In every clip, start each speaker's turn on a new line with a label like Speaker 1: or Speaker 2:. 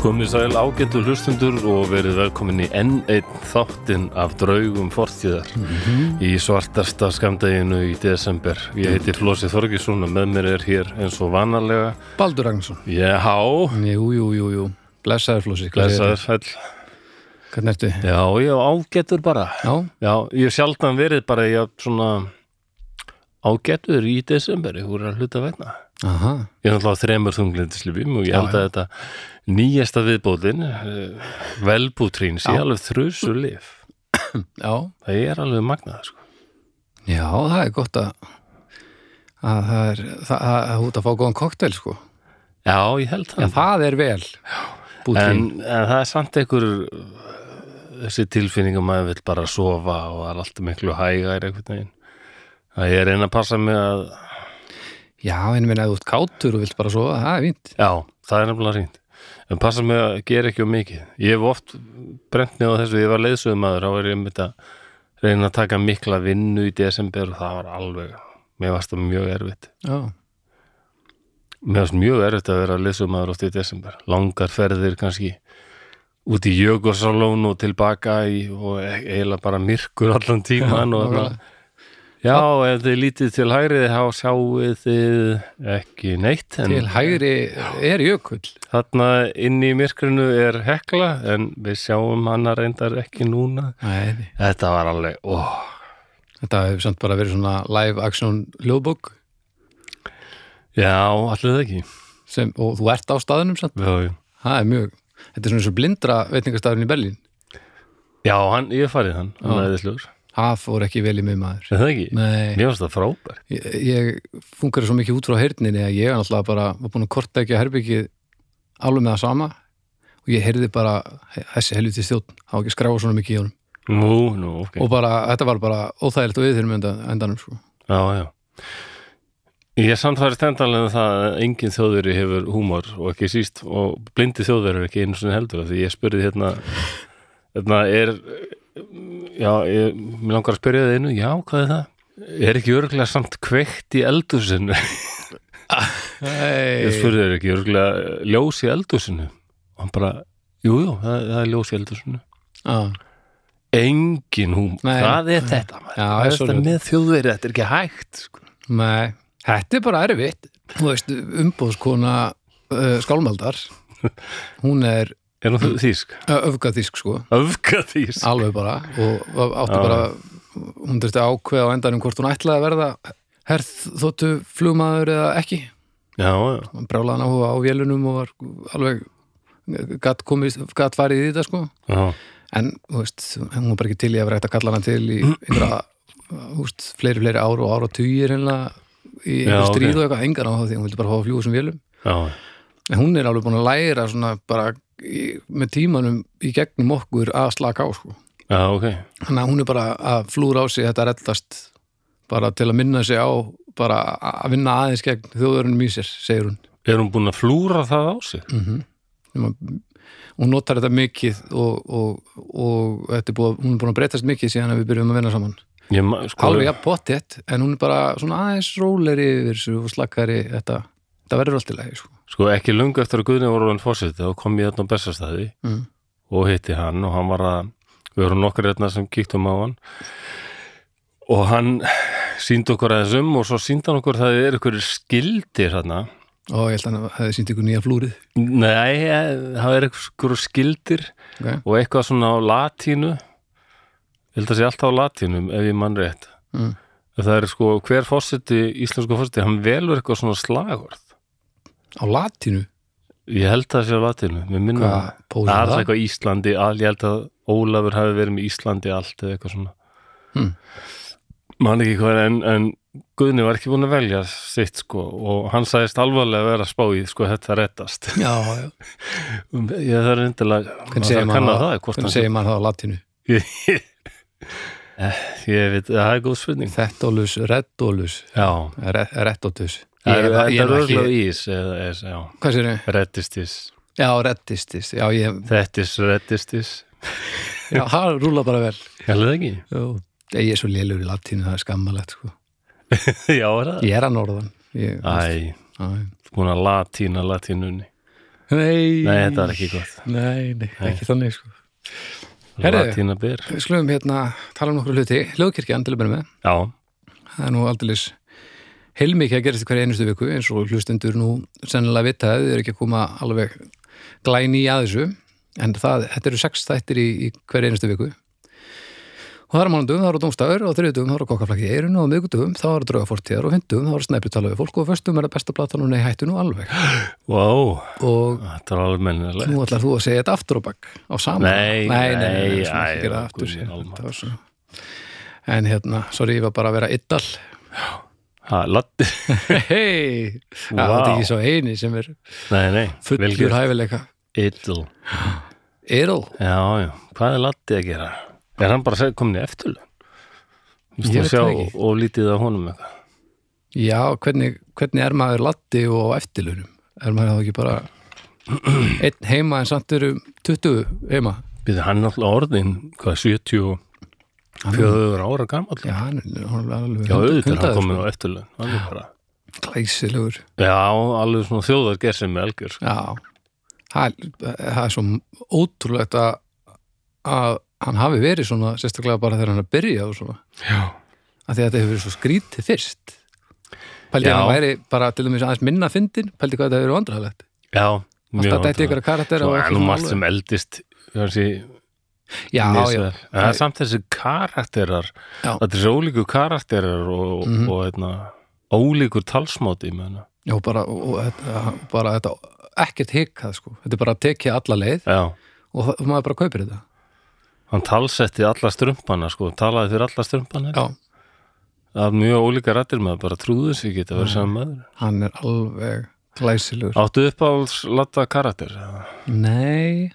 Speaker 1: Komið sæl ágættu hlustundur og verið velkomin í enn einn þáttinn af draugum fortíðar í svartasta skamdeginu í desember. Ég heiti Flósi Þorgisson og með mér er hér eins og vanalega.
Speaker 2: Baldur Ragnarsson
Speaker 1: Já,
Speaker 2: Jú, jú, jú, jú Blessaður Flósi hvað segirðu?
Speaker 1: blessaður fell.
Speaker 2: Hvernig ertu?
Speaker 1: Já, já, ágættur bara.
Speaker 2: Já,
Speaker 1: Já, ég hef sjaldan verið bara í að svona ágættur í desember, ég voru að hluta vegna.
Speaker 2: aha
Speaker 1: Ég er náttúrulega á þremur þunglindislyfjum og ég held að þetta nýjasta viðbóðin, velbútrín, sé
Speaker 2: Já.
Speaker 1: alveg þrusu lif.
Speaker 2: Já,
Speaker 1: Það er alveg magnað sko.
Speaker 2: já það er gott að að það er það, að, að út að fá góðan koktel sko
Speaker 1: Já, ég held
Speaker 2: Já,
Speaker 1: það.
Speaker 2: það er vel
Speaker 1: en,
Speaker 2: Bútin
Speaker 1: en það er samt einhver uh, þessi tilfinning að maður vill bara sofa og það er alltaf miklu hægar einhvern veginn. Það ég er að reyna að passa mig að
Speaker 2: Já, en minna að þú ert kátur og vilt bara sofa Það er fínt
Speaker 1: já, það er nefnilega reynd. En passa mig að gera ekki um mikið. Ég hef oft brent mig á þessu, ég var leiðsöðumæður þá er ég mynd að reyna að taka mikla vinnu í desember og það var alveg mér varst það mjög erfitt.
Speaker 2: Já,
Speaker 1: Mér finnst mjög erfitt að vera að lesa um aður átt í desember. Langar ferðir kannski út í Jökursalón og tilbaka í, og e- eiginlega bara myrkur allan tíman. og
Speaker 2: nákvæmlega.
Speaker 1: þarna- Já, ef þið lítið til hægrið þá sjáuð þið ekki neitt. En
Speaker 2: til hægri er jökull
Speaker 1: Þarna inn í myrkrinu er hekla en við sjáum hana reyndar ekki núna.
Speaker 2: Nei,
Speaker 1: Þetta var alveg, óh.
Speaker 2: þetta hefur samt bara verið svona live action ljóðbók
Speaker 1: Já, allir það ekki.
Speaker 2: sem, og þú ert á staðunum samt
Speaker 1: Já, já.
Speaker 2: Það er mjög, þetta er svona eins og blindra veitingastafurinn í Berlín
Speaker 1: Já, hann, ég hef farið hann, hann
Speaker 2: Já.
Speaker 1: er æðislegur.
Speaker 2: Það fór ekki vel í mig maður
Speaker 1: Er það ekki?
Speaker 2: Nei
Speaker 1: Mér finnst það frábært.
Speaker 2: ég, ég fungerði svo mikið út frá heyrninni að ég náttúrulega bara var búin að korta ekki að herbyggið alveg með það sama og ég heyrði bara he- þessi helviti stjórn, það var ekki að skráfa svona mikið í honum
Speaker 1: Nú, nú, ok.
Speaker 2: og bara, þetta var bara óþægilegt og yfir með enda, endanum sko.
Speaker 1: Já, já. Ég samfæri stendalega um það að engin þjóðveri hefur húmor og ekki síst og blindi þjóðveri er ekki einu sinni heldur af því ég spurði hérna, hérna er, já, ég, mér langar að spyrja það einu, já, hvað er það? Er ekki örglega samt kveikt í eldhúsinu? Ég
Speaker 2: Hey.
Speaker 1: spurði er ekki örglega ljós í eldhúsinu? Og hann bara, jú, jú, það, það er ljós í eldhúsinu.
Speaker 2: Ah,
Speaker 1: Engin húmor,
Speaker 2: Nei.
Speaker 1: það er þetta, maður.
Speaker 2: Já,
Speaker 1: það
Speaker 2: ég
Speaker 1: er
Speaker 2: svo
Speaker 1: þetta
Speaker 2: ljót.
Speaker 1: með þjóðveri, þetta er ekki hægt, sko.
Speaker 2: nei, þetta er bara erfitt þú veist, umbóðskona uh, skálmaldar hún er
Speaker 1: Er nú þýsk?
Speaker 2: öfgatísk sko
Speaker 1: Öfgaþýsk?
Speaker 2: alveg bara og var- átti
Speaker 1: Já.
Speaker 2: bara hún þurfti að ákveða á endanum hvort hún ætlaði að verða herð þóttu flugmaður eða ekki
Speaker 1: Já, já.
Speaker 2: hann brálaði náhuga á vélunum og var alveg gatt komið, gatt farið í þetta sko
Speaker 1: Já,
Speaker 2: en þú veist, hún var bara ekki til í að vera hægt að kalla hana til í einhverja þú veist, fleiri, fleiri ár og ár og tugir hérna í
Speaker 1: Já,
Speaker 2: einhver
Speaker 1: ok.
Speaker 2: stríð og eitthvað engan á það því hún vildi bara fá að fljúga sem vélum
Speaker 1: já,
Speaker 2: en hún er alveg búin að læra svona bara í, með tímanum í gegnum okkur að slaka á sko
Speaker 1: já, ok
Speaker 2: þannig að hún er bara að flúra á sig þetta reddast bara til að minna sig á bara að vinna aðeins gegn þjóðurinn í sér, segir hún
Speaker 1: Er hún búin að flúra það á sig?
Speaker 2: mm -hmm. hún notar þetta mikið og, og, og þetta er búið, hún er búin að breytast mikið síðan að við byrjum að vinna saman
Speaker 1: Ég, ma- sko,
Speaker 2: alveg jafn pottétt, en hún er bara svona aðeins róleri yfir þessu og slakkari þetta, þetta verður allt í lagi sko.
Speaker 1: sko, ekki lungu eftir að Guðni voru hann fórseti þá kom ég þarna á bestastæði
Speaker 2: mm.
Speaker 1: og hitti hann og hann var að við vorum nokkur hérna sem kíktum á hann og hann síndi okkur aðeins um og svo síndi hann okkur það er ykkur skildir hérna
Speaker 2: og ég held að hann hefði sínt ykkur nýja flúrið
Speaker 1: Nei, eh, það er ykkur skildir
Speaker 2: okay.
Speaker 1: og eitthvað svona á latínu Ég held að sé alltaf á latínu ef ég mann rétt
Speaker 2: mm.
Speaker 1: það er sko hver fórseti, íslensku fórseti hann velur eitthvað svona slagorð
Speaker 2: á latínu
Speaker 1: Ég held að það sé á latinu, mér minna
Speaker 2: Hvað
Speaker 1: það.
Speaker 2: pósar
Speaker 1: Mm. Það er
Speaker 2: það?
Speaker 1: eitthvað Íslandi, all, ég held að Ólafur hafi verið með Íslandi allt eða eitthvað svona.
Speaker 2: Hmm.
Speaker 1: Man ekki hvað, er, en, en Guðni var ekki búin að velja sitt sko og hann sagðist alvarlega að vera að spá í sko þetta rettast.
Speaker 2: Já, já.
Speaker 1: ég þarf reyndilega,
Speaker 2: Um, Hvernig
Speaker 1: þarf
Speaker 2: segir
Speaker 1: að
Speaker 2: maður
Speaker 1: kanna
Speaker 2: það-
Speaker 1: það, hvort
Speaker 2: hvernig
Speaker 1: hann,
Speaker 2: segir maður það á latínu
Speaker 1: ég veit, það er góð spurning.
Speaker 2: Þettólus, rettólus
Speaker 1: Já,
Speaker 2: Re- Rettotus Ég
Speaker 1: það
Speaker 2: er-
Speaker 1: er
Speaker 2: ég er nú
Speaker 1: örgulega
Speaker 2: ekki-
Speaker 1: ís, eða, eða, já,
Speaker 2: Hvað sér ég?
Speaker 1: rettistis,
Speaker 2: Já, rettistis Já, ég,
Speaker 1: þettis, rettistis,
Speaker 2: já það rúla bara vel
Speaker 1: ég held það ekki.
Speaker 2: Jú. Ég er svo lélur í latínu, það er skammalegt sko.
Speaker 1: já, er það?
Speaker 2: Ég er að norðan ég,
Speaker 1: Æ,
Speaker 2: Æ.
Speaker 1: búin að latína latínunni.
Speaker 2: Nei,
Speaker 1: Nei, þetta var ekki gott.
Speaker 2: Nei, nei, ekki þannig sko. Herðu.
Speaker 1: Latína ber.
Speaker 2: Við skulum hérna tala um nokkur hluti Hljóðkirkjan til að byrja með
Speaker 1: Já,
Speaker 2: það er nú aldeilis heilmikið að gerast í hverja einustu viku eins og hlustendur nú sennilega vita þau eru ekki að koma alveg glæni í að þessu en það, þetta eru sex þættir í, í hverja einustu viku og það er mánundum, það eru dómstafur og þriðutum, það eru kokkaflakki í eirun og miðgutum, það eru draugafortíðar og fyndum, það eru snæpjutala við fólk og föstum er að besta platan og nei hættu nú alveg
Speaker 1: wow,
Speaker 2: og
Speaker 1: þetta var alveg mennilega.
Speaker 2: nú ætlar þú að segja þetta aftur og bakk á sama nei, nei,
Speaker 1: Nei,
Speaker 2: nei,
Speaker 1: nei,
Speaker 2: nei, nei,
Speaker 1: æ,
Speaker 2: nei, nei aftur,
Speaker 1: guð minn
Speaker 2: sér,
Speaker 1: almáttugur.
Speaker 2: Þetta var svona. en hérna, sorry, ég var bara að vera yddal
Speaker 1: Ha, Latti,
Speaker 2: Hei, það
Speaker 1: Vá.
Speaker 2: er ekki svo eini sem er
Speaker 1: nei, nei, vel
Speaker 2: fullur
Speaker 1: gert.
Speaker 2: hæfileika
Speaker 1: Idol.
Speaker 2: Erl,
Speaker 1: Já, já, hvað er Latti að gera? Er hann bara að segja komin í eftirlu?
Speaker 2: Ég
Speaker 1: Ég veit
Speaker 2: veit
Speaker 1: sjá
Speaker 2: það ekki.
Speaker 1: og lítið af honum eitthvað.
Speaker 2: já, hvernig, hvernig er maður latti og á eftirlunum? Er maður þá ekki bara einn heima en samt eru 20 heima?
Speaker 1: Býðu hann náttúrulega orðin, hvað, 74 ára gamall?
Speaker 2: Já, sko. hann er hann er alveg
Speaker 1: Já, auðvitað er hann
Speaker 2: hundaður,
Speaker 1: komin á eftirlu. Hann er bara...
Speaker 2: sko. Glæsilegur,
Speaker 1: Já, alveg svona þjóðar gerðsum með algjör sko.
Speaker 2: já Það er- það er svo ótrúlegt að, að hann hafi verið svona, sérstaklega bara þegar hann er að byrja og svona
Speaker 1: Já,
Speaker 2: af því að þetta hefur verið svo skrítið fyrst pældi
Speaker 1: Já.
Speaker 2: að hann væri bara til dæmis aðeins minna fyndin, pældi hvað þetta hefur vandræðalegt
Speaker 1: mjög
Speaker 2: alltaf dætti ykkur að karakter
Speaker 1: Svo
Speaker 2: og
Speaker 1: er
Speaker 2: ekki
Speaker 1: Sko, nú
Speaker 2: svona
Speaker 1: margt
Speaker 2: alveg.
Speaker 1: sem eldist Þessi,
Speaker 2: já, já,
Speaker 1: misvel. En það er samt þessi karakterar
Speaker 2: Já.
Speaker 1: Þetta er svo ólíku karakterar og,
Speaker 2: Mhm.
Speaker 1: og hérna, ólíkur talsmáti menna.
Speaker 2: já, bara, og, og, þetta, bara þetta ekkert hikað sko, þetta er bara að tekja alla leið
Speaker 1: Já,
Speaker 2: og það- maður bara kaupir þetta
Speaker 1: hann talsetti alla strumpana sko, talaði fyrir alla strumpana
Speaker 2: já,
Speaker 1: af mjög ólíka rættir maður bara trúðu sig geta verið saman
Speaker 2: Mhm.
Speaker 1: maður
Speaker 2: hann er alveg glæsilegur
Speaker 1: Áttu upp á latta karakter? eða?
Speaker 2: nei,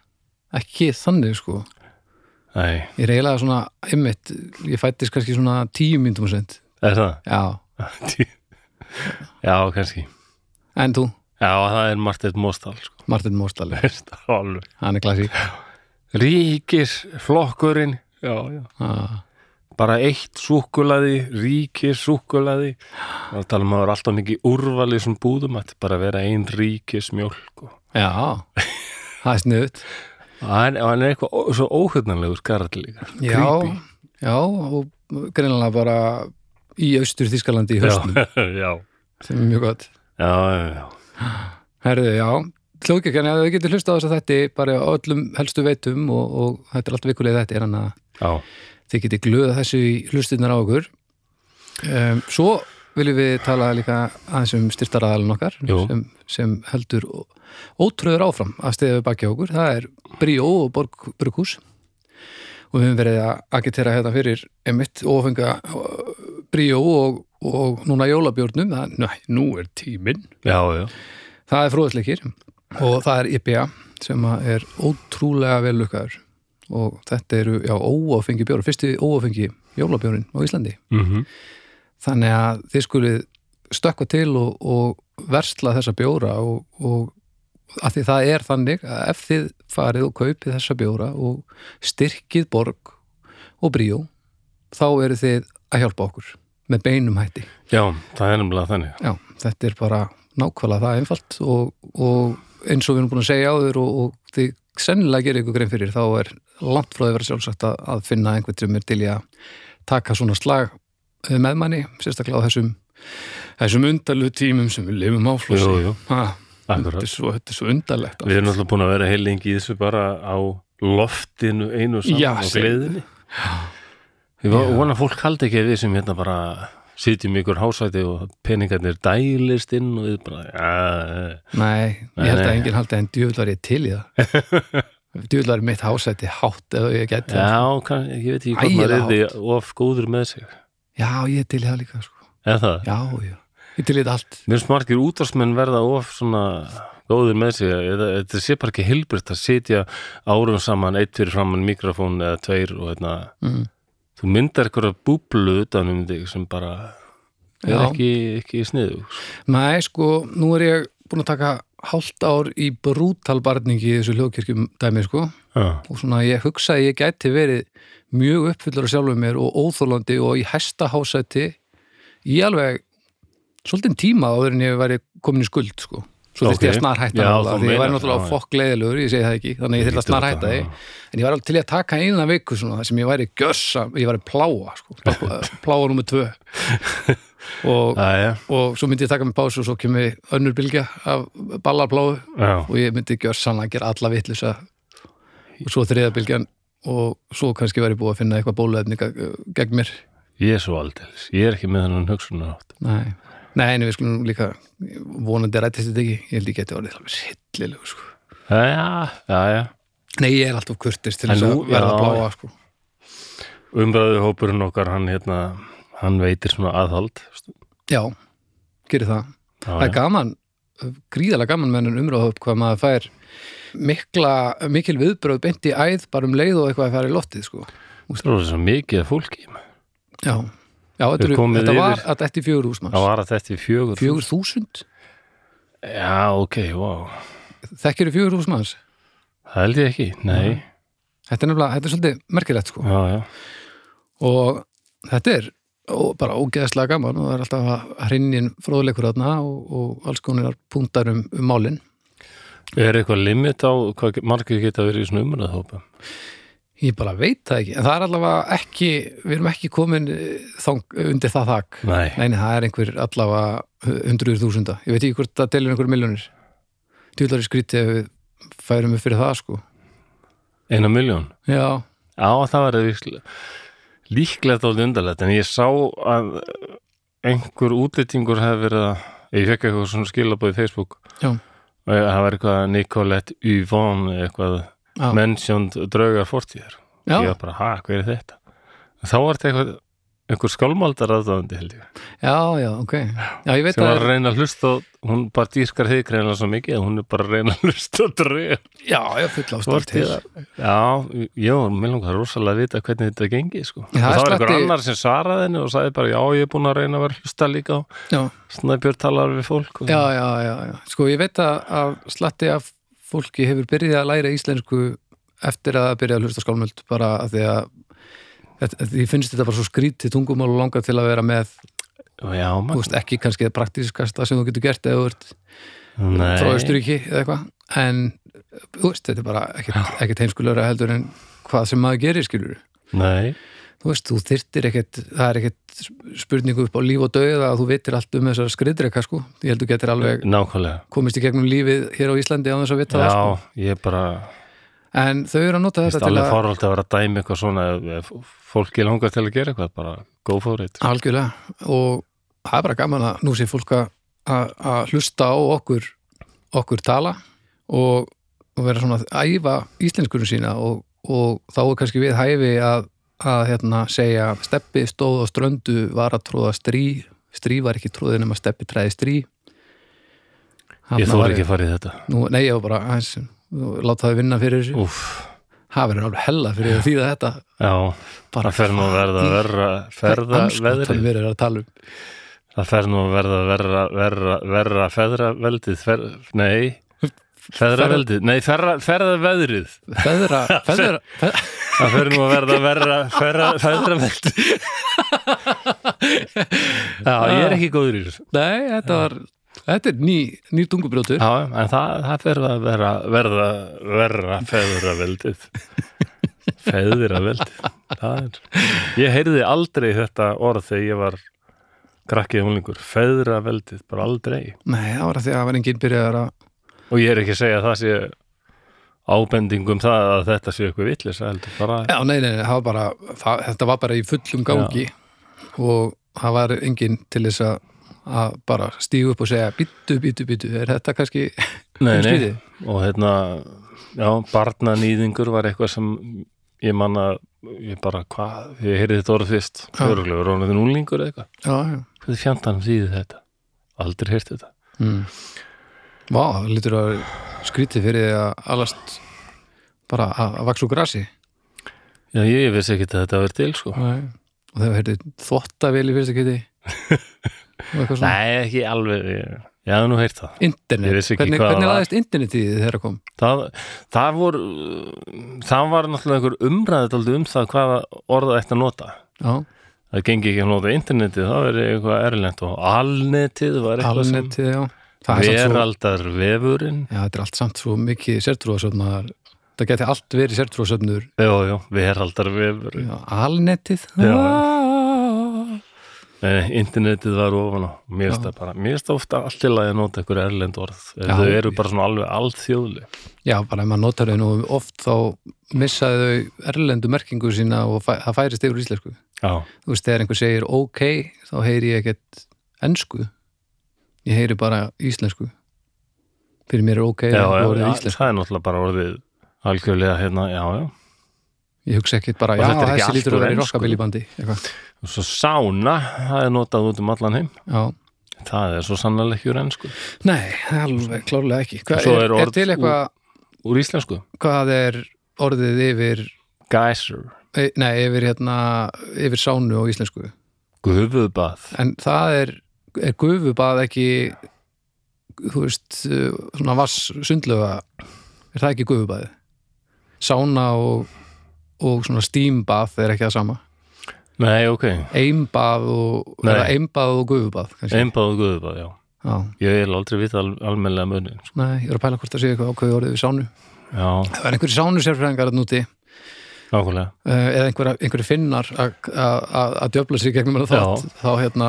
Speaker 2: ekki þannig sko
Speaker 1: Nei,
Speaker 2: ég er eiginlega svona, einmitt ég fættist kannski svona tíu myndum og sent
Speaker 1: er það?
Speaker 2: já,
Speaker 1: Já, kannski
Speaker 2: en þú,
Speaker 1: Já, það er Marteinn Móstal sko.
Speaker 2: Martin Mórstalli
Speaker 1: Veist, alveg
Speaker 2: hann er glæsi
Speaker 1: Ríkisflokkurinn já, já.
Speaker 2: ah.
Speaker 1: bara eitt súkulaði ríkissúkulaði þá tala um maður alltaf mikið úrvalið sem búðum að bara vera ein ríkismjólk og
Speaker 2: Já, það er sniðut
Speaker 1: og hann, og hann er eitthvað ó- svo óhugnanlegur skarall líka
Speaker 2: Já, já og greinlega bara í austur Þískalandi í
Speaker 1: já,
Speaker 2: höstum
Speaker 1: já,
Speaker 2: sem er mjög gott
Speaker 1: já, já, já.
Speaker 2: Herðu, já, hljóðkirkjan ef þau getur hlustað á þess að þetta bara á öllum helstu veitum og, og þetta er alltaf vikulega þetta er hann að
Speaker 1: já.
Speaker 2: þið getur glöða þessu í hlustinnar á okkur um, Svo viljum við tala líka aðeins um styrtaraðalinn okkar
Speaker 1: Jú.
Speaker 2: sem, sem heldur ó- ótröður áfram að stiða við bakja okkur það er Bríó og Borg Brukhús og við höfum verið að agitera hérna fyrir emitt ofenga Bríó og, og núna jólabjórnum það, næ, nú er tíminn
Speaker 1: já, já.
Speaker 2: það er fróðsleikir og það er IPA sem að er ótrúlega vel lukkaður og þetta eru já, óáfengi bjóri, fyrsti óáfengi jólabjórin á Íslandi
Speaker 1: Mm
Speaker 2: þannig að þið skulið stökkva til og, og versla þessa bjóra og, og að því það er þannig að ef þið farið og kaupið þessa bjóra og styrkið borg og bríó þá eru þið að hjálpa okkur með beinum hætti
Speaker 1: já, það er nefnilega þannig
Speaker 2: Já, þetta er bara nákvæmlega það einfalt og, og eins og við erum búin að segja áður og, og þið sennilega gerir ykkur grein fyrir þá er langt frá því að vera sjálfsagt að, að finna einhvern sem er til í að taka svona slag eh, með manni, sérstaklega á þessum þessum undalu tímum sem við lifum á flósi.
Speaker 1: Jú, jú,
Speaker 2: Ha, þetta,
Speaker 1: akkurat
Speaker 2: er svo, þetta er svo sko. undalegt. allt.
Speaker 1: Við erum alltaf búin að vera heilingi í þessu bara á loftinu einu saman
Speaker 2: Já,
Speaker 1: og
Speaker 2: segðu.
Speaker 1: gleðinni. Ég va- vona að fólk haldi ekki að við sem hérna bara sitjum í ykkur hásæti og peningarnir dælist inn og við bara, já,
Speaker 2: Nei,
Speaker 1: Nei,
Speaker 2: ég held að
Speaker 1: nei.
Speaker 2: enginn haldi en djöfull var ég til í það. djöfull var mitt hásætti hátt eða ég geti það.
Speaker 1: já, kann, ég veit ekki hvað maður
Speaker 2: Ægilega
Speaker 1: er því of góður með sig.
Speaker 2: Já, ég er til í það líka. Sko.
Speaker 1: Eða það?
Speaker 2: Já, já. Ég er til í þetta allt.
Speaker 1: Mér finnst margir útvarsmenn verða of svona góður með sig. Eða, þetta sé bara ekki hilbriðt að sitja árum saman, eitt fyrir framann mikrofón eða tveir og hérna,
Speaker 2: Mm.
Speaker 1: þú myndar eitthvað búblu utan um þig sem bara er
Speaker 2: Já.
Speaker 1: ekki, ekki sniðu
Speaker 2: Nei, sko, nú er ég búin að taka hálft ár í brútal barningi í þessu hljóðkirkjum dæmi, sko
Speaker 1: já,
Speaker 2: og svona ég hugsa að ég gæti verið mjög uppfyllur af sjálfum mér og óþólandi og í hæsta hásæti í alveg svolítið tíma áður en ég væri komin í skuld, sko svo þurfti ég
Speaker 1: Ok.
Speaker 2: að snar hætta
Speaker 1: Já,
Speaker 2: það
Speaker 1: þú
Speaker 2: því ég
Speaker 1: meinar
Speaker 2: væri
Speaker 1: það,
Speaker 2: náttúrulega
Speaker 1: já.
Speaker 2: fokk leiðilegur, ég segi það ekki þannig ég þurfti að
Speaker 1: Lítur
Speaker 2: snar
Speaker 1: þetta,
Speaker 2: hætta því
Speaker 1: já.
Speaker 2: en ég væri alveg til í að taka eina viku svona, þar sem ég væri gjössa, ég væri pláa sko, pláa, pláa nummer tvö og,
Speaker 1: Æja,
Speaker 2: og svo myndi ég taka mig pásu og svo kemur önnur bylgja af ballarpláu
Speaker 1: já,
Speaker 2: og ég myndi gjörsanlega gera alla vitlisa og svo þriðabilgjan og svo kannski væri búið að finna eitthvað bóluefni ga- gegn mér
Speaker 1: ég er svo aldeilis Ég er ekki með þennan hugsunar átt
Speaker 2: Nei, Nei en við skulum líka vonandi rættist þetta ekki, ég held ég geti orðið alveg sittlilegu sko.
Speaker 1: Æja, æja
Speaker 2: Nei, ég er alltaf kurtist til
Speaker 1: En
Speaker 2: þess að
Speaker 1: nú-
Speaker 2: verða
Speaker 1: já.
Speaker 2: bláa sko.
Speaker 1: Umræðuhópurinn okkar, hann hérna Hann veitir svona aðhald
Speaker 2: Já, gerir það
Speaker 1: Já,
Speaker 2: Það er
Speaker 1: já.
Speaker 2: gaman, gríðalega gaman með hennan umröðhóp hvað maður fær mikla, mikil viðbröð beint í æð bara um leið og eitthvað að fara í loftið sko.
Speaker 1: Það er svo mikið af fólki
Speaker 2: Já, já þetta,
Speaker 1: Við
Speaker 2: eru,
Speaker 1: komið
Speaker 2: þetta var
Speaker 1: yfir-
Speaker 2: að þetta er fjögur húsmanns
Speaker 1: Það var að þetta í fjögur
Speaker 2: Fjögur þúsund?
Speaker 1: Já, ok, wow
Speaker 2: Þekkir þú fjögur húsmanns?
Speaker 1: Það held ég ekki, nei
Speaker 2: Þetta er nefnilega, þetta er svolítið merkilegt sko
Speaker 1: Já, já,
Speaker 2: og þetta er ó, bara ógeðslega gaman og það er alltaf að hrinnin fróðleikur þarna og, og alls konar punktar um, um málin.
Speaker 1: Er eitthvað limit á hvað margir geta verið í svona umræðahópa?
Speaker 2: Ég bara veit það ekki, en það er allavega ekki, við erum ekki komin eh, þang, undir það þak.
Speaker 1: Nei,
Speaker 2: Neini, það er einhver allavega hundruður þúsunda. Ég veit ekki hvort það telur einhver miljónir. Tjúlar í skrítið ef við færum upp fyrir það sko.
Speaker 1: eina miljón
Speaker 2: Já,
Speaker 1: Já, það var líklega líklegt alveg undarlegt en ég sá að einhver útlýtingur hefði verið að ég fekk eitthvað svona skilabóð í Facebook
Speaker 2: Já.
Speaker 1: og það var eitthvað Nicolette Yvonne eitthvað
Speaker 2: Já.
Speaker 1: mentioned draugar fortíðar
Speaker 2: já.
Speaker 1: ég var bara, ha, hvað er þetta? Þá var þetta eitthvað einhver skálmaldar aðdáðandi held ég
Speaker 2: Já, já, ok. Já, ég veit
Speaker 1: sem var
Speaker 2: að,
Speaker 1: að reyna að hlusta á- hún bara dýrkar heikreinlega svo mikið að hún er bara að reyna að hlusta á draugar
Speaker 2: já, já, full ástæð til.
Speaker 1: Fortíðar. Já, já, mér langar rosalega að vita hvernig þetta gengi, sko.
Speaker 2: Já,
Speaker 1: og
Speaker 2: það er
Speaker 1: það var einhver
Speaker 2: slatti-
Speaker 1: annar sem svaraði henni og sagði bara, já, ég er búin að reyna að vera að hlusta líka og
Speaker 2: Já.
Speaker 1: snæbjörn talar við fólk. Og...
Speaker 2: já, já, já, já. Sko, ég veit að, að slatti af fólki hefur byrjað að læra íslensku eftir að byrja að hlusta á skálmöld bara að því að þetta- að því finnst þetta bara svo skrítið tungumál og langar til að vera með,
Speaker 1: já
Speaker 2: þú
Speaker 1: mann.
Speaker 2: veist, ekki kannski það praktískasta sem þú getur gert eða þú ert
Speaker 1: Nei,
Speaker 2: frá Austuríki eða eitthvað en, þú veist, þetta er bara ekkert, ekkert heimskulegra heldur en hvað sem maður gerir skilur
Speaker 1: nei,
Speaker 2: þú veist, þú þyrtir ekkert, það er ekkert spurningu upp á líf og dauða að þú vitir allt um þessar skriðdreka sko, ég held þú getur alveg
Speaker 1: nákvæmlega.
Speaker 2: komist í gegnum lífið hér á Íslandi á þess að vita
Speaker 1: Já,
Speaker 2: það sko.
Speaker 1: ég er bara,
Speaker 2: en þau eru að nota
Speaker 1: ég
Speaker 2: þetta
Speaker 1: veist
Speaker 2: til
Speaker 1: alveg
Speaker 2: að
Speaker 1: farvöld að vera að dæmi eitthvað svona, ef, ef fólki langar til að gera eitthvað, bara go for it.
Speaker 2: algjörlega og það er bara gaman að nú sé fólk að- að að hlusta á okkur okkur tala og, og vera svona að æfa íslenskurum sína og, og þá er kannski við hæfi að, að hérna, segja steppi stóð á ströndu var að tróða strý strý var ekki tróðið nema steppi træði strý
Speaker 1: Ég þóri ekki að fara í þetta.
Speaker 2: nú, nei ég var bara aðeins, láta það vinna fyrir þessu
Speaker 1: Úff,
Speaker 2: það verður alveg hella fyrir því að þetta
Speaker 1: já,
Speaker 2: Bara
Speaker 1: það fer nú að verða verra, ferða veðrið.
Speaker 2: við erum að tala um
Speaker 1: Það fer nú að verða verra, verra, verra feðraveldið, fer, nei, feðraveldið, nei, ferra, ferðaveðrið.
Speaker 2: feðra, feðra, feðra
Speaker 1: Það fer nú að verða verra, ferra, feðraveldið. Já, ég er ekki góður í þessu.
Speaker 2: nei, þetta var þetta er ný, ný tungubrjótur
Speaker 1: Já, en það, það fer að verða, verða, verra feðraveldið. Feðraveldið, það er. Ég heyrði aldrei þetta orð þegar ég var krakkið húnlingur, feðraveldið, bara aldrei.
Speaker 2: nei, það var að því að það var enginn byrjaðar að
Speaker 1: og ég er ekki að segja að það sé ábending um það að þetta sé eitthvað vitlis heldur bara
Speaker 2: já, nei, nei, nei, það var bara það, þetta var bara í fullum gangi og það var enginn til þess að að bara stígu upp og segja býttu, býttu, býttu, er þetta kannski
Speaker 1: nei, nei.
Speaker 2: stríði?
Speaker 1: og hérna já, barnanýðingur var eitthvað sem ég manna ég bara, hvað, ég heyrði þetta orð fyrst
Speaker 2: Já.
Speaker 1: örgulega, rónuðin úlingur eða eitthvað
Speaker 2: já, já
Speaker 1: hvernig fjandanum þýði þetta aldrei heyrti þetta
Speaker 2: mm. vá, það lítur að skrítið fyrir því að allast bara að, að vaksa úr grasi
Speaker 1: já, ég vissi ekki að þetta verið til sko
Speaker 2: Nei. og þegar heyrði þvottavél í fyrsta kiti og eitthvað svona
Speaker 1: nei, ekki alveg ég, ég hafði nú heyrt það
Speaker 2: internet,
Speaker 1: Ég vissi ekki
Speaker 2: hvernig,
Speaker 1: hvað
Speaker 2: hvernig
Speaker 1: það var.
Speaker 2: laðist internet í því þegar það kom
Speaker 1: það, það voru það var náttúrulega einhver umræðið aldrei um það hvaða orða ætti að nota
Speaker 2: já,
Speaker 1: það gengi ekki að nota internetið, það verið eitthvað erlend og alnetið var eitthvað
Speaker 2: alnetið, já,
Speaker 1: sem
Speaker 2: Það er samt svo-
Speaker 1: Veraldar vefurinn
Speaker 2: Já, þetta er allt samt svo mikið sértrúasöfnar það geti allt verið sértrúasöfnur
Speaker 1: Já, já, veraldar vefurinn
Speaker 2: alnettið
Speaker 1: Já.
Speaker 2: Ah.
Speaker 1: Nei, Eh, internetið var ofan á Mér
Speaker 2: Já.
Speaker 1: finnst það bara, mér finnst ofta allir að nota einhver erlend orð ef
Speaker 2: Já.
Speaker 1: þau eru bara svona alveg alþjóðleg
Speaker 2: Já, bara ef maður notar þau nú oft þá missaði þau erlendu merkingu sína og fæ, það færist yfir í íslensku
Speaker 1: Já,
Speaker 2: þú veist, þegar einhver segir ok þá heyri ég ekkert ensku ég heyri bara íslensku fyrir mér er ok
Speaker 1: já, já,
Speaker 2: orðið
Speaker 1: já
Speaker 2: íslensku.
Speaker 1: það er náttúrulega bara orðið algjörlega hérna, já, já
Speaker 2: ég hugsa ekkert bara,
Speaker 1: Og
Speaker 2: já,
Speaker 1: þetta er ekki
Speaker 2: þessi
Speaker 1: allt
Speaker 2: lítur að
Speaker 1: úr
Speaker 2: vera í
Speaker 1: ensku.
Speaker 2: rokkabillibandi eitthvað.
Speaker 1: og svo sána, það er notað út um allan heim
Speaker 2: já,
Speaker 1: það er svo sannlega ekki úr ennsku
Speaker 2: nei, alveg klárlega ekki Hva,
Speaker 1: Og svo
Speaker 2: er,
Speaker 1: er
Speaker 2: er,
Speaker 1: orð
Speaker 2: til eitthvað
Speaker 1: úr íslensku,
Speaker 2: hvað er orðið yfir
Speaker 1: geyser,
Speaker 2: e- nei, yfir hérna yfir sánu á íslensku
Speaker 1: gufubað
Speaker 2: en það er, er gufubað ekki þú veist uh, svona vass sundlöga er það ekki gufubaði sána og, og svona steambað er ekki það sama
Speaker 1: Nei, ok,
Speaker 2: eimbað og,
Speaker 1: Nei.
Speaker 2: eða eimbað og gufubað kannski
Speaker 1: einbað og gufubað, já
Speaker 2: Já,
Speaker 1: ég vil aldrei vita al almennilega munin sko.
Speaker 2: nei, ég er að pæla hvort það sé eitthvað ákveði orðið við sánu
Speaker 1: Já,
Speaker 2: það er einhverju sánu sérfræðingar að núti
Speaker 1: nákvæmlega
Speaker 2: Eh, eða einhver, einhverju finnar að- að að djöfla sér gegnum hennar þátt þá hérna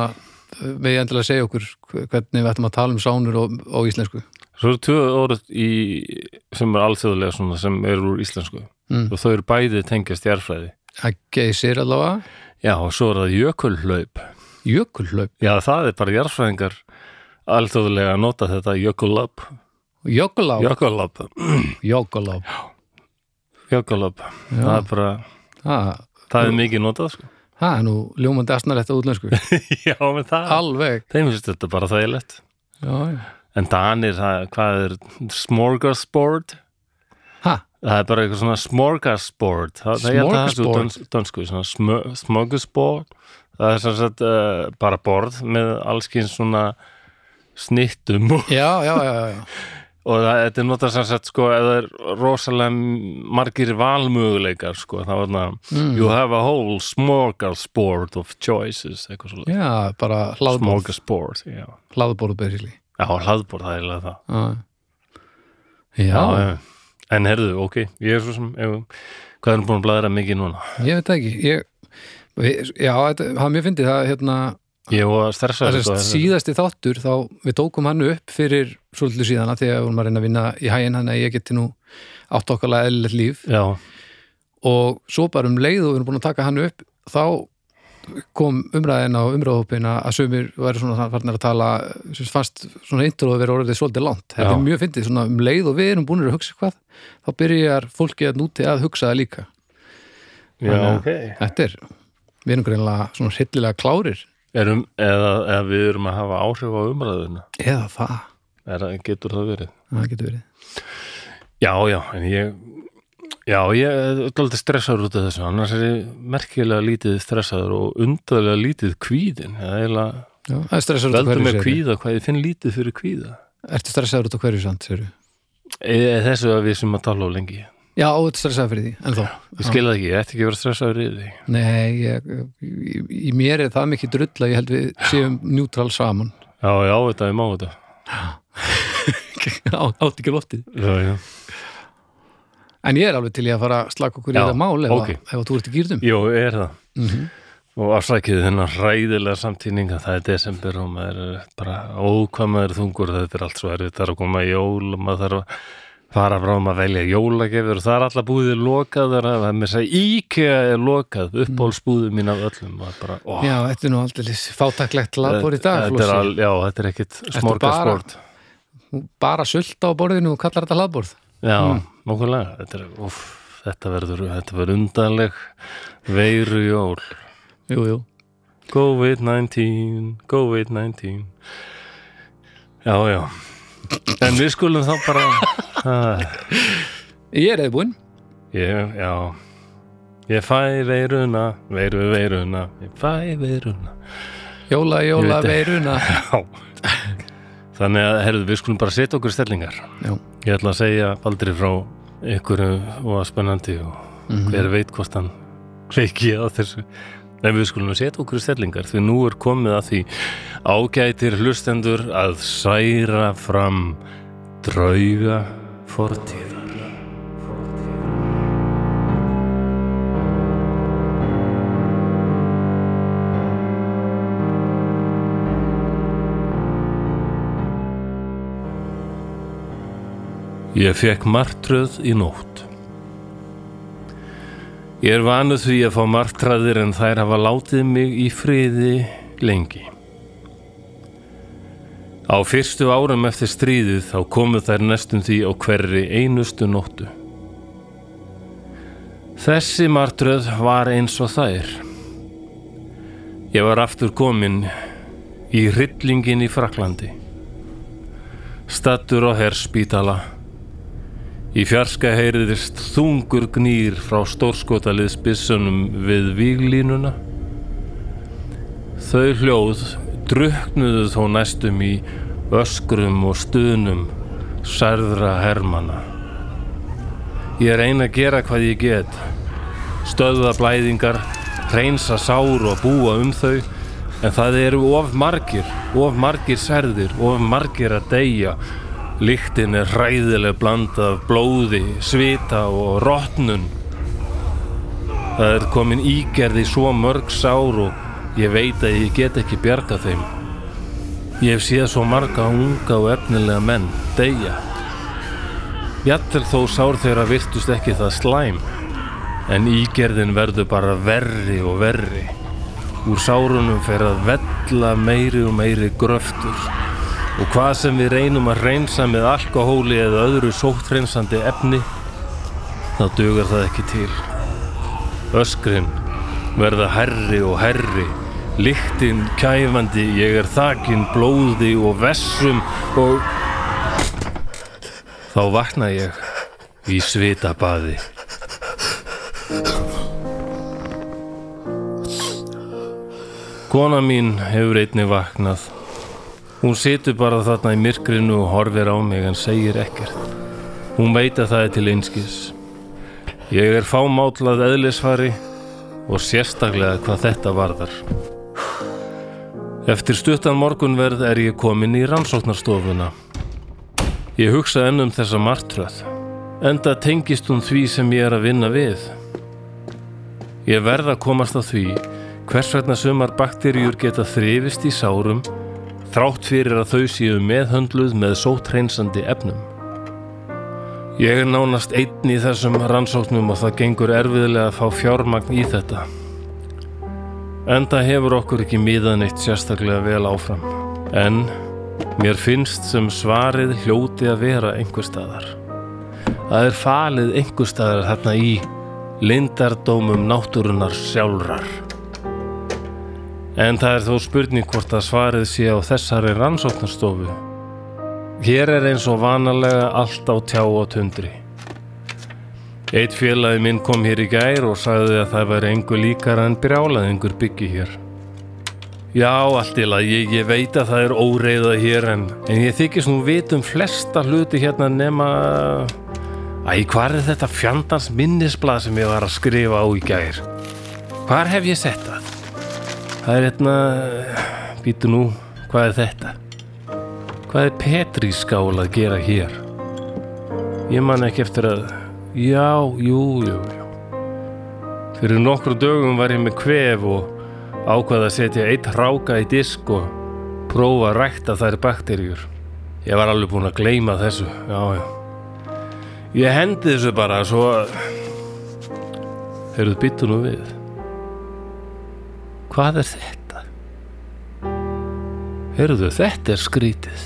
Speaker 2: með ég endilega segja okkur hvernig við ættum að tala um sánur og, og íslensku
Speaker 1: Svo eru tvö orð í, sem er alþjóðlega svona, sem eru úr íslensku
Speaker 2: Mm.
Speaker 1: og þau eru bæði tengjast jarðfræði
Speaker 2: að geysir allavega
Speaker 1: Já, og svo er það jökulhlaup
Speaker 2: jökulhlaup,
Speaker 1: Já, það er bara jarðfræðingar alþjóðlega að nota þetta jökulhlaup
Speaker 2: jökulá
Speaker 1: Jökulhlaup,
Speaker 2: jökulá,
Speaker 1: jökulhlaup Það er bara,
Speaker 2: það
Speaker 1: það er mikið notað sko.
Speaker 2: það er nú ljómandi astnarlegt á útlensku
Speaker 1: Já, menn það,
Speaker 2: alveg
Speaker 1: þeim finnst þetta bara þægilegt
Speaker 2: já, já.
Speaker 1: En Danir, það, hvað er smorgasbord?
Speaker 2: ha,
Speaker 1: Það er bara eitthvað svona smorgasbord Það það- ég held að það sé úr
Speaker 2: Smorgasbord?
Speaker 1: döns- dönsku svona smö- Smorgasbord Það er sem sagt uh, bara borð með allskins svona snittum og,
Speaker 2: já, já, já, já.
Speaker 1: og það, þetta er notað sem sagt sko eða er rosalega margir valmöguleikar sko þá er það
Speaker 2: Mm.
Speaker 1: You have a whole smorgasbord of choices eitthvað svona
Speaker 2: já bara hlaðbóð
Speaker 1: Smorgasbord, já
Speaker 2: hlaðbóð berisli
Speaker 1: Já, hlaðbord, það er eiginlega það
Speaker 2: já,
Speaker 1: Já,
Speaker 2: já.
Speaker 1: já. En herðu, ok, ég er svo sem ef, hvað erum búin að blæðra mikið núna?
Speaker 2: ég veit það ekki ég, við- já, þetta, það mér fyndi það hérna
Speaker 1: Ég var stressað
Speaker 2: Það er síðasti þáttur þá við tókum hann upp fyrir svolítið síðana þegar við vorum að reyna að vinna í hæginn hann að ég geti nú átt okkarlega eðlilegt líf
Speaker 1: Já,
Speaker 2: og svo bara um leið og við erum búin að taka hann upp þá kom umræðin á umræðhópin að sumir væri svona farnir að tala sem fannst svona intro að vera orðið svolítið langt þetta er
Speaker 1: Já.
Speaker 2: mjög fyndið svona um leið og við erum búin að hugsa hvað þá byrjar fólki að núti að hugsa það líka
Speaker 1: já,
Speaker 2: Þannig að-
Speaker 1: ok
Speaker 2: þetta er, við erum greinlega svona hryllilega klárir
Speaker 1: erum, eða, eða við erum að hafa áhrif á umræðuna
Speaker 2: eða það,
Speaker 1: er, getur það verið?
Speaker 2: það getur verið
Speaker 1: Já, já, en ég Já, ég er alltaf stressaður út af þessu annars er ég merkilega lítið stressaður og undarlega lítið kvíðin eða eiginlega
Speaker 2: Já, það er stressar út af
Speaker 1: veldur
Speaker 2: hverju
Speaker 1: mér
Speaker 2: segirðu.
Speaker 1: kvíða hvað ég finn lítið fyrir kvíða
Speaker 2: Ertu stressaður út á hverju samt, segir
Speaker 1: e, e, þessu að við sem að tala á lengi ég
Speaker 2: Já, þú ert stressaður fyrir því, en þó
Speaker 1: skil það ekki, ég ætti ekki að vera stressaður yfir því
Speaker 2: Nei, ég, í, í mér er það mikið drull að ég held við séum njútrál saman
Speaker 1: Já, já, þetta er má þetta
Speaker 2: Á- Átt ekki loftið
Speaker 1: Já, já
Speaker 2: En ég er alveg til ég að fara að slaka okkur í
Speaker 1: Já,
Speaker 2: þetta mál ef,
Speaker 1: ókei.
Speaker 2: ef, þú ert í gýrðum
Speaker 1: Jó, er það
Speaker 2: mm
Speaker 1: og afsakið þennan ræðilega samtíning að það er desember og maður er bara ókvæmaður þungur þetta er allt svo erfitt, það er að koma í jól og maður þarf að fara frá um að velja jólagefur og það er alltaf búðið lokað það er að mér segja IKEA er lokað uppbólsbúðið mín af öllum maður bara, ó,
Speaker 2: Mhm. Já, þetta er nú aldrei fátaklegt labor í dag,
Speaker 1: þetta er
Speaker 2: Flósi
Speaker 1: al, Já, þetta er ekkit smorgasport
Speaker 2: Þú Bara sulta á borðinu og kallar þetta labor
Speaker 1: Já,
Speaker 2: Mm.
Speaker 1: nokkulega þetta, er, úf, þetta verður, þetta verður undanleg veiru jól
Speaker 2: Jú, jú
Speaker 1: COVID-19, COVID-19 Já, já En við skulum þá bara að,
Speaker 2: Ég er eða búinn
Speaker 1: ég, Já Ég fæ veiruna, veiru veiruna Ég fæ veiruna
Speaker 2: Jóla, jóla,
Speaker 1: Ég veit
Speaker 2: veiruna
Speaker 1: Já Þannig að, herðu, við skulum bara setja okkur stellingar
Speaker 2: Já,
Speaker 1: Ég ætla að segja aldrei frá ykkur og að spennandi og
Speaker 2: Mhm.
Speaker 1: hver veit hvort hann kveiki á þessu En við skulum setja okkur í stellingar því nú er komið að því ágætir hlustendur að særa fram drauga fortíðar. Ég fekk martröð í nótt. Ég er vanuð því að fá martraðir en þær hafa látið mig í friði lengi. Á fyrstu árum eftir stríðið þá komu þær næstum því á hverri einustu nóttu. Þessi martröð var eins og þær. Ég var aftur komin í hryllingin í Fraklandi. Stattur á herspítala. Í fjarska heyriðist þungur gnýr frá stórskotaliðsbissunum við víglínuna. Þau hljóð druknuðu þó næstum í öskrum og stunum særðra hermana. Ég reyna að gera hvað ég get, stöða blæðingar, reynsa sár og búa um þau, en það eru of margir, of margir særðir, of margir að deyja Líktin er hræðileg blanda af blóði, svita og rótnun. Það er komin ígerði svo mörg sár og ég veit að ég get ekki bjarga þeim. Ég hef séð svo marga unga og efnilega menn deyja. Jattel þó sár þeirra virtust ekki það slæm, en ígerðin verður bara verri og verri. Úr sárunum fer að vella meiri og meiri gröftur. Og hvað sem við reynum að reynsa með alkohóli eða öðru sóttrensandi efni, þá dugar það ekki til. Öskrin verða herri og herri, líktinn kæfandi, ég er þakinn blóði og vessum og... Þá vakna ég í svitabaði. Kona mín hefur einni vaknað Hún situr bara þarna í myrkrinu og horfir á mig en segir ekkert. Hún veit að það er til einskis. Ég er fámátlað eðlisfari og sérstaklega hvað þetta varðar. Eftir stuttan morgunverð er ég komin í rannsóknarstofuna. Ég hugsa enn um þessa martröð. Enda tengist hún því sem ég er að vinna við. Ég verð að komast að því hvers vegna sumar bakterjur geta þrifist í sárum þrátt fyrir að þau séu meðhöndluð með sótreinsandi efnum. Ég er nánast einn í þessum rannsóknum og það gengur erfiðlega að fá fjármagn í þetta. Enda hefur okkur ekki miðan eitt sérstaklega vel áfram. En mér finnst sem svarið hljóti að vera einhver staðar. Það er falið einhver staðar þarna í lindardómum náttúrunar sjálfrar. En það er þó spurning hvort að svarið sé á þessari rannsóknarstofu. Hér er eins og vanalega allt á tjá og tundri. Eitt félagi minn kom hér í gær og sagði að það væri engu líkara en brjálaðingur byggi hér. Já, allt í lagi, ég, ég veit að það er óreiða hér en, en ég þykist nú vitum flesta hluti hérna nema... Æ, hvað er þetta fjandans minnisblad sem ég var að skrifa á í gær? Hvar hef ég sett það? Það er hérna, býtu nú, hvað er þetta? Hvað er Petri skál að gera hér? Ég man ekki eftir að, já, jú, jú, jú. Fyrir nokkru dögum var ég með kvef og ákvaði að setja eitt ráka í disk og prófa að rækta þær bakterjur. Ég var alveg búin að gleima þessu, já, já. Ég hendi þessu bara, svo að, heyrðu, býtu nú við hvað er þetta? Herðu, þetta er skrítið.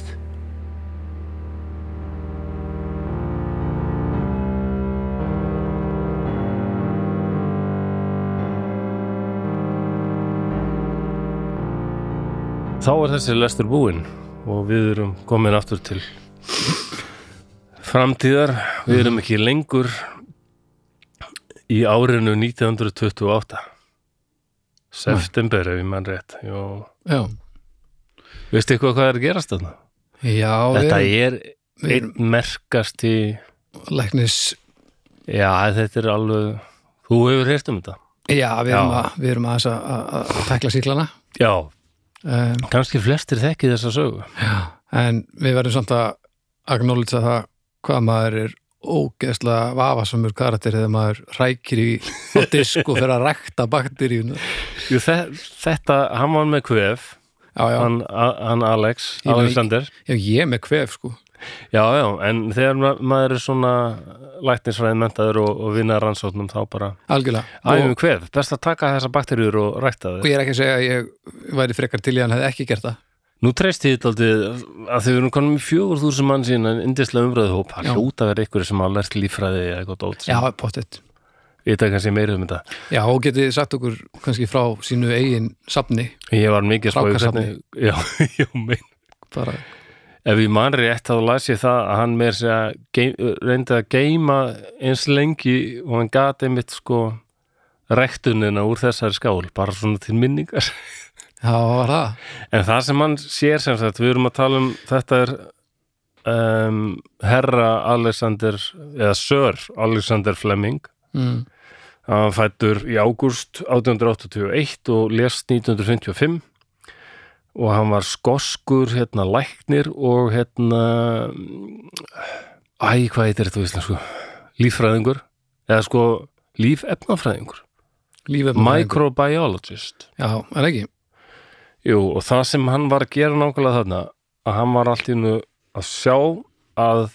Speaker 1: Þá er þessi lestur búinn og við erum komin aftur til framtíðar. Við erum ekki lengur í árinu 1928. September ef ég mann rétt Jó.
Speaker 2: Já,
Speaker 1: Veistu eitthvað hvað er að gerast þarna?
Speaker 2: já
Speaker 1: Þetta
Speaker 2: við
Speaker 1: er
Speaker 2: við
Speaker 1: einn merkasti
Speaker 2: læknis
Speaker 1: Já, þetta er alveg Þú hefur heyrt um þetta
Speaker 2: Já, við erum,
Speaker 1: Já.
Speaker 2: Að, við erum aðeins að, að, að tækla síklana
Speaker 1: Já,
Speaker 2: um,
Speaker 1: kannski flestir þekki þessa sögu
Speaker 2: en við verðum samt að acknowledge það hvað maður er ógeðslega vafasamur karakter þegar maður rækir í á disk og fer að rækta bakteríun Já,
Speaker 1: Jú, þe- þetta, hann var með kvef
Speaker 2: já,
Speaker 1: hann, a- hann Alex,
Speaker 2: Ég var í-
Speaker 1: Alexander
Speaker 2: já, ég er með kvef sko
Speaker 1: Já, já, en þegar ma maður er svona læknisfræðin mentaður og, og vinna að rannsóknum þá bara
Speaker 2: algjörlega
Speaker 1: Æfum
Speaker 2: og,
Speaker 1: kvef, best að taka þessa bakteríur og rækta
Speaker 2: og
Speaker 1: þau
Speaker 2: ég er ekki að segja að ég væri frekar til í að hann hefði ekki gert það
Speaker 1: Nú treyst ég þetta aldrei að þau erum konum í fjögur þúsum mann sín en indislega umræðuhóp, það
Speaker 2: Já.
Speaker 1: hljóta verið ykkur sem hafa lært líffræði eða eitthvað dót
Speaker 2: Já,
Speaker 1: sem
Speaker 2: pottet
Speaker 1: vita kannski meira um þetta
Speaker 2: Já, og getið þið sagt okkur kannski frá sínu eigin safni
Speaker 1: Ég var mikið að spá í
Speaker 2: Rákasafni.
Speaker 1: hvernig- Já, já, mein
Speaker 2: bara,
Speaker 1: Ef ég man rétt þá las ég það að hann meir segja geim- reyndi að geima eins lengi og hann gat einmitt sko rektunina úr þessari skál, bara svona til minningar
Speaker 2: það var það
Speaker 1: En það sem hann sér sem sagt, við erum að tala um þetta er um, herra Alexander eða sör Alexander Fleming
Speaker 2: mm.
Speaker 1: hann fættur í ágúst 1881 og lest 1955 og hann var skoskur hérna læknir og hérna æ, hvað heitir þetta á íslensku? Líffræðingur eða sko lífefnafræðingur
Speaker 2: Lífið
Speaker 1: microbiologist
Speaker 2: Já, er ekki
Speaker 1: Jú, og það sem hann var að gera nákvæmlega þarna, að hann var allt í nú að sjá að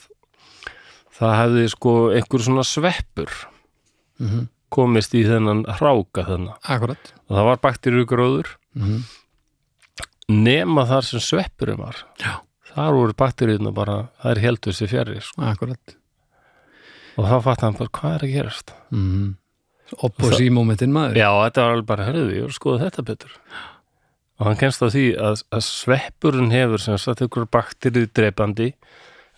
Speaker 1: það hefði sko einhver svona sveppur
Speaker 2: mm
Speaker 1: komist í þennan hráka þarna.
Speaker 2: Akkurat
Speaker 1: Og það var bakteríugróður
Speaker 2: mm
Speaker 1: nema þar sem sveppurum var.
Speaker 2: Já.
Speaker 1: Þar voru bakteríuna bara, það er heldur sér fjari. Sko.
Speaker 2: Akkurat
Speaker 1: Og þá fatt hann bara, hvað er að gerast?
Speaker 2: mm. Opposí momentin maður
Speaker 1: Já, þetta var alveg bara, hörðu, ég voru að skoða þetta betur. Og hann kennst á því að, að sveppurinn hefur sem sagt ykkur bakterið drepandi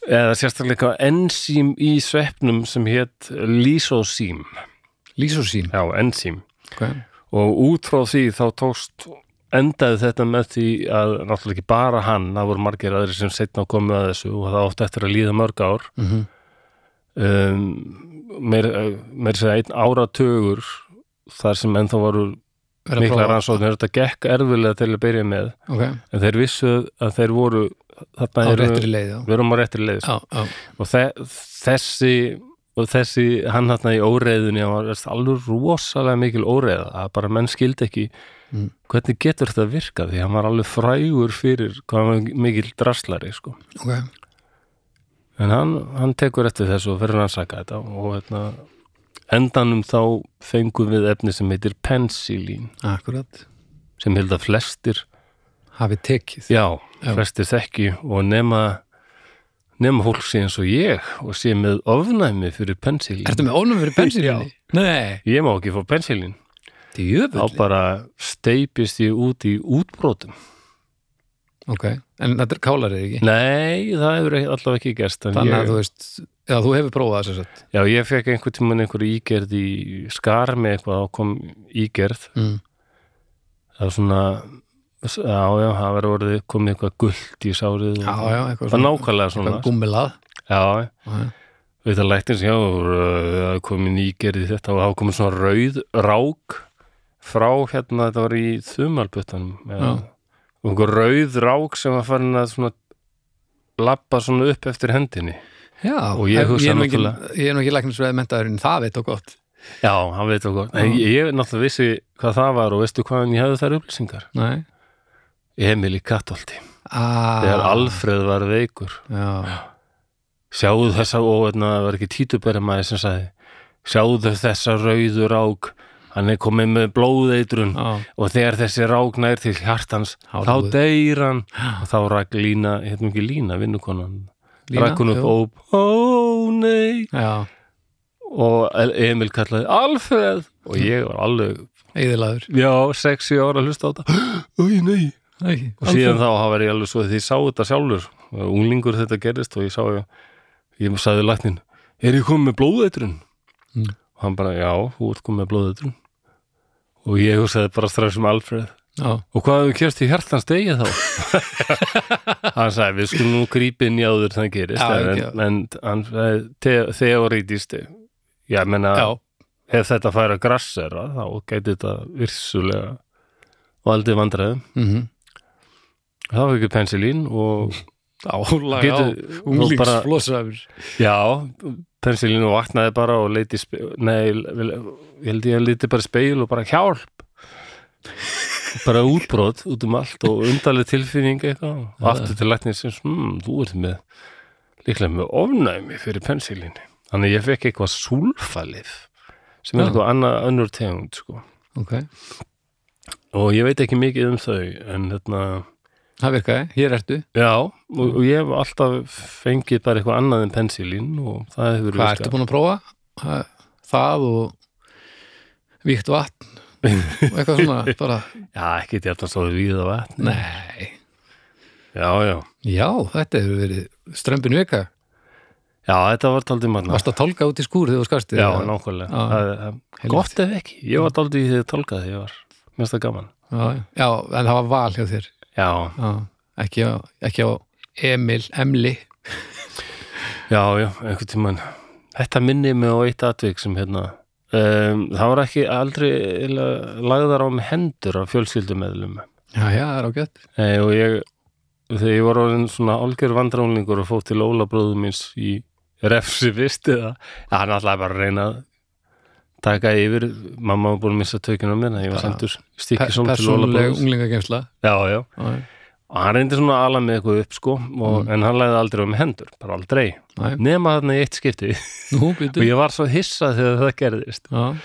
Speaker 1: eða sérstaklega ensím í sveppnum sem hétt lýsósím.
Speaker 2: Lísosín
Speaker 1: Já, ensím.
Speaker 2: okay.
Speaker 1: Og út frá því þá tókst endaði þetta með því að náttúrulega ekki bara hann, það voru margir aðri sem setna komið að þessu og það átti eftir að líða mörg ár
Speaker 2: mm
Speaker 1: um, meir, meir sér einn áratögur þar sem ennþá voru mikla rannsóknir, þetta gekk erfilega til að byrja með
Speaker 2: Ok,
Speaker 1: en þeir vissu að þeir voru þarna
Speaker 2: á
Speaker 1: eru,
Speaker 2: réttri leið Já,
Speaker 1: við erum á réttri leið
Speaker 2: já, já.
Speaker 1: og þe þessi og þessi, hann þarna í óreiðunni hann var alveg rosalega mikil óreiða að bara menn skildi ekki
Speaker 2: Mm.
Speaker 1: hvernig getur þetta virkað því hann var alveg frægur fyrir hvað hann var mikil draslari sko.
Speaker 2: ok
Speaker 1: en hann, hann tekur eftir þessu og verður hann að saka þetta og hérna, endanum þá fengum við efni sem heitir pensilín
Speaker 2: Akkurat
Speaker 1: sem held að flestir
Speaker 2: Hafið tekið
Speaker 1: Já,
Speaker 2: Já.
Speaker 1: flestir þekki og nema nema fólk sé eins og ég og sé með ofnæmi fyrir pensilín
Speaker 2: Ertu með ónum fyrir bensinni? Nei,
Speaker 1: Ég má ekki fá pensilín þá
Speaker 2: djöfulli
Speaker 1: bara steipist ég út í útbrotum
Speaker 2: Ok, en þetta er kálarið ekki
Speaker 1: Nei, það hefur ekki- allavega ekki gerst en
Speaker 2: Þannig að
Speaker 1: ég,
Speaker 2: þú veist, eða þú hefur prófað þess að sett
Speaker 1: Já, ég fekk einhvern tímann einhverju ígerð í skar með eitthvað og kom ígerð
Speaker 2: mm.
Speaker 1: það var svona Já, já, það verður orðið komið eitthvað gult í sárið
Speaker 2: Já, já, eitthvað
Speaker 1: Það er nákvæmlega
Speaker 2: svona
Speaker 1: svona
Speaker 2: gummilað
Speaker 1: Já,
Speaker 2: Já,
Speaker 1: Við þetta læknir sem já, uh, það er komin ígerði þetta og það var komin svona rauð rák frá hérna, þetta var í þumalbuttanum eða-
Speaker 2: Já.
Speaker 1: og einhver rauð rák sem var farin að svona lappa svona upp eftir hendinni
Speaker 2: já
Speaker 1: Og ég
Speaker 2: en
Speaker 1: hugsa
Speaker 2: er nú ekki-
Speaker 1: náttúrulega-
Speaker 2: Ég er nú ekki læknisfræði mentaður en það veit og gott
Speaker 1: Já, hann veit okkur En
Speaker 2: Já.
Speaker 1: ég, ég náttúrulega vissi hvað það var og veistu hvaðan ég hefði þær upplýsingar
Speaker 2: Nei
Speaker 1: Emil í Katolti,
Speaker 2: ah,
Speaker 1: þegar Alfreð var veikur
Speaker 2: Já,
Speaker 1: sjáðu þessa og hérna, það var ekki títubæri maður sem sagði sjáðu þessa rauðu rák hann er komið með blóðeitrun
Speaker 2: já
Speaker 1: og þegar þessi rák nær til hjartans
Speaker 2: Þá
Speaker 1: þá
Speaker 2: dáið.
Speaker 1: deyr hann og þá rak lína, hérna ekki lína vinnukonan,
Speaker 2: Lína,
Speaker 1: rak hún upp
Speaker 2: jú.
Speaker 1: óp, ó nei
Speaker 2: Já,
Speaker 1: og El- Emil kallaði Alfred og ég var alveg,
Speaker 2: eðilaður
Speaker 1: já, 6-7 ára að hlusta á þetta, ó nei og síðan þá hafa ég alveg svo því ég sá þetta sjálfur og unglingur þetta gerist og ég sá ég, ég sagði læknin er ég komið með blóðeitrun
Speaker 2: Mm.
Speaker 1: og hann bara, já, þú ert komið með blóðeitrun og ég hugsaði bara strax um Alfred
Speaker 2: Já,
Speaker 1: og hvað hefur kjörst í hjartans degi þá? hann sagði, við skulum nú grípa inn í áður þannig gerist
Speaker 2: Já,
Speaker 1: en,
Speaker 2: ekki, já.
Speaker 1: en hann sagði, "Te- þeorítíst já, menna,
Speaker 2: já
Speaker 1: ef þetta færi að grassera þá gæti þetta virsulega valdið vandræðum
Speaker 2: mm
Speaker 1: þá hefur ekki pensilín og
Speaker 2: Álaga á
Speaker 1: Getur- bara-
Speaker 2: unglingsflossaður
Speaker 1: já, pensilín og vaknaði bara og leiti spe- nei, vel- ég held ég að leiti bara í speil og bara hjálp bara útbrot út um allt og undarleg tilfinning eitthvað og aftur til læknir sem hmm, þú ert með líklega með ofnæmi fyrir pensilín þannig að ég fekk eitthvað súlfalið sem er
Speaker 2: Já.
Speaker 1: eitthvað annað önnur tegund sko.
Speaker 2: Ok,
Speaker 1: og ég veit ekki mikið um þau en hérna- þetta
Speaker 2: það virkaði, hér ertu
Speaker 1: Já, og, og ég hef alltaf fengið bara eitthvað annað en pensilín og það hefur
Speaker 2: Hvað ertu búin að prófa? Ha, Það og víkt vatn og eitthvað svona bara,
Speaker 1: Já, ekki þetta svo við á vatn.
Speaker 2: nei
Speaker 1: Já, já.
Speaker 2: Já, þetta hefur verið strömbin vika
Speaker 1: Já, þetta var taldið manna.
Speaker 2: Varst að tálka út í skúr þegar þú skast
Speaker 1: Já, nákvæmlega.
Speaker 2: Já.
Speaker 1: Það- það-
Speaker 2: Helvíti.
Speaker 1: Gott ef ekki. Ég var taldið í því að tálka því, ég var mest að gaman.
Speaker 2: já, já, en það var val hjá þér
Speaker 1: Já,
Speaker 2: já, ekki, á, ekki á Emil, Emli
Speaker 1: já, já, einhvern tímann. Þetta minni mig á eitt atvik sem hérna, um, það var ekki aldrei eiginlega lagðar á mig hendur af fjölskyldumeðlum.
Speaker 2: Já, já, það er ágætt
Speaker 1: Nei, og ég, þegar ég var orðin svona algjör vandrálingur og fótt til Óla bróðum míns í refsi vist eða, ja, hann alltaf bara að reyna að taka yfir, mamma var búin að missa tökina á mér, þannig að ég var
Speaker 2: Bara
Speaker 1: sendur
Speaker 2: Pe
Speaker 1: stikki svona til Óla
Speaker 2: Persónuleg
Speaker 1: bróðum.
Speaker 2: unglingagemsla
Speaker 1: Já, já,
Speaker 2: Já,
Speaker 1: og hann reyndi svona að ala með eitthvað upp sko, og,
Speaker 2: Mm.
Speaker 1: en hann læði aldrei um hendur, bara aldrei,
Speaker 2: já.
Speaker 1: nema þarna í eitt skipti
Speaker 2: Nú,
Speaker 1: og
Speaker 2: býtu
Speaker 1: ég var svo hissað þegar það gerðist.
Speaker 2: Já,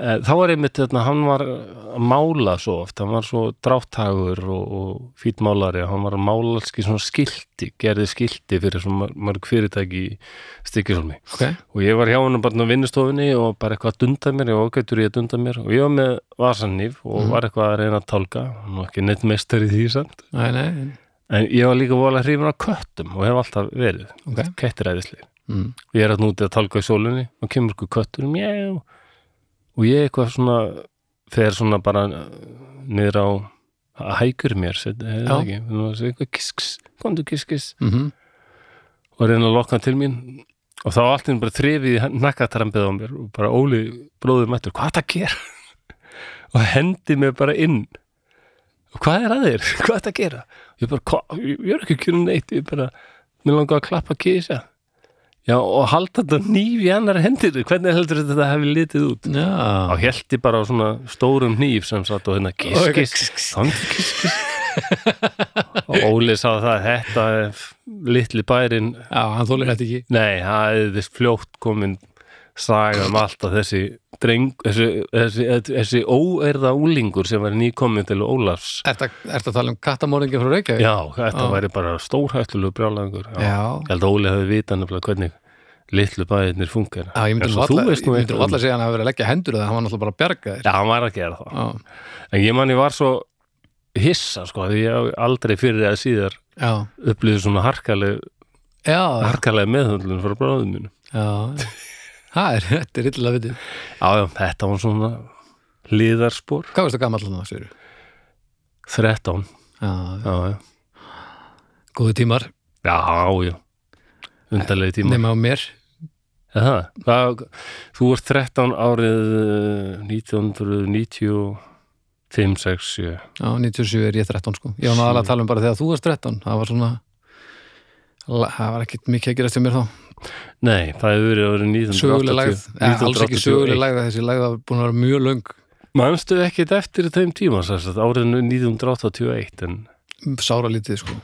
Speaker 1: Eh, Þá var einmitt þarna, hann var að mála svo oft, hann var svo dráttagur og, og fítmálari, hann var að mála alls í svona skilti, gerði skilti fyrir svona mar- mörg fyrirtæki í stikkisolmi.
Speaker 2: ok
Speaker 1: Og ég var hjá hann bara á vinnustofunni og bara eitthvað að dunda mér, ég var ágættur í að dunda mér og ég var með vasanýf og var eitthvað að reyna að tálka, hann var ekki neitt mestar í því samt.
Speaker 2: Nei, nei, en-
Speaker 1: En ég var líka vola hrifin á köttum og hef alltaf verið,
Speaker 2: ok
Speaker 1: kettir æðisli
Speaker 2: mm.
Speaker 1: og ég er að núti að tálka í sólinni og kemur ykkur köttur mjá og ég eitthvað svona fer svona bara niður á að hækur mér set, er það
Speaker 2: Já.
Speaker 1: ekki, Nú er það eitthvað kiskis komdu kiskis
Speaker 2: Mm
Speaker 1: og reyna að lokka hann til mín og þá allt einu bara þrifið í nakkatrampið á mér og bara Óli bróðið mættur hvað er það að gera og hendi mér bara inn og hvað er að þér, hvað er það að gera ég bara, "Hva- ég, ég er ekki að kjöra neitt ég bara, mér langar að klappa kísa já og halda þetta nýf í annar hendir, hvernig heldur þetta að þetta hefði litið út
Speaker 2: Já,
Speaker 1: þá held ég bara á svona stórum nýf sem satt og hérna kiss
Speaker 2: Og eitthvað
Speaker 1: kiss þannig kiss kiss og Óli sá það þetta er f- litli bærin
Speaker 2: já, hann þólir þetta ekki
Speaker 1: nei, það er þess fljótt komin saga um allt að þessi dreng, þessi, þessi, þessi óerða úlingur sem var nýkomin til Ólafs
Speaker 2: Ertu að, ertu að tala um kattamorðingi frá Reykjavík?
Speaker 1: já, þetta
Speaker 2: Já.
Speaker 1: væri bara stórhættulegu brjálæðingur
Speaker 2: já.
Speaker 1: ég held að Óli hafi vitað nefnilega hvernig litlu bærinir funkar
Speaker 2: Já, ég myndi nú alla, ég myndi nú alla
Speaker 1: já,
Speaker 2: segja hann að hafa verið að leggja hendur eða hann var náttúrulega bara að bjarga þér
Speaker 1: hann var að gera það
Speaker 2: Já,
Speaker 1: En ég man ég var svo hissa sko, því ég hef aldrei fyrir að síðar
Speaker 2: já,
Speaker 1: upplýði svona harkaleg,
Speaker 2: já,
Speaker 1: harkaleg meðhundlun frá bráðum mínu.
Speaker 2: já. Það er, þetta er illa vitið
Speaker 1: Já, já, þetta var svona hliðarspor,
Speaker 2: Hvað varstu gamall hann að segja?
Speaker 1: 13,
Speaker 2: Já,
Speaker 1: já, já,
Speaker 2: góðu tímar,
Speaker 1: já, já, undarlegi tíma.
Speaker 2: nema á mér
Speaker 1: Er Það, það, þú ert 13 árið eh, 1995, 6, 7,
Speaker 2: Já, 97 er ég 13 sko Ég var nú aðalega að tala um bara þegar þú varst 13 Það var svona Það var ekkit mikið að gerast hjá mér þá
Speaker 1: nei, það hefur verið árið 1980.
Speaker 2: Söguleg lagð, ja, alls ekki söguleg lagð Þessi lagð var búin að vera mjög löng
Speaker 1: Manstu ekkit eftir þeim tíma, sérst, árið 1981, en
Speaker 2: Sára lítið sko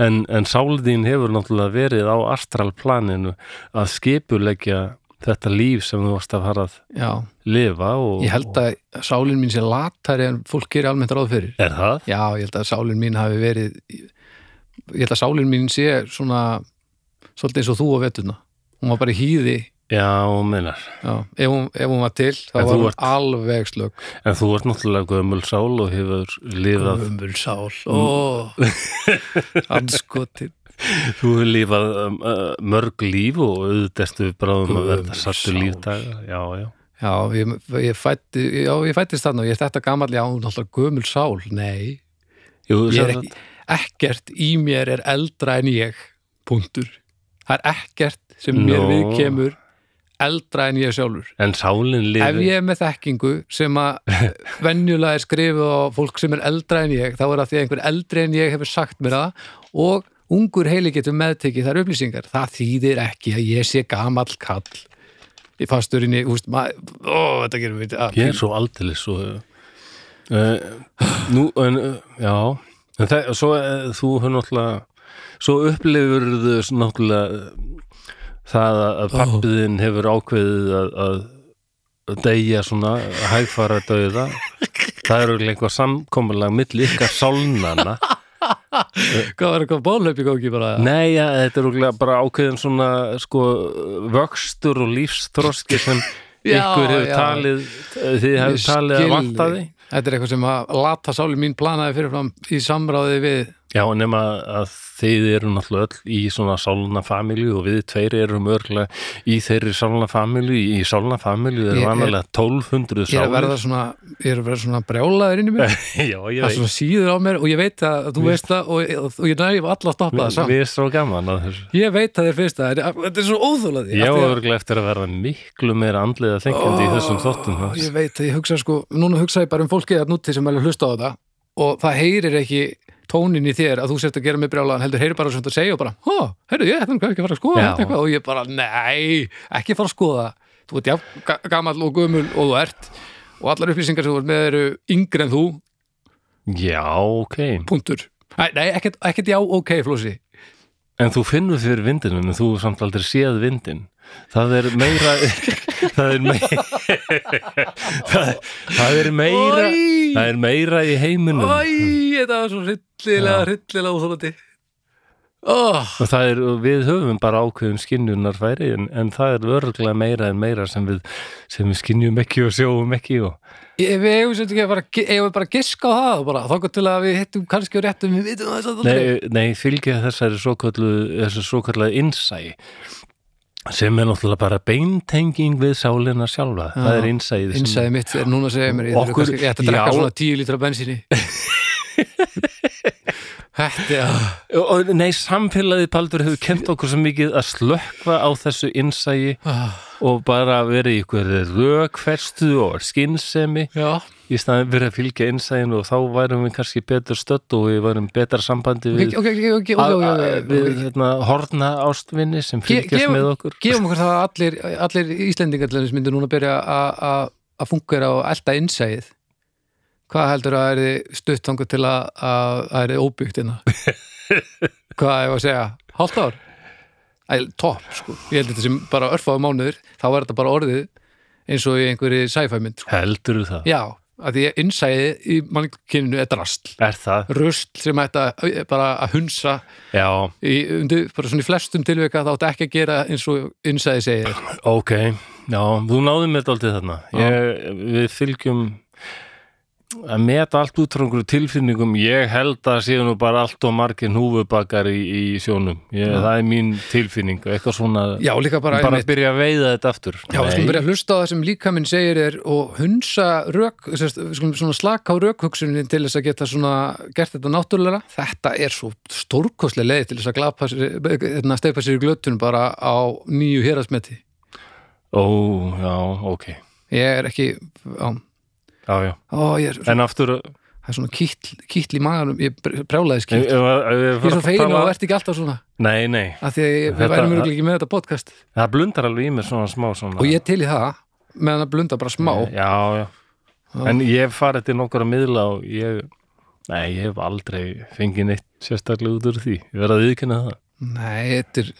Speaker 1: En, en sáldín hefur náttúrulega verið á astralplaninu að skipuleggja þetta líf sem þú varst að fara að
Speaker 2: Já,
Speaker 1: lifa og,
Speaker 2: ég held að sálin mín sé latari en fólk gerir almennt ráð fyrir
Speaker 1: Er það?
Speaker 2: Já, ég held að sálin mín hafi verið ég held að sálin mín sé svona svolítið eins og þú á vettuna hún var bara í hýði
Speaker 1: Já, og meinar.
Speaker 2: já, ef, hún, ef hún var til þá
Speaker 1: En
Speaker 2: var
Speaker 1: þú
Speaker 2: hún
Speaker 1: ert-
Speaker 2: alveg slökk
Speaker 1: En þú ert náttúrulega gömul sál og hefur lifað,
Speaker 2: umul sál ó,
Speaker 1: Mm.
Speaker 2: anskotin
Speaker 1: þú hefur lifað um, uh, mörg líf og auðvitaðstu bráðum að verða
Speaker 2: Gömul
Speaker 1: sattu
Speaker 2: sál.
Speaker 1: lífdaga. Já, já.
Speaker 2: já, ég, ég, fætti, já, ég fættist þarna og ég er þetta gamall já, hún er alltaf gömul sál, nei
Speaker 1: Jú,
Speaker 2: ég er
Speaker 1: sem
Speaker 2: ekki, ekkert í mér er eldra en ég punktur það er ekkert sem mér
Speaker 1: Nó.
Speaker 2: viðkemur eldra en ég sjálfur
Speaker 1: en sálinn
Speaker 2: ef
Speaker 1: lifir
Speaker 2: ég er með þekkingu sem að venjulega er skrifið á fólk sem er eldra en ég þá er það því að einhver eldri en ég hefur sagt mér það og ungur heili getur meðtekið þær upplýsingar það þýðir ekki að ég sé gamall kall í fasturinni úst, ma, ó, þetta gerum við að,
Speaker 1: ég er svo aldeilis svo uh, nú, en uh, já en það, svo uh, þú hefur náttúrulega svo upplifur þau náttúrulega uh, það að- að pappiðin hefur ákveðið að, að að deyja svona, hægfara dauða það eru eitthvað samkomulega milli ykkar sálnana
Speaker 2: hvað var eitthvað bólöp í góki bara
Speaker 1: Nei, ja, þetta er rúglega bara ákveðin svona sko, vöxtur og lífsþroski sem
Speaker 2: Já,
Speaker 1: ykkur hefur
Speaker 2: já.
Speaker 1: talið eh, þið
Speaker 2: Ég
Speaker 1: hefur talið
Speaker 2: skil
Speaker 1: að vanta því
Speaker 2: þig. Þetta er eitthvað sem að lata sáli mín planaði fyrirfram í samráði við
Speaker 1: Já, og nema að þið eru náttúrulega öll í svona sálna familju og við tveir erum örgulega í þeirri sálna familju, í sálna familju
Speaker 2: Ég
Speaker 1: eru
Speaker 2: er-
Speaker 1: vanalega 1200
Speaker 2: Ég er að verða
Speaker 1: sálir
Speaker 2: svona, ég er að verða svona brjálaður inn í mér
Speaker 1: Já,
Speaker 2: Það
Speaker 1: ég
Speaker 2: er
Speaker 1: veit,
Speaker 2: svona síður á mér og ég veit að þú veist það og, og, og ég nægum alla að stoppa það samt
Speaker 1: við erum svo gaman að þessu
Speaker 2: Ég veit að þér finnst það, en þetta er svo óþúlaði
Speaker 1: Já, örgulega eftir að verða miklu meira andlega þengjandi í þessum þóttum
Speaker 2: Ég veit að ég hugsa sko, núna hugsa ég bara um fólkið að núti sem er að hlusta á þetta og það heyrir ekki tónin í þér að þú sért að gera mig brjálaðan heldur heyrir bara svona að segja og bara, hó, heyrðu ég, þetta er ekki að fara að skoða
Speaker 1: Já.
Speaker 2: þetta eitthvað og ég bara, nei, ekki fara að skoða þú ert jafn ga- gamall og gömul og þú ert og allar upplýsingar sem þú ert með eru yngri en þú,
Speaker 1: Já, ok
Speaker 2: punktur Nei, nei ekkert, ekkert já, ok, flósi
Speaker 1: En þú finnur fyrir vindinum en þú hefur samt aldrei séð vindin Það er meira það er meira það, það er meira
Speaker 2: Oj.
Speaker 1: það er meira í heiminum
Speaker 2: Æ, þetta var svo hryllilega, hryllilega óþólandi oh,
Speaker 1: og það er, og við höfum bara ákveðum skinnjunar færi en, en það er örgulega meira en meira sem við, sem við skinnjum ekki og sjáum ekki og
Speaker 2: Ég við eigum sem ekki að bara, eigum við bara að giska á það bara, þá gott til að við hittum kannski á réttum við vitum það samt aldrei
Speaker 1: Nei, nei fylgja þessari svo þessu svo innsæ sem er náttúrulega bara beintenging við sálina sjálfa það er innsæðið sem-
Speaker 2: Innsæði mitt er núna að segja mér ég, þarf
Speaker 1: Okkur-
Speaker 2: kannski, ég ætti að drekka
Speaker 1: já.
Speaker 2: svona 10 lítra af bensíni Þetta er
Speaker 1: Og- og Nei, samfélagið Baldur hefur kent okkur svo mikið að slökva á þessu innsægi
Speaker 2: ah,
Speaker 1: og bara verið í ykkur rökferstu og skinnsemi
Speaker 2: Já,
Speaker 1: í staðin fyrir að fylgja innsægin og þá værum við kannski betur stödd og við værum betra sambandi
Speaker 2: ok,
Speaker 1: við,
Speaker 2: ok, ok, ok, ok,
Speaker 1: að-
Speaker 2: ok,
Speaker 1: að-
Speaker 2: ok,
Speaker 1: við
Speaker 2: ok.
Speaker 1: hérna, horna ástvinni sem
Speaker 2: Ge-
Speaker 1: fylgjast
Speaker 2: gefum-
Speaker 1: með okkur
Speaker 2: Gefum okkur það að allir, allir Íslendingar til þess myndir núna að byrja að- að að fungera og elda innsæðið Hvað heldur að er þið stutt þangur til að að að er þið óbyggt hérna? Hvað hefur að segja? Hálft ár? Æ, topp, sko. Ég held þetta sem bara örfáðu mánuður, þá er þetta bara orðið eins og í einhverju sci-fi mynd, sko.
Speaker 1: heldur það,
Speaker 2: Já, að því að innsæðið í mannkyninu er drastl
Speaker 1: er það
Speaker 2: rusl sem ætti að- eh, bara að hunsa
Speaker 1: já,
Speaker 2: í, undir, bara svona í flestum tilveika þá átti ekki að gera eins og innsæði segir
Speaker 1: ok, já, þú náðum með aldrei þarna ég, við fylgjum að meta allt út frá einhverju tilfinningum ég held að séu nú bara allt og margir húfubakar í, í sjónum ég, það er mín tilfinning og eitthvað svona
Speaker 2: Já, líka bara,
Speaker 1: bara
Speaker 2: einmitt-
Speaker 1: byrja að veiða þetta aftur
Speaker 2: Já, við skulum
Speaker 1: Nei.
Speaker 2: byrja að hlusta á það sem líkaminn segir er og hunsa rök, sérst, við skulum svona slaka á rökhugsunin til þess að geta svona gert þetta náttúrulega. Þetta er svo stórkostlega leið til þess að glapa sér, hérna, steipa sér í glötun bara á nýju hérasmeti.
Speaker 1: ó, já, ok
Speaker 2: Ég er ekki, á,
Speaker 1: já, já.
Speaker 2: ó, ég er,
Speaker 1: en aftur ef-
Speaker 2: það er svona kýtl, kýtl í maganum, ég brjálaði
Speaker 1: ef-
Speaker 2: skýtl.
Speaker 1: ef
Speaker 2: Ég er
Speaker 1: fara
Speaker 2: svo
Speaker 1: að
Speaker 2: fegin
Speaker 1: tala-
Speaker 2: og ert ekki alltaf svona,
Speaker 1: nei, nei,
Speaker 2: af því að ég, við
Speaker 1: Þetta-
Speaker 2: værum mjög ekki með þetta podcast.
Speaker 1: það blundar alveg í mér svona smá svona Eh,
Speaker 2: Og ég er til í það, meðan að blunda bara smá.
Speaker 1: já, já.
Speaker 2: Já.
Speaker 1: En ég hef farið til nokkara miðla og ég, nei, ég hef aldrei fengið neitt sérstaklega út úr því. Ég verð að viðkynna það.
Speaker 2: Nei, þetta er...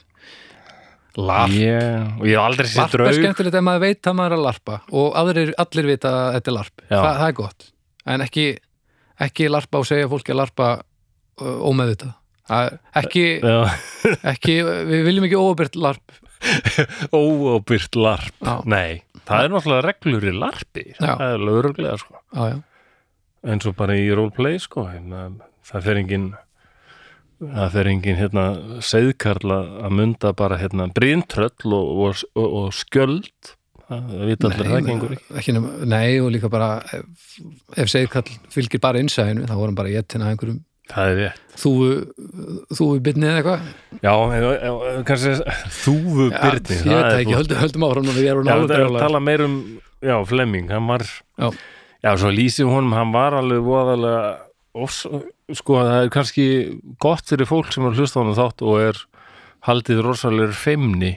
Speaker 2: Larp.
Speaker 1: Ég, og ég hef aldrei séð
Speaker 2: Larp er
Speaker 1: draug.
Speaker 2: skemmtilegt ef maður veit að maður er að larpa og aðrir, allir vita að þetta er larp
Speaker 1: Já.
Speaker 2: Þa, það er gott, en ekki ekki larpa og segja fólki að larpa uh, ómeðvitað Það er- ekki,
Speaker 1: Já,
Speaker 2: ekki, við viljum ekki óopirt larp
Speaker 1: Óábyrgt larp.
Speaker 2: Já.
Speaker 1: Nei, það er náttúrulega reglur í larpi.
Speaker 2: Já.
Speaker 1: Það er lögreglega, sko.
Speaker 2: á, já.
Speaker 1: En svo bara í roleplay, sko. Hérna, það fer engin, það fer engin, hérna, segðkarla að mynda bara, hérna, bríntröll og, og, og, og skjöld. Það það vita allir að það gengur ekki.
Speaker 2: ekki nema, nei og líka bara ef, ef segir kall fylgir bara innsæðinu þá vorum bara ég til að einhverjum
Speaker 1: það er rétt.
Speaker 2: þúfu þúfu byrni eða eitthvað
Speaker 1: Já, eða- eða- kannski þúfu
Speaker 2: Já,
Speaker 1: byrni.
Speaker 2: ég veit það ekki, höldum, höldum áfram og við erum alveg
Speaker 1: Já, það er að
Speaker 2: drjálega
Speaker 1: tala um- meir um, já, Flemming, hann var,
Speaker 2: Já.
Speaker 1: já, svo lýsum honum, hann var alveg voðalega, ofs, sko, það er kannski gott fyrir fólk sem er að hlusta á hann þátt og er haldið rosalegur feimni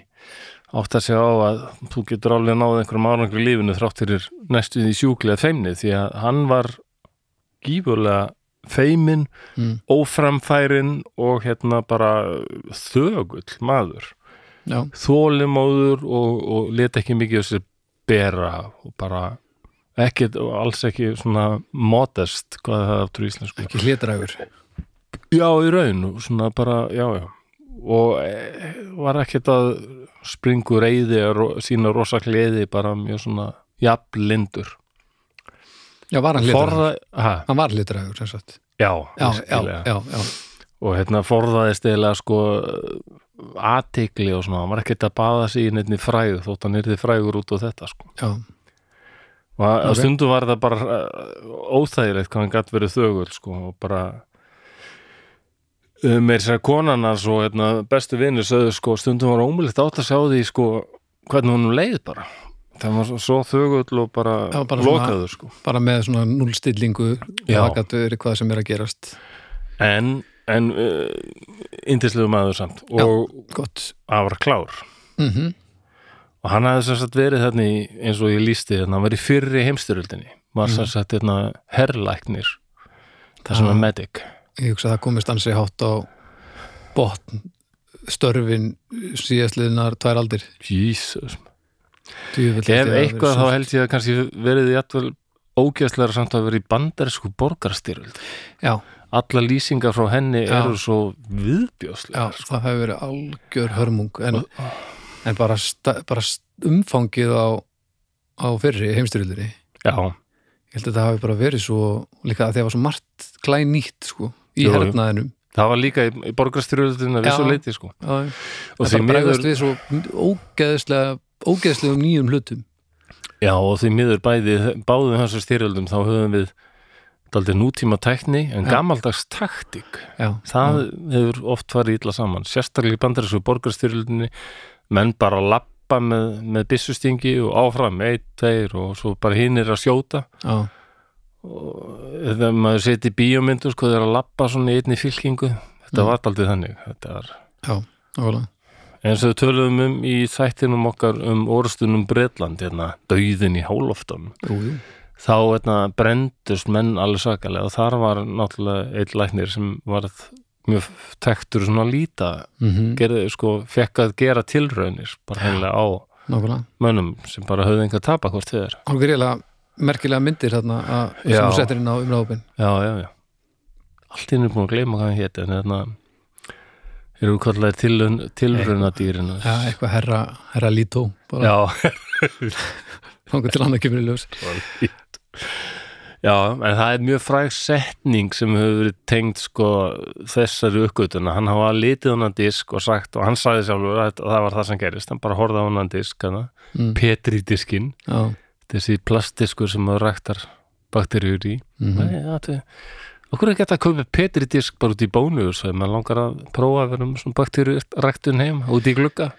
Speaker 1: átt að segja á að þú getur alveg náð einhverjum árangur í lífinu þrátt fyrir næstu því sjúklega feimni því að hann var gífurlega feimin,
Speaker 2: Mm.
Speaker 1: óframfærin og hérna bara þögull maður
Speaker 2: já,
Speaker 1: þólimóður og, og let ekki mikið þessi bera og bara ekkert og alls ekki svona modest, hvað er það aftur í íslensku
Speaker 2: ekki hlétrægur
Speaker 1: já, í raun, og svona bara, já, já og e, var ekkert að springu reyði og sína rosa gleði bara mjög svona jafnlindur
Speaker 2: já, var hann hlétrægur,
Speaker 1: forða, ha,
Speaker 2: hann var hlétrægur sem sagt.
Speaker 1: já,
Speaker 2: já, já,
Speaker 1: virkilega.
Speaker 2: já, já,
Speaker 1: og hérna forðaðist eiginlega sko aðtikli og svona, hann var ekkert að baða sig í neittni fræðu, þótt hann yrði frægur út á þetta sko
Speaker 2: já
Speaker 1: og að
Speaker 2: Ok.
Speaker 1: okay. stundu var það bara uh, óþægilegt hvað hann gætt verið þögul sko, og bara uh, meir sér konan hans og hérna, bestu vinur sögðu sko, stundum var ómulegt átt að sjá því sko, hvernig honum leið bara það var svo- svo þögul og bara,
Speaker 2: Já, bara svona-
Speaker 1: lokaður sko.
Speaker 2: bara með svona núlstillingu
Speaker 1: Já.
Speaker 2: vakatur, hvað sem er að gerast
Speaker 1: en, en uh, indislegu maður samt og
Speaker 2: gott
Speaker 1: hann var klár
Speaker 2: mm
Speaker 1: og hann hafði sem sagt verið þarna í, eins og ég lísti þarna, hann var í fyrri heimstyröldinni var sem sagt hérna herrlæknir það sem
Speaker 2: Mhm. Ah.
Speaker 1: er medic
Speaker 2: ég hugsa að það komist ansi hátt á botn störfin síðastliðnar tvær aldir
Speaker 1: Jesus
Speaker 2: Djöfull,
Speaker 1: Ef
Speaker 2: held ég að
Speaker 1: eitthvað þá
Speaker 2: verið
Speaker 1: held ég að kannski verið jættvel ógæslega samt að vera í bandarísku borgarstyrjöld.
Speaker 2: svo- já,
Speaker 1: Alla lýsingar frá henni
Speaker 2: Já.
Speaker 1: eru svo sko.
Speaker 2: já,
Speaker 1: viðbjóslega.
Speaker 2: það hefur verið algjör hörmung en,
Speaker 1: Sko-
Speaker 2: en bara, sta, bara st- umfangið á, á fyrri heimstyrjöldinni
Speaker 1: Já,
Speaker 2: ég held að það hafi bara verið svo líka að það var svo margt glæn nýtt sko, í
Speaker 1: Jú, jú.
Speaker 2: hernaðinum
Speaker 1: það var líka í, í borgarstyrjöldin að vissu
Speaker 2: Já.
Speaker 1: leiti sko.
Speaker 2: já,
Speaker 1: Og
Speaker 2: það
Speaker 1: því
Speaker 2: bara bregðast
Speaker 1: miður,
Speaker 2: við svo ógeðslega ógeðslegum nýjum hlutum
Speaker 1: já, og því miður bæði báðum þessu styrjöldum þá höfum við daldið nútíma tækni en
Speaker 2: Já.
Speaker 1: gamaldags taktík.
Speaker 2: já,
Speaker 1: Það hefur oft farið illa saman. Sérstaklega í bandarísku borgarstyrjöldinni menn bara lappa með, með byssustingi og áfram, eitt, tveir og svo bara hinn er að sjóta.
Speaker 2: já,
Speaker 1: þegar maður seti bíómyndu sko þegar að lappa svona í einni fylkingu þetta
Speaker 2: Mm.
Speaker 1: var aldrei þannig þetta var
Speaker 2: já, nákvæmlega
Speaker 1: eins og við töluðum um í þættinum okkar um orðstunum Bretland hérna, dauðin í háloftum
Speaker 2: Jú, jú.
Speaker 1: þá hérna, brendust menn alveg sakalega og þar var náttúrulega einn læknir sem varð mjög tektur svona líta
Speaker 2: Mhm,
Speaker 1: gerði, sko, fekk að gera tilraunir bara heimlega á
Speaker 2: nákvæmlega
Speaker 1: mönnum sem bara höfðu enga að tapa hvort þið er
Speaker 2: Hálfur greiðlega merkilega myndir þarna að, sem
Speaker 1: Já.
Speaker 2: þú settir inn á umræðhópin
Speaker 1: Já, já, já. Allt í henni búin að gleyma hvað hann héti, en þarna eru kallaðir tilraun, tilraunadýrin.
Speaker 2: ja, eitthvað herra, herra lító bara
Speaker 1: Já,
Speaker 2: þangur til annað kemur í ljós
Speaker 1: já, en það er mjög fræg setning sem hefur verið tengd sko þessari uppgötuna. Hann hafa litið hann að disk og sagt, og hann sagði sjálfur að þetta- það var það sem gerist, hann bara horfði á hann að disk, hana,
Speaker 2: mm,
Speaker 1: Petri diskin,
Speaker 2: já,
Speaker 1: þessi plastdiskur sem maður ræktar bakteríur í.
Speaker 2: mm
Speaker 1: Nei, það er Okkur er gett að kaupa Petri disk bara út í bónu og svo ef maður langar að prófa að vera um svona bakteríu ræktun heim út í glugga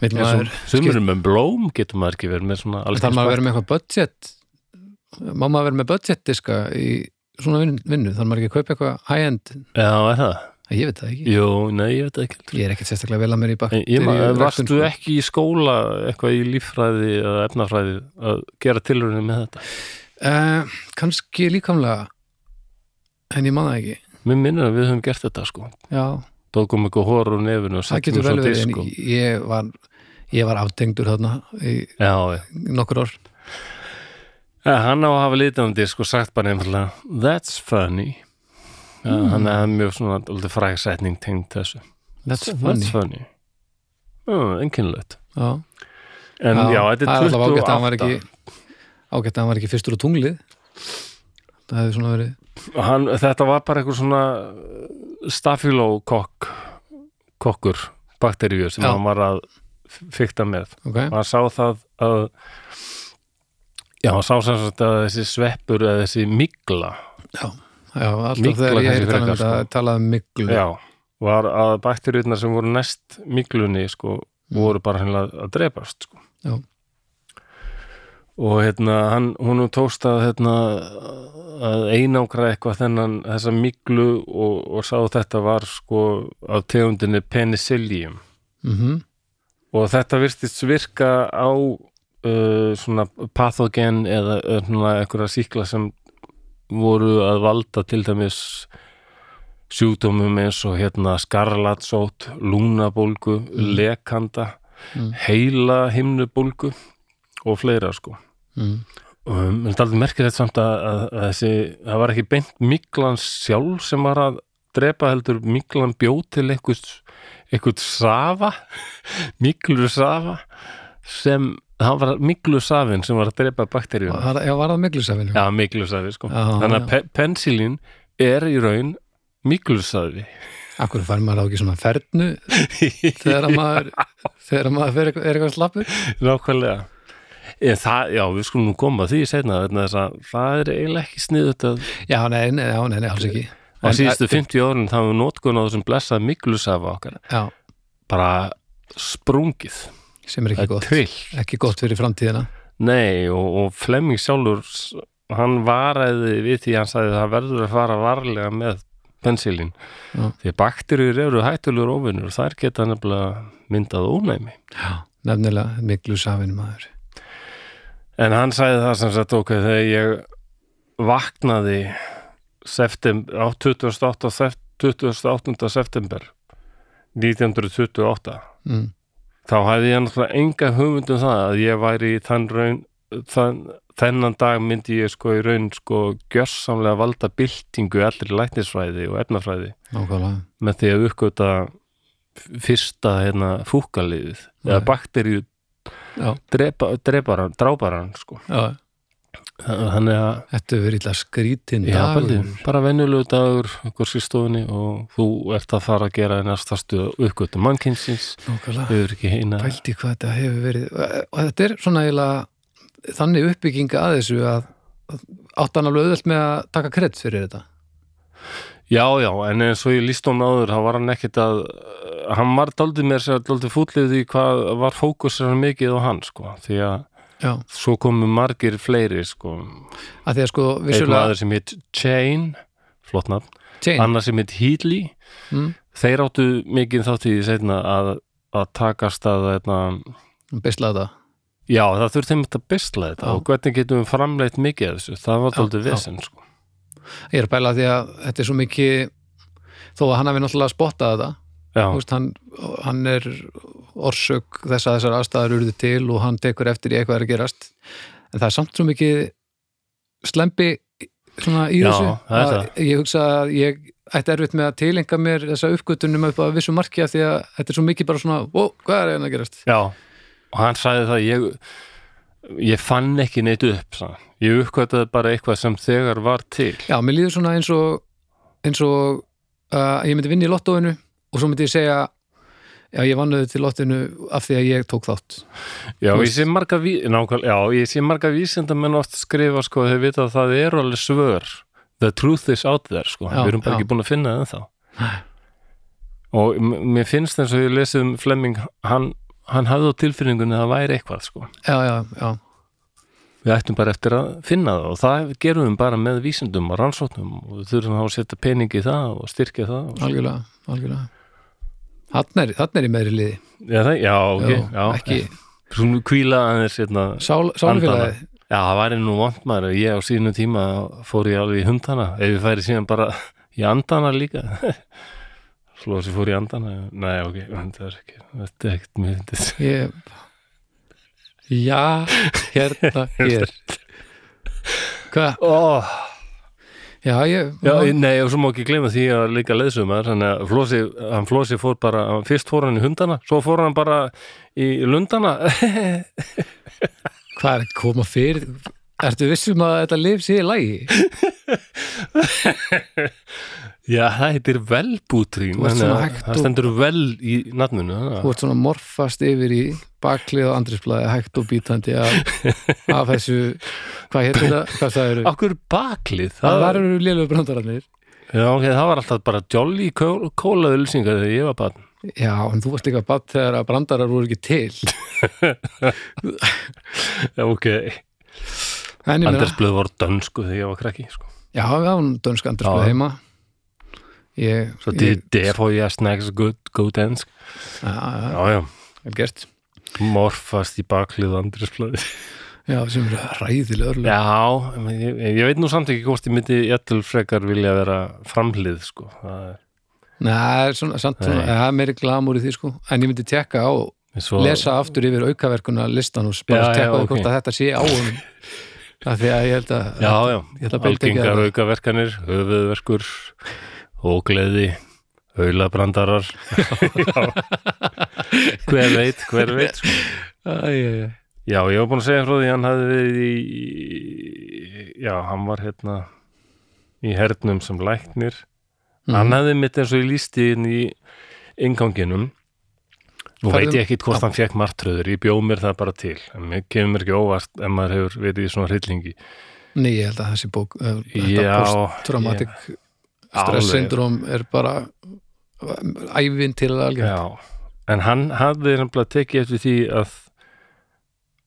Speaker 2: veit
Speaker 1: En svo-
Speaker 2: maður
Speaker 1: Sumur með blóm getur maður ekki verið með svona alls
Speaker 2: þarf maður að
Speaker 1: kyns
Speaker 2: vera með eitthvað budget má maður vera með budget diska í svona vin- vinnu, þarf maður ekki að kaupa eitthvað high-end,
Speaker 1: bak- Já, er það?
Speaker 2: ég veit það ekki
Speaker 1: Jú, nei, ég veit það ekki
Speaker 2: ég er ekkert sérstaklega vel að mér í sko. bakt
Speaker 1: En Ég maður, varstu ekki í skóla eitthvað í líffræði eða efnafræði að gera tilrunni með þetta?
Speaker 2: Uh, kannski líkamlega en ég man það ekki
Speaker 1: Mér minnir að við höfum gert þetta sko
Speaker 2: já,
Speaker 1: Tókum eitthvað horf úr nefinu og
Speaker 2: það
Speaker 1: settum
Speaker 2: getur vel
Speaker 1: svo
Speaker 2: verið
Speaker 1: disk
Speaker 2: en
Speaker 1: og...
Speaker 2: ég var ég var aftengdur þarna í
Speaker 1: Já, já
Speaker 2: nokkur orð
Speaker 1: Ja, Eh, hann á að hafa litið um disk og sagt bara einfallega That's funny ja,
Speaker 2: Mm.
Speaker 1: Hann er mjög svona dálítið fræg setning tengd þessu
Speaker 2: that's
Speaker 1: That's funny uh, Enkinnlegt
Speaker 2: já,
Speaker 1: En já, þetta
Speaker 2: það
Speaker 1: er
Speaker 2: er alltaf ágætt að hann var
Speaker 1: 28
Speaker 2: ekki ágætt að hann var ekki fyrstur á tunglið það hefði svona verið
Speaker 1: hann, Þetta var bara einhver svona stafilókokk kokkur bakteríu sem
Speaker 2: Já.
Speaker 1: hann var að fykta með
Speaker 2: ok,
Speaker 1: og hann sá það að já, hann sá sem sagt að þessi sveppur eða þessi migla
Speaker 2: já, já, alltaf
Speaker 1: Mygla
Speaker 2: þegar ég hef talað um
Speaker 1: kannski frekar,
Speaker 2: þetta
Speaker 1: sko.
Speaker 2: talað um miklu
Speaker 1: Já, var að bakteríurnar sem voru næst miklunni sko, voru bara hennilega að drepast sko.
Speaker 2: Já.
Speaker 1: og hérna hann, hún tókst að, hérna, að einangra eitthvað þennan þessa miklu og, og sá þetta var sko af tegundinni penicillium
Speaker 2: Mhm.
Speaker 1: og þetta virtist virka á uh, svona pathogen eða uh, svona einhverja síkla sem voru að valda til dæmis sjúkdómum eins og hérna skarlatsót, lúnabólgu, lekanda,
Speaker 2: Mm.
Speaker 1: heila himnubólgu og fleira sko.
Speaker 2: Mm.
Speaker 1: Um, en þetta er aldrei merkilegt samt að, að, að þessi, það var ekki beint miklan sjálf sem var að drepa heldur miklan bjó til einhvers, einhvers safa, miklu safa sem, það var miklu safin sem var að drepa bakteríuna.
Speaker 2: Var, já, var það miklusafinu?
Speaker 1: Já, miklusafi sko.
Speaker 2: Já,
Speaker 1: Þannig að
Speaker 2: já.
Speaker 1: pe pensilín er í raun miklusafi.
Speaker 2: Akkur fær maður á ekki svona fernu þegar að maður, þegar að maður fer, eitthvað- er eitthvað slappur?
Speaker 1: Nákvæmlega. En það, já, við skulum nú koma að því setna vegna þess að það er eiginlega ekki sniðut að
Speaker 2: Já, nei, nei, já, nei, nei alls ekki.
Speaker 1: á
Speaker 2: En- eh,
Speaker 1: síðustu 50 árun þá hefur notkun á þessum blessað miklusafa okkar
Speaker 2: Já,
Speaker 1: bara sprungið,
Speaker 2: sem er ekki
Speaker 1: það er
Speaker 2: gott.
Speaker 1: trill
Speaker 2: Ekki gott fyrir framtíðina.
Speaker 1: Nei, og, og Flemming sjálfur s- hann varaði við því hann sagði það verður að fara varlega með pensilín,
Speaker 2: Já.
Speaker 1: því bakterjur eru hættulegur ofinnur og þær geta nefnilega myndað ónæmi
Speaker 2: Já, nefnilega miklusafinu maður.
Speaker 1: En hann sagði það sem sagt ok þegar ég vaknaði september, á 28. sep- 28. september 1928
Speaker 2: Mm.
Speaker 1: þá hefði ég náttúrulega enga hugmynd um það að ég væri í þann raun þann, þennan dag myndi ég sko í raun sko gjörsamlega valda byltingu í allir læknisfræði og efnafræði
Speaker 2: Nákvæmlega.
Speaker 1: með því að uppgöta fyrsta hérna fúkaliðið eða
Speaker 2: Nei.
Speaker 1: bakteríu
Speaker 2: Já,
Speaker 1: drepa, dreparan, dráparan sko
Speaker 2: já.
Speaker 1: þannig að
Speaker 2: Þetta hefur verið illa skrítin
Speaker 1: Já,
Speaker 2: dagur.
Speaker 1: Baldur, bara venjulegu dagur ykkur skrifstofunni og þú ert að fara að gera í næsta stuð uppgötu mannkynsins
Speaker 2: Nákvæmlega.
Speaker 1: við erum ekki eina
Speaker 2: Pældi hvað þetta hefur verið. Og þetta er svona eiginlega þannig uppbygginga að þessu að átt hann alveg auðvelt með að taka kredd fyrir þetta.
Speaker 1: Já, já, en eins og ég líst hún áður þá var hann ekkit að hann var daldið mér sér að daldið fútlið því hvað var fókusur mikið á hann sko, því að
Speaker 2: Já,
Speaker 1: svo komu margir fleiri sko,
Speaker 2: að því að sko
Speaker 1: einn
Speaker 2: vissulega...
Speaker 1: maður sem hitt Chain, flott nafn
Speaker 2: Chain.
Speaker 1: annar sem hitt Heatley
Speaker 2: Mm.
Speaker 1: þeir áttu mikið þátt í því seinna að, að takast að eitna,
Speaker 2: Beisla þetta.
Speaker 1: já, það þurfti einmitt að bisla þetta
Speaker 2: Já.
Speaker 1: og hvernig getum við framleitt mikið af þessu, það var
Speaker 2: Já,
Speaker 1: daldið
Speaker 2: já.
Speaker 1: vesend sko.
Speaker 2: Ég er að pæla því að þetta er svo mikið þó að hann hafi náttúrulega spottað þetta
Speaker 1: Já,
Speaker 2: Þú veist, hann, hann er orsök þess að þessar aðstæður urðu til og hann tekur eftir í eitthvað er að gerast en það er samt svo mikið slempi svona í
Speaker 1: Já,
Speaker 2: þessu
Speaker 1: það er
Speaker 2: að ég hugsa að ég ætti erfitt með að tilenga mér þessa uppgötunum upp að vissu marki af því að þetta er svo mikið bara svona, ó, hvað er hérna að gerast?
Speaker 1: Já, og hann sagði það ég, ég fann ekki neitt upp sagði. hann. ég uppkvætaði bara eitthvað sem þegar var til
Speaker 2: Já, mér líður svona eins og eins og uh, ég myndi vinna í lottóinu og svo myndi ég segja já, ég vannuði til lottóinu af því að ég tók þátt
Speaker 1: Já,
Speaker 2: Þú
Speaker 1: ég
Speaker 2: veist.
Speaker 1: sé marga, ví, nákvæm, já, ég sé marga vísindamenn oft skrifa sko, þau vita að það eru alveg svör the truth is out there sko.
Speaker 2: Já,
Speaker 1: við erum bara
Speaker 2: já.
Speaker 1: ekki búin að finna það ennþá og m- mér finnst eins og ég lesið um Flemming hann, hann hafði á tilfinningunni að það væri eitthvað sko.
Speaker 2: Já, já, já,
Speaker 1: við ættum bara eftir að finna það og það gerum við bara með vísindum og rannsóknum og við þurfum þá að setja peningi í það og styrkja það og,
Speaker 2: algjörlega, algjörlega Þannig er, þarna er í meðri liði
Speaker 1: já, það, já, ok, já,
Speaker 2: ekki
Speaker 1: Svona kvíla aðeins hérna
Speaker 2: sál, sálfélagi
Speaker 1: Já, það væri nú vant maður og ég á sínu tíma fór ég alveg í hundana ef ég færi síðan bara í andana líka Flósi fór í andana Nei, ok, en það er ekki Þetta er ekkert mjög fyndið
Speaker 2: ég, Já, hérna hér Hvað?
Speaker 1: Ó,
Speaker 2: Já, ég
Speaker 1: Já, nei, og svo má ekki gleyma því að líka leðsumar þannig að Flósi, hann Flósi fór bara fyrst fór hann í hundana, svo fór hann bara í lundana
Speaker 2: Hvað er að koma fyrir? Ertu vissum að þetta lif sé í lægi?
Speaker 1: Já, það heitir velbútrín
Speaker 2: Þú ert
Speaker 1: þannig
Speaker 2: svona
Speaker 1: að
Speaker 2: hægt
Speaker 1: það
Speaker 2: og-
Speaker 1: stendur vel í nafninu þannig að-
Speaker 2: Þú ert svona að morfast yfir í baklið og andrisblæði hægt og bítandi af, af þessu hvað hétt þetta, hvað það eru
Speaker 1: Akkur baklið
Speaker 2: það var eru lélugu brandararnir
Speaker 1: Já, ok, það var alltaf bara jolly kóla ölsingar þegar ég var barn
Speaker 2: já, en þú varst líka batt þegar að brandarar voru ekki til
Speaker 1: Já, ok,
Speaker 2: en ég meina,
Speaker 1: Andersblöð voru dönsku þegar ég var krakki sko.
Speaker 2: já, við hafum dönsk
Speaker 1: Já.
Speaker 2: Andersblöð heima ég,
Speaker 1: Svo
Speaker 2: ég,
Speaker 1: did defo ég snacks good, go dansk
Speaker 2: já, já,
Speaker 1: Já, já,
Speaker 2: vel gert
Speaker 1: morfast í baklið Andersblöð
Speaker 2: já, sem eru ræðilega örlega
Speaker 1: Já, en ég, ég veit nú samt ekki hvort ég myndi jættul frekar vilja vera framhlið sko. Það er-
Speaker 2: Nei, svona, samt svona,
Speaker 1: Nei.
Speaker 2: það er meiri glamur í því sko en ég myndi tekka á,
Speaker 1: en svo,
Speaker 2: lesa aftur yfir aukaverkuna listan og
Speaker 1: Já,
Speaker 2: bara
Speaker 1: já,
Speaker 2: tekka á
Speaker 1: ok.
Speaker 2: hvort að þetta sé á honum af því að ég held að
Speaker 1: Já, já,
Speaker 2: ég ætla að beita ekki
Speaker 1: algengar
Speaker 2: að-
Speaker 1: aukaverkanir höfuðverkur ógleði haulabrandarar Já. Hver veit, hver veit sko.
Speaker 2: Æ, æ, æ.
Speaker 1: Já, ég var búin að segja frá því að hann hafði verið í já, hann var hérna í hernum sem læknir
Speaker 2: Mhm. Mm.
Speaker 1: hann hafði mitt eins og ég lísti inn í inganginum Nú
Speaker 2: Farðu-
Speaker 1: veit ég ekkit hvort hann fekk martröður, ég bjóð mér það bara til en mér kemur mér ekki óvart ef maður hefur verið í svona hryllingi
Speaker 2: Nei, ég held að þessi bók uh, þetta
Speaker 1: Já,
Speaker 2: posttraumatic stress
Speaker 1: Alveg.
Speaker 2: syndrom er bara ævinn til að algjör
Speaker 1: Já, en hann hafði nefnilega tekið eftir því að,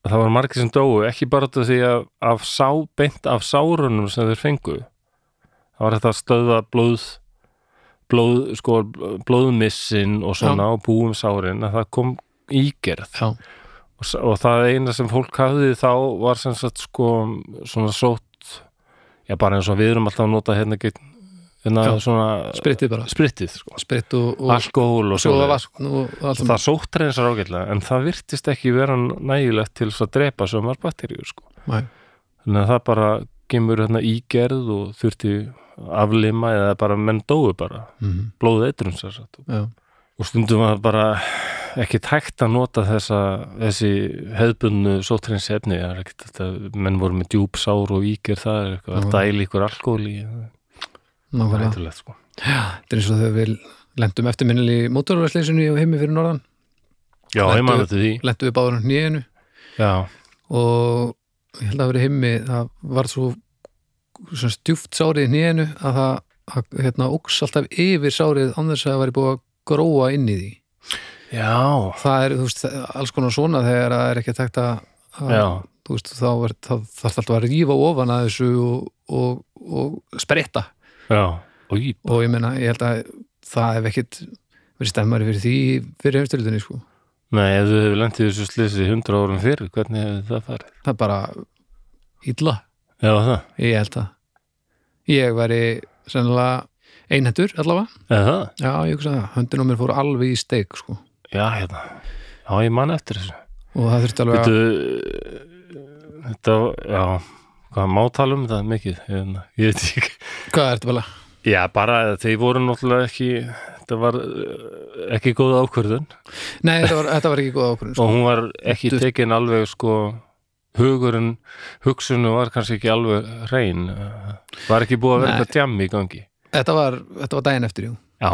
Speaker 1: að það var margir sem dóu, ekki bara út af því að af sá, beint af sárunum sem þeir fengu. Það var þetta að stöða blóð, blóð, sko, blóðmissin og svona og búum sárin að það kom ígerð
Speaker 2: Já,
Speaker 1: og, s- og það eina sem fólk hafði þá var sem sagt sko svona sótt, já bara eins og við erum alltaf að nota hérna, gegn- hérna
Speaker 2: Já.
Speaker 1: svona
Speaker 2: spritið bara
Speaker 1: sprittið sko.
Speaker 2: spritt og, og
Speaker 1: Alkohól og
Speaker 2: svo
Speaker 1: svoleiðis.
Speaker 2: vaskn og allt um
Speaker 1: og það sóttrensar ágætlega en það virtist ekki vera nægilegt til þess að drepa sömar bakteríur sko.
Speaker 2: Nei.
Speaker 1: þannig að það bara gemur hérna ígerð og þurfti aflima eða bara menn dóu bara
Speaker 2: Mhm,
Speaker 1: blóðið eitrum sér satt
Speaker 2: Já,
Speaker 1: og stundum var bara ekki tækt að nota þessa, þessi hefðbunnu sóttrens efni það er ekkit þetta, menn voru með djúp sár og ígerð það er eitthvað,
Speaker 2: Já.
Speaker 1: að dæla ykkur alkohol í það er
Speaker 2: nákvæmlega
Speaker 1: eitthvað sko.
Speaker 2: Þetta er eins og þegar við lendum eftirminnilega í mótorvæsleysinu og heimi fyrir norðan
Speaker 1: já,
Speaker 2: Þetta-
Speaker 1: ég maður þetta því
Speaker 2: lendum við báður á nýjunu
Speaker 1: já,
Speaker 2: og ég held að vera heimi það var svo svona stjúft sárið í nýjunu að það að, hérna, óks alltaf yfir sárið án þess að það væri búið að gróa inn í því
Speaker 1: já,
Speaker 2: það er þú veist, alls konar svona þegar það er ekki tækt að að-
Speaker 1: já.
Speaker 2: þú veist, þá er, það, þarf alltaf að rífa ofan að þessu og, og, og spretta
Speaker 1: já. Í,
Speaker 2: og ég meina, ég held að það hef ekkit verið stemmari fyrir því fyrir heimstöldunni sko.
Speaker 1: Nei, ef þú hefur lendið þessu slisi 100 árum fyrir, hvernig hefur það farið?
Speaker 2: það er bara illa,
Speaker 1: Já, það.
Speaker 2: ég held að ég væri sennilega einhendur allavega,
Speaker 1: Eða það?
Speaker 2: já ég hugsa það höndin á mér fór alveg í steik sko.
Speaker 1: Já, hérna. Já, ég man eftir þessu.
Speaker 2: og það þurfti alveg að
Speaker 1: Þetta, þetta, já, hvað má tala um það mikið? Hérna, ég veit ekki.
Speaker 2: hvað er þetta bara,
Speaker 1: Já, bara að þeir voru náttúrulega ekki, þetta var eh, ekki góð ákvörðun
Speaker 2: nei þetta var, þetta var ekki góð ákvörðun sko.
Speaker 1: og hún var ekki
Speaker 2: Þetta-
Speaker 1: tekin alveg sko hugurinn, hugsunum var kannski ekki alveg reyn. Var ekki búið að vera
Speaker 2: Nei.
Speaker 1: eitthvað djammi í gangi.
Speaker 2: þetta, var, þetta var daginn eftir jú
Speaker 1: Já,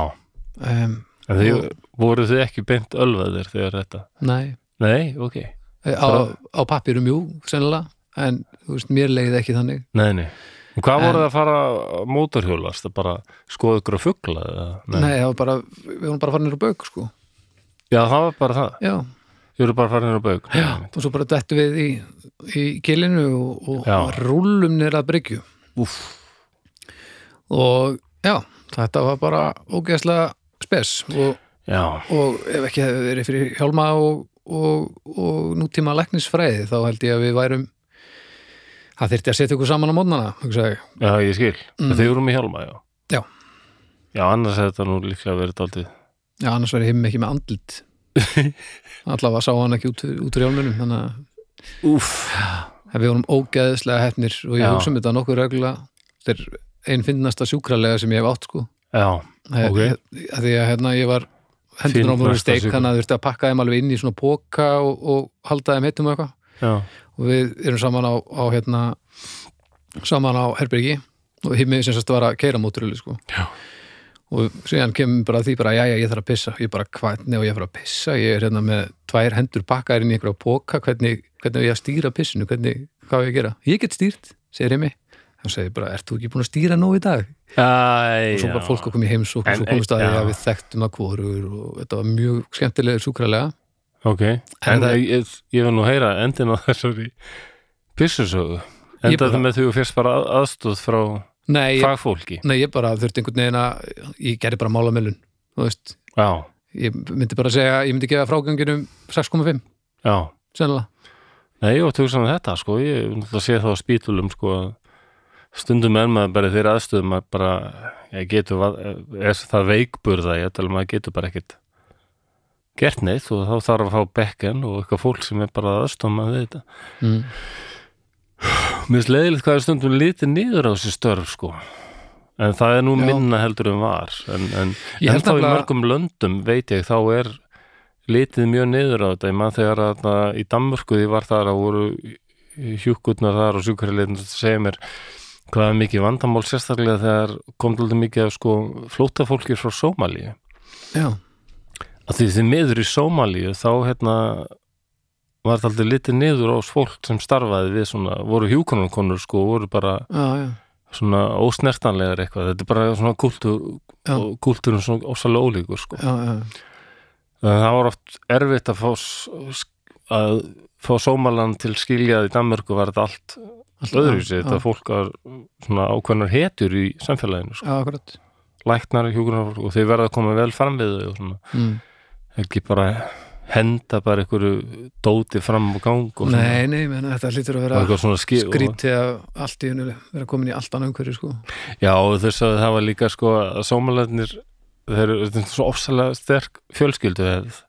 Speaker 2: um,
Speaker 1: en þið
Speaker 2: Og-
Speaker 1: voru þið ekki beint ölvaðir þegar þetta?
Speaker 2: nei,
Speaker 1: Nei, ok.
Speaker 2: á, á pappirum jú sennilega, en þú veist, mér leiði ekki þannig
Speaker 1: Nei, nei. En hvað
Speaker 2: En-
Speaker 1: voru það að fara á mótorhjólast? Það bara skoðu ykkur að fugla? Eða?
Speaker 2: Nei, það var bara, við vorum bara farinir á bauk sko.
Speaker 1: Já, það var bara það.
Speaker 2: Já,
Speaker 1: Þið voru bara farin á bauk.
Speaker 2: já, og svo bara dættu við í, í kilinu og,
Speaker 1: Já.
Speaker 2: og rúllum nýra að bryggju
Speaker 1: Úff.
Speaker 2: og já, þetta var bara ógeðslega spes og,
Speaker 1: Já,
Speaker 2: og ef ekki hefði verið fyrir hjálma og, og, og nútíma læknisfræði þá held ég að við værum það þyrfti að setja ykkur saman á mótnana hugsaði. ég.
Speaker 1: já, ég skil.
Speaker 2: Mm.
Speaker 1: Þið voru með hjálma, já.
Speaker 2: Já.
Speaker 1: Já, annars hefði þetta nú líklega verið daldið.
Speaker 2: Já, annars verið heim ekki með andlit allavega sá hann ekki út, út úr hjálmunum þannig að
Speaker 1: Úff.
Speaker 2: En við vorum ógeðslega hefnir og ég
Speaker 1: Já.
Speaker 2: hugsa um þetta nokkuð reglulega. Þetta er einn finnasta sjúkralega sem ég hef átt sko.
Speaker 1: Já,
Speaker 2: He-
Speaker 1: Ok.
Speaker 2: he- Eh, Því að hérna ég var hendur á mjög
Speaker 1: Fyndnasta
Speaker 2: steik
Speaker 1: sjúkra-
Speaker 2: þannig að þurfti að pakka þeim alveg inn í svona póka og, og halda þeim heitum og eitthvað.
Speaker 1: já,
Speaker 2: Og við erum saman á, á hérna saman á Herbergi og himmið sem sagt var að keira móturölu sko.
Speaker 1: Já.
Speaker 2: Og síðan kemur bara að því bara, jæja, ég þarf að pissa. Ég bara, hvernig og ég þarf að pissa? Ég er hérna með tvær hendur pakkaðar inn í einhverja póka, hvernig, hvernig á ég að stýra pissinu, hvernig, hvað á ég að gera? Ég get stýrt, segir Remi þá segir ég bara, ert þú ekki búin að stýra nóg í dag?
Speaker 1: Æ,
Speaker 2: og svo bara
Speaker 1: já.
Speaker 2: fólk að koma í heims og
Speaker 1: En-
Speaker 2: svo komist að því
Speaker 1: já.
Speaker 2: að við þekktum að hvorur og þetta var mjög skemmtilega súkralega
Speaker 1: Ok, en
Speaker 2: það-
Speaker 1: ég, ég vil nú heyra endin á þessari byssusögu
Speaker 2: Ég
Speaker 1: Endaði
Speaker 2: bara-
Speaker 1: með því að þú fyrst bara að, aðstóð frá
Speaker 2: nei, ég,
Speaker 1: fagfólki
Speaker 2: nei, ég bara þurfti einhvern veginn að ég gerði bara málamölun þú veist,
Speaker 1: Já,
Speaker 2: ég myndi bara segja ég myndi gefa fráganginum 6,5
Speaker 1: já
Speaker 2: sennilega,
Speaker 1: Nei, ég var tugsan að þetta, sko Ég náttúrulega sé það á spítulum, sko að stundum er maður bara í þeirra aðstöðum að bara, ég getur va- er það veikburða, ég tala maður getur bara ekkert gert neitt og þá þarf að fá bekken og eitthvað fólk sem er bara að aðstöðum að þetta
Speaker 2: mm.
Speaker 1: Mér finnst leiðilegt hvað er stundum litið niður á þessi störf sko en það er nú
Speaker 2: Já.
Speaker 1: minna heldur en var en, en,
Speaker 2: Ég
Speaker 1: en
Speaker 2: held
Speaker 1: þá í
Speaker 2: nefnilega-
Speaker 1: mörgum löndum veit ég þá er litið mjög niður á þetta ég mann þegar að það, í Danmörku því var þar að voru hjúkurnar þar og sjúkrarleitin sem segja mér hvað er mikið vandamál sérstaklega þegar kom til mikið af sko flótafólki frá Sómalíu
Speaker 2: já,
Speaker 1: að því þið miður í Sómalíu þá hérna var það aldrei litið niður á fólk sem starfaði við svona, voru hjúkonarkonur sko, voru bara
Speaker 2: já, já
Speaker 1: svona ósnertanlegar eitthvað, þetta er bara svona kultúr
Speaker 2: Já.
Speaker 1: og kultúrun svona ósalega ólíkur sko.
Speaker 2: Já, já,
Speaker 1: þannig að það var oft erfitt að fá s- að fá Sómaland til skiljað í Danmörku var þetta allt
Speaker 2: alltaf
Speaker 1: öðruvísi,
Speaker 2: já,
Speaker 1: þetta fólk var svona ákveðnar hetjur í samfélaginu sko.
Speaker 2: Já, akkurat
Speaker 1: læknar, hjúkunar og þeir verða að koma vel fram við þau og svona
Speaker 2: mm.
Speaker 1: ekki bara henda bara einhverju dóti fram á gang og svona,
Speaker 2: Nei, nei, menn, þetta hlýtur að
Speaker 1: og
Speaker 2: vera
Speaker 1: eitthvað svona skil
Speaker 2: skrítið að allt í hennu vera komin í allt annað umhverju, sko
Speaker 1: og, já og þess að það var líka sko að sómalæðnir þeir eru þetta er svo ofsalega sterk fjölskyldu hefð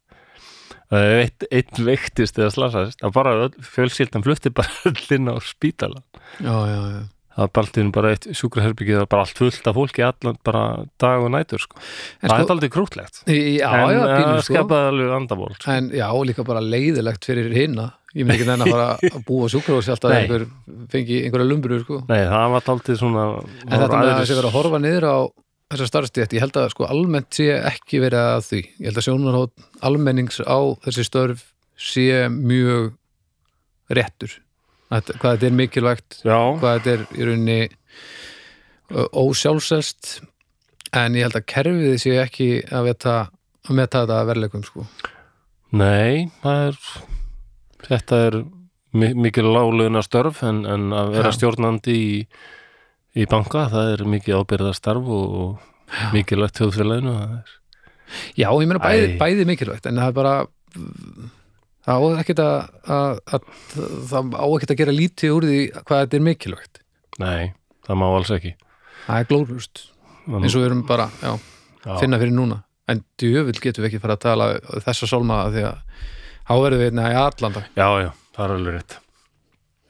Speaker 1: að ef einn eitt veiktist eða slasaðist að bara öll- fjölskyldan flutti bara öll inn á spítala
Speaker 2: Já, já, já
Speaker 1: það var bara allt í einu bara eitt sjúkraherbyggið og bara allt fullt af fólki allan bara dag og nætur sko.
Speaker 2: En
Speaker 1: það er
Speaker 2: sko,
Speaker 1: aldrei krútlegt
Speaker 2: já,
Speaker 1: en
Speaker 2: já,
Speaker 1: það
Speaker 2: pínu, sko
Speaker 1: skapaði alveg andamál sko.
Speaker 2: En já, og líka bara leiðilegt fyrir hinna Ég myndi ekki nefna að fara að búa sjúkrahúsi alltaf að
Speaker 1: Nei.
Speaker 2: einhver fengi einhverja lumbrur sko.
Speaker 1: nei það var aldrei svona
Speaker 2: En þetta með að þessi verið að horfa niður á þessar starfstétt, ég held að sko almennt sé ekki verið að því. Ég held að sjónarhótt almennings á þessi störf sé mjög réttur. Þetta, hvað þetta er mikilvægt
Speaker 1: já,
Speaker 2: hvað þetta er í rauninni ö, ósjálfselst en ég held að kerfið sé ekki að veta að meta þetta að verðleikum sko.
Speaker 1: Nei, það er þetta er mi mikil láglauna störf en, en að vera
Speaker 2: Já.
Speaker 1: stjórnandi í, í banka, það er mikið ábyrða starf og, og mikilvægt þjóðfélaginu það er.
Speaker 2: Já, ég meina bæði,
Speaker 1: Æ.
Speaker 2: bæði mikilvægt en það er bara það á ekkert að, að, að það á ekkert að gera lítið úr því hvað þetta er mikilvægt
Speaker 1: Nei, það má alls ekki
Speaker 2: það er glórust,
Speaker 1: Það-
Speaker 2: eins og við erum bara já,
Speaker 1: já,
Speaker 2: finna fyrir núna en djöfull getum við ekki fara að tala þessa sólma af því að þá verðum við einna í allan dag
Speaker 1: já, já, það er alveg rétt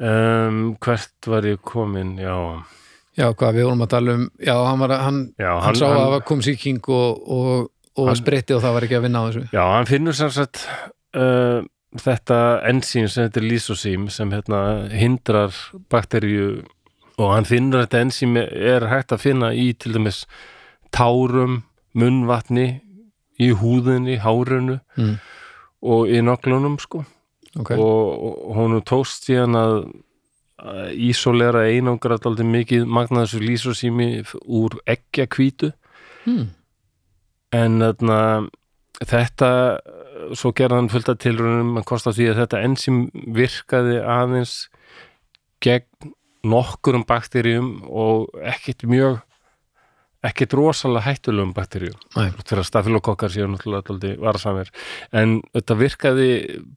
Speaker 1: um, Hvert var ég komin? Já,
Speaker 2: Já, hvað við vorum að tala um, já, hann, var, að- hann,
Speaker 1: já
Speaker 2: hann, sá að það kom sýking og, og, og
Speaker 1: Hann-
Speaker 2: spritti og það var ekki að vinna á þessu
Speaker 1: Já, hann finnur sem sagt uh, þetta ensím sem þetta er lýsosím sem hérna hindrar bakteríu og hann finnur að þetta ensím er hægt að finna í til dæmis tárum, munnvatni í húðinni, hárunu
Speaker 2: mm,
Speaker 1: og í noglunum sko
Speaker 2: ok,
Speaker 1: og, og hún tókst síðan að að ísolera einangra daldið mikið magna þessu lýsosími úr eggja kvítu
Speaker 2: mm,
Speaker 1: en þarna, þetta svo gerði hann fullt af tilraunum að kosta því að þetta ensím virkaði aðeins gegn nokkurum bakteríum og ekkit mjög ekkit rosalega hættulegum bakteríum
Speaker 2: Nei.
Speaker 1: fyrir að stafilokokkar séu náttúrulega alltaf varasamir en þetta virkaði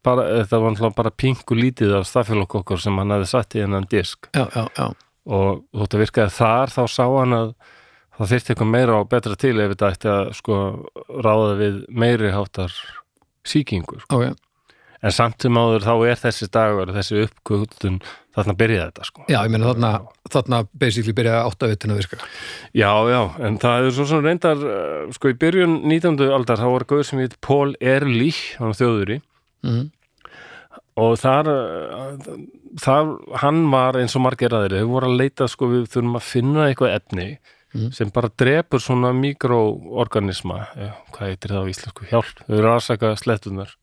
Speaker 1: bara, þetta var náttúrulega bara pingu lítið af stafilokokkar sem hann hafði satt í hennan disk
Speaker 2: já, já, já
Speaker 1: og þótt að virkaði þar þá sá hann að það þyrfti eitthvað meira og betra til ef þetta ætti að sko ráða við meiri háttar sýkingur.
Speaker 2: ok,
Speaker 1: En samt um áður þá er þessi dagur, þessi uppkvöldun þarna byrjaði þetta sko.
Speaker 2: já, ég meina þarna þarna basically byrjaði áttavitun að virka
Speaker 1: Já, já, en það er svo sem reyndar eh, sko í byrjun 19. aldar þá var gauður sem heit Paul Ehrlich hann var þjóðuri
Speaker 2: mm,
Speaker 1: og þar, eh, þar hann var eins og margir aðri þau voru að leita sko við þurfum að finna eitthvað efni
Speaker 2: Mm.
Speaker 1: sem bara drepur svona mikroorganisma eh, hvað heitir það á íslensku hjálp þau eru aðsaka slettunar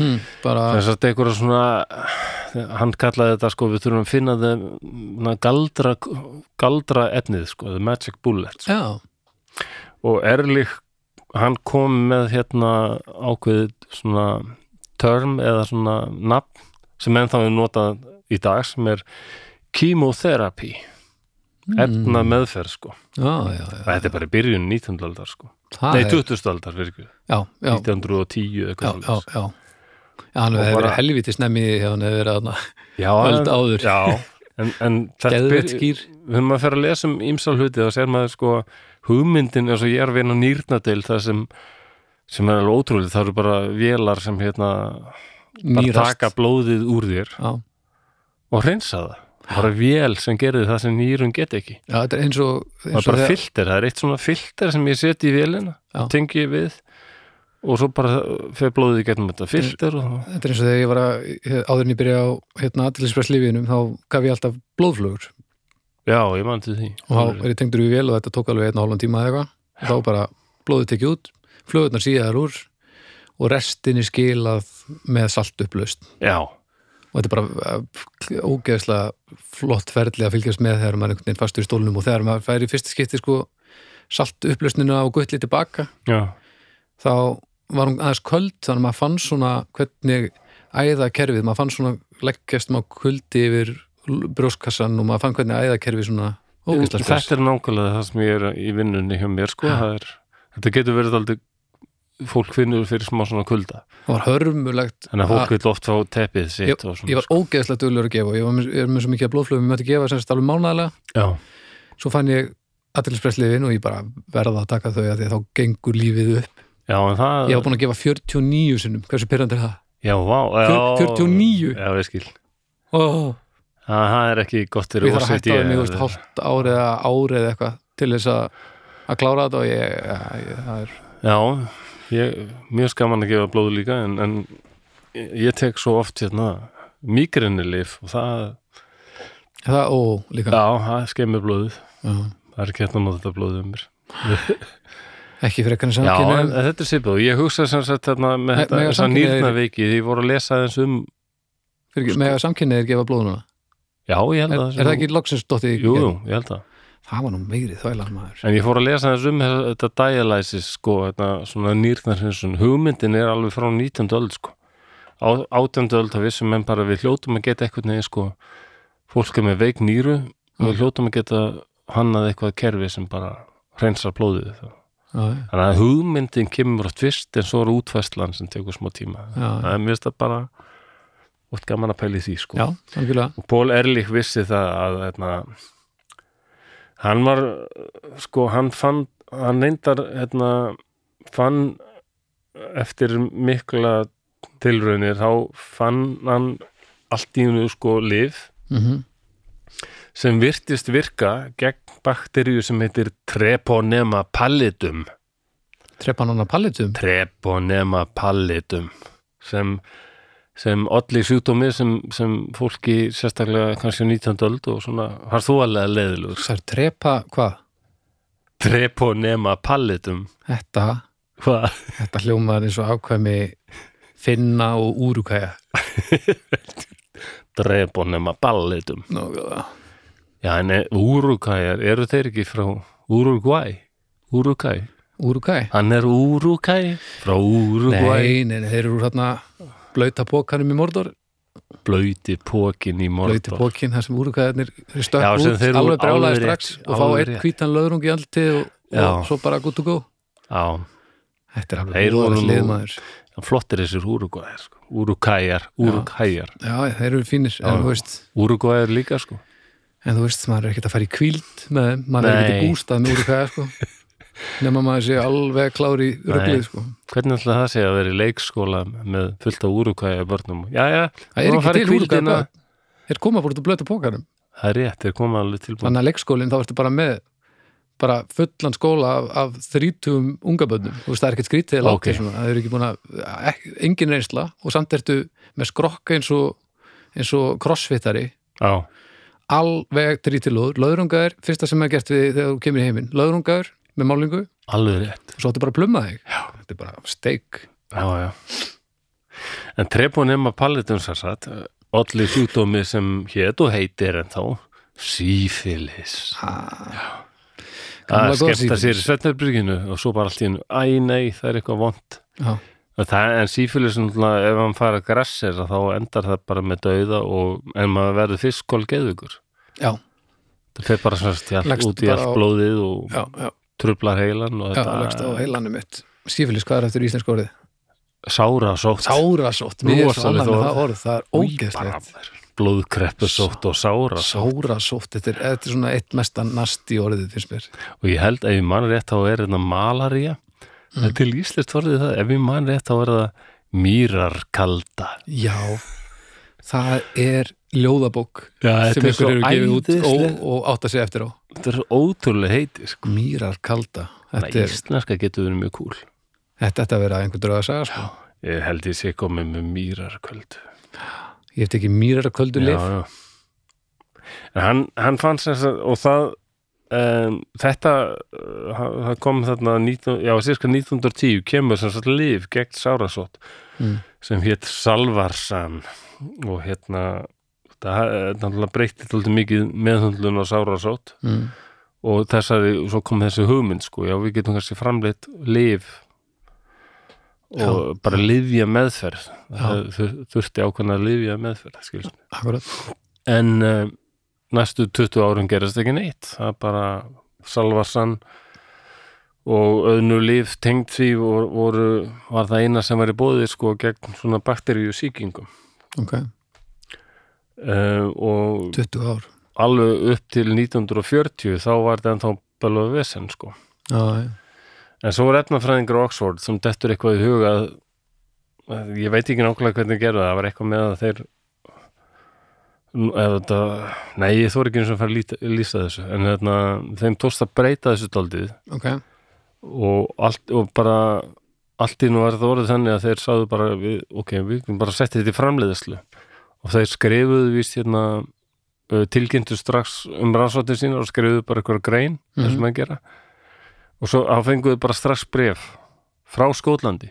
Speaker 2: mm, bara
Speaker 1: þess að þetta eitthvað svona hann kallaði þetta sko, við þurfum að finna þeim na, galdra, galdra efnið sko, the magic bullet sko.
Speaker 2: já,
Speaker 1: og Erlich, hann kom með hérna ákveðið svona term eða svona nafn sem ennþá við notað í dag sem er chemotherapy efna meðferð sko
Speaker 2: Hmm. já, já, já.
Speaker 1: þetta er bara í byrjun 19. aldar sko
Speaker 2: Það
Speaker 1: nei
Speaker 2: er-
Speaker 1: 20. aldar fyrir ekki
Speaker 2: já, já,
Speaker 1: 1910
Speaker 2: já,
Speaker 1: eitthvað
Speaker 2: já,
Speaker 1: svoleiðis.
Speaker 2: já. Já, hann hefur
Speaker 1: bara-
Speaker 2: verið helviti snemmi hefur hann hefur verið þarna
Speaker 1: já,
Speaker 2: öld
Speaker 1: en-
Speaker 2: áður.
Speaker 1: já, en, en þetta
Speaker 2: geðvett
Speaker 1: byrj-
Speaker 2: skýr
Speaker 1: þegar maður fer að lesa um ymsal hluti þá sér maður sko hugmyndin eins og ég er að vinna nýrnadil það sem sem er alveg ótrúlega, það eru bara vélar sem hérna bara
Speaker 2: nýrast
Speaker 1: taka blóðið úr þér
Speaker 2: já.
Speaker 1: og hreinsa það, bara vél sem gerði það sem nýrun get ekki
Speaker 2: já, þetta er eins og
Speaker 1: það
Speaker 2: eins
Speaker 1: er
Speaker 2: og
Speaker 1: bara
Speaker 2: þegar-
Speaker 1: filter, það er eitt svona filter sem ég seti í vélina,
Speaker 2: Já.
Speaker 1: það tengi ég við og svo bara fer blóðið í gegnum þetta filter og það
Speaker 2: þetta er eins og þegar ég var að áður en ég byrja á hérna aðeinspresslifinum þá gaf ég alltaf blóðflugur
Speaker 1: Já, ég mann til því
Speaker 2: og þá er ég tengdur í vél og þetta tók alveg einn og hálfan tíma eða eitthvað og þá bara blóðið tekið út flugurnar síðar úr og restin er skilað með salt upplaust
Speaker 1: Já,
Speaker 2: og þetta er bara eh, ógeðslega flott ferli að fylgjast með þegar maður er einhvern veginn fastur í stólnum og þegar maður fær í fyrsta skipti sko salt upplausnina og guttli tilbaka
Speaker 1: já,
Speaker 2: þá var hún aðeins köld þannig að maður fann svona hvernig æða kerfið, maður fann svona leggjast maður kuldi yfir l- brjóstkassan og maður fann hvernig æða kerfið svona ógeðslega stress.
Speaker 1: þetta er nákvæmlega það sem ég er í vinnunni hjá mér sko,
Speaker 2: Já.
Speaker 1: það er, þetta getur verið aldrei fólk finnur fyrir smá svona kulda
Speaker 2: Það var hörmulegt
Speaker 1: þannig að fólk sko.
Speaker 2: að-
Speaker 1: vil oft fá teppið sitt
Speaker 2: ég
Speaker 1: og svona
Speaker 2: var ógeðslega duglur að gefa og ég var með, ég er með svo mikið að blóðflöfum, ég mætti gefa semst alveg mánaðlega
Speaker 1: Já,
Speaker 2: svo fann ég aðeinspressliðin og ég bara verða að taka þau að því að þá gengur lífið upp
Speaker 1: já, en það
Speaker 2: ég var búin að gefa 49 sinnum, hversu pyrrandi er það?
Speaker 1: Já, vá
Speaker 2: Fjör-
Speaker 1: já,
Speaker 2: 49.
Speaker 1: Já, ég skil
Speaker 2: Oh,
Speaker 1: Það það er ekki gott fyrir
Speaker 2: ég þarf að
Speaker 1: OCD
Speaker 2: hætta það mig, þú veist,
Speaker 1: eða-
Speaker 2: hálft árið eða árið eða eitthvað til þess að að klára þetta og ég, ja, ég það er,
Speaker 1: Já, ég, mjög skaman að gefa blóð líka en, en ég tek svo oft hérna migrenilif og það,
Speaker 2: það, ó, líka
Speaker 1: já, það skemmir blóðið
Speaker 2: já.
Speaker 1: það er ekki hérna að nota þetta blóðið um mér
Speaker 2: ekki fyrir eitthvað
Speaker 1: Já,
Speaker 2: samkynni
Speaker 1: en þetta er svipað og ég hugsa sem sagt hérna með
Speaker 2: Me-
Speaker 1: þetta,
Speaker 2: mega
Speaker 1: þessa
Speaker 2: samkynhneigðir-
Speaker 1: nýrnaveiki því ég voru að lesa aðeins um
Speaker 2: fyrir, með að samkynni er gefa blóð núna
Speaker 1: Já, ég held
Speaker 2: er,
Speaker 1: að
Speaker 2: er það ekki loksins dottið í
Speaker 1: Jú, jú,
Speaker 2: gegn?
Speaker 1: ég held að
Speaker 2: það var nú meiri þvælan maður
Speaker 1: En ég fór að lesa aðeins um þessa- þetta dialysis sko, þetta svona nýrnarhinsun hugmyndin er alveg frá 19. öld sko Á, 18. öld að vissum menn bara við hljótum að geta eitthvað neginn sko fólk er með veik nýru og
Speaker 2: Mm.
Speaker 1: við hljótum að geta hannað eitthvað kerfi sem bara hreinsar blóðið þá.
Speaker 2: já, já,
Speaker 1: Þannig að hugmyndin kemur átt fyrst en svo er útfæslan sem tekur smá tíma
Speaker 2: já,
Speaker 1: það er mjög stað bara út gaman að pæli því sko
Speaker 2: já, algjörlega
Speaker 1: og Pól Erlich vissi það að hérna, hann var uh, sko hann fann hann reyndar hérna, fann eftir mikla tilraunir þá fann hann allt í hennu sko lif
Speaker 2: mm
Speaker 1: sem virtist virka gegn bakteríu sem heitir treponema pallidum
Speaker 2: trepan hann að pallitum
Speaker 1: treponema pallidum sem, sem olli sjúkdómi sem, sem fólki sérstaklega kannski á 19. öld og svona har þú alveg leiðilegur
Speaker 2: það er trepa, hvað?
Speaker 1: treponema pallidum
Speaker 2: þetta,
Speaker 1: hvað?
Speaker 2: þetta hljómaður eins og ákvæmi finna og úrukæja
Speaker 1: treponema pallidum
Speaker 2: Nú, já.
Speaker 1: já en úrukæjar, eru þeir ekki frá Uruguay? Uruguay?
Speaker 2: úrukæj
Speaker 1: Hann er Uruguay frá
Speaker 2: Nei,
Speaker 1: Uruguay
Speaker 2: nei, nei, þeir eru úr hérna blöyta pókanum í Mordor,
Speaker 1: blöyti pókin í
Speaker 2: blöyti
Speaker 1: Mordor
Speaker 2: pókin þar sem úrukæðarnir þeir
Speaker 1: Já,
Speaker 2: stökk
Speaker 1: sem
Speaker 2: út,
Speaker 1: þeir eru
Speaker 2: alveg brjálaði
Speaker 1: alveg
Speaker 2: strax
Speaker 1: rétt,
Speaker 2: og fá
Speaker 1: alveg
Speaker 2: einn
Speaker 1: rétt.
Speaker 2: hvítan löðrung í alltið og, og
Speaker 1: Já.
Speaker 2: svo bara good to go
Speaker 1: Já,
Speaker 2: Þetta er
Speaker 1: Þeir
Speaker 2: alveg
Speaker 1: voru
Speaker 2: roðalegt lið,
Speaker 1: nú-
Speaker 2: maður.
Speaker 1: flottir þessir Uruguayar sko. Uruguayar, Uruguayar
Speaker 2: Já, þeir eru fínir,
Speaker 1: Já.
Speaker 2: en þú veist
Speaker 1: Uruguayar líka sko
Speaker 2: en þú veist, maður er ekkert að fara í kvíld með þeim, maður er ekkert
Speaker 1: Nei.
Speaker 2: í bústað með úrukæða sko. nema maður sé alveg klár í
Speaker 1: Nei.
Speaker 2: rögglið, sko
Speaker 1: Hvernig ætla það sé að vera í leikskóla með fullt á úrukvæja börnum? Jæja,
Speaker 2: Það er
Speaker 1: nú að
Speaker 2: ekki
Speaker 1: fara í
Speaker 2: til úrukæða
Speaker 1: hvíldina.
Speaker 2: börn. Þeir koma bara út úr blöta pókanum
Speaker 1: Það er rétt, þeir koma alveg tilbúin.
Speaker 2: þannig að leikskólinn þá ertu bara með bara fullan skóla af, af þrítum ungaböndum, þú veist það er ekkert skrítið eða
Speaker 1: Ok.
Speaker 2: látið svona, það eru ekki búin að ek- engin reynsla og samt ertu með skrokka eins og, eins og crossfittari,
Speaker 1: Já,
Speaker 2: alveg drítilóður, löðrungaður, fyrsta sem er gert við þegar þú kemur í heiminn, löðrungaður með málingu og
Speaker 1: alveg rétt.
Speaker 2: svo áttu bara að plumma þig Já. þetta er bara steik
Speaker 1: Já, já. En trepunema pallitum sér satt, olli sjúkdómi sem hétt og heitir en þá sífilis að
Speaker 2: Gamla góða
Speaker 1: skemmta sér
Speaker 2: sífilis.
Speaker 1: í Sveinarbyrginu og svo bara allt í hennu, æ nei, það er eitthvað vond
Speaker 2: já,
Speaker 1: það, en sífilis, náttúrulega, ef hann fara grassir þá endar það bara með dauða og en maður verður fiskol geðugur
Speaker 2: já,
Speaker 1: það fer bara svona stjart
Speaker 2: Leggst
Speaker 1: út í
Speaker 2: bara
Speaker 1: allt
Speaker 2: á-
Speaker 1: blóðið og
Speaker 2: já, já,
Speaker 1: trublar heilan og
Speaker 2: já lagst á
Speaker 1: þetta
Speaker 2: heilanum mitt sífilis, hvað er eftir íslensku orðið?
Speaker 1: sára sótt
Speaker 2: Sárasótt, mér er svo annað
Speaker 1: Rosalegt
Speaker 2: með
Speaker 1: orð.
Speaker 2: það orð það er ógeðslegt
Speaker 1: blóðkreppu sótt og sára
Speaker 2: Sárasótt, þetta er, þetta er svona eitt mesta nasti orðið finnst mér
Speaker 1: og ég held ef ég man rétt þá er þetta malaria það er til íslest orðið það ef ég man rétt þá er það mýrarkalda
Speaker 2: Já, það er ljóðabók
Speaker 1: Já,
Speaker 2: sem
Speaker 1: þetta er svo
Speaker 2: ykkur eru gefið út og,
Speaker 1: æðislegt.
Speaker 2: og átt að segja eftir á
Speaker 1: þetta er ótrúlega heiti sko.
Speaker 2: Mýrar kalda
Speaker 1: þetta
Speaker 2: Þetta er,
Speaker 1: íslenska getur verið mjög kúl
Speaker 2: þetta þetta verið að einhver dröða að segja sko.
Speaker 1: ég held ég sé komið með mýrarkald
Speaker 2: Ég hef tekið mýrar köldu
Speaker 1: já,
Speaker 2: lif
Speaker 1: já. En hann, hann fann sem sagt og það um, þetta uh, hann- það kom þarna 19, já, sérska 1910 kemur sem sagt líf gegn sárasótt
Speaker 2: Mm.
Speaker 1: sem hétt Salvarsan og hérna það eh, náttúrulega breytti tóldi mikið meðhundlun og sárasótt
Speaker 2: mm.
Speaker 1: og þessari, svo kom þessi hugmynd sko, já við getum kannski framleitt lif og bara lifja meðferð
Speaker 2: Já.
Speaker 1: þurfti ákveðna að lifja meðferð skilst
Speaker 2: Akkurat
Speaker 1: en uh, næstu 20 árum gerast ekki neitt það er bara Salvarsan og öðnu líf tengd því voru, voru, var það eina sem var í bóðið sko gegn svona bakteríu sýkingum
Speaker 2: Ok,
Speaker 1: uh, og
Speaker 2: 20 ár
Speaker 1: alveg upp til 1940 þá var þetta ennþá bælóðu vesen sko
Speaker 2: Já, já,
Speaker 1: en svo var efnafræðingur á Oxford sem dettur eitthvað í huga að- að ég veit ekki nákvæmlega hvernig gerðu það það var eitthvað með að þeir Nú, ef þetta, nei ég þóra ekki eins og að fara að líta- lýsa þessu en þarna, þeim tókst að breyta þessu daldið
Speaker 2: ok
Speaker 1: og, allt, og bara allt í nú var það orðið þannig að þeir sáðu bara við, ok, við getum bara setti þetta í framleiðislu og þeir skrifuðu víst hérna ö, tilkynntu strax um rannsóttir sína og skrifuðu bara eitthvað grein
Speaker 2: Mhm.
Speaker 1: þessum að gera og svo þá fenguðu bara strax bref frá Skótlandi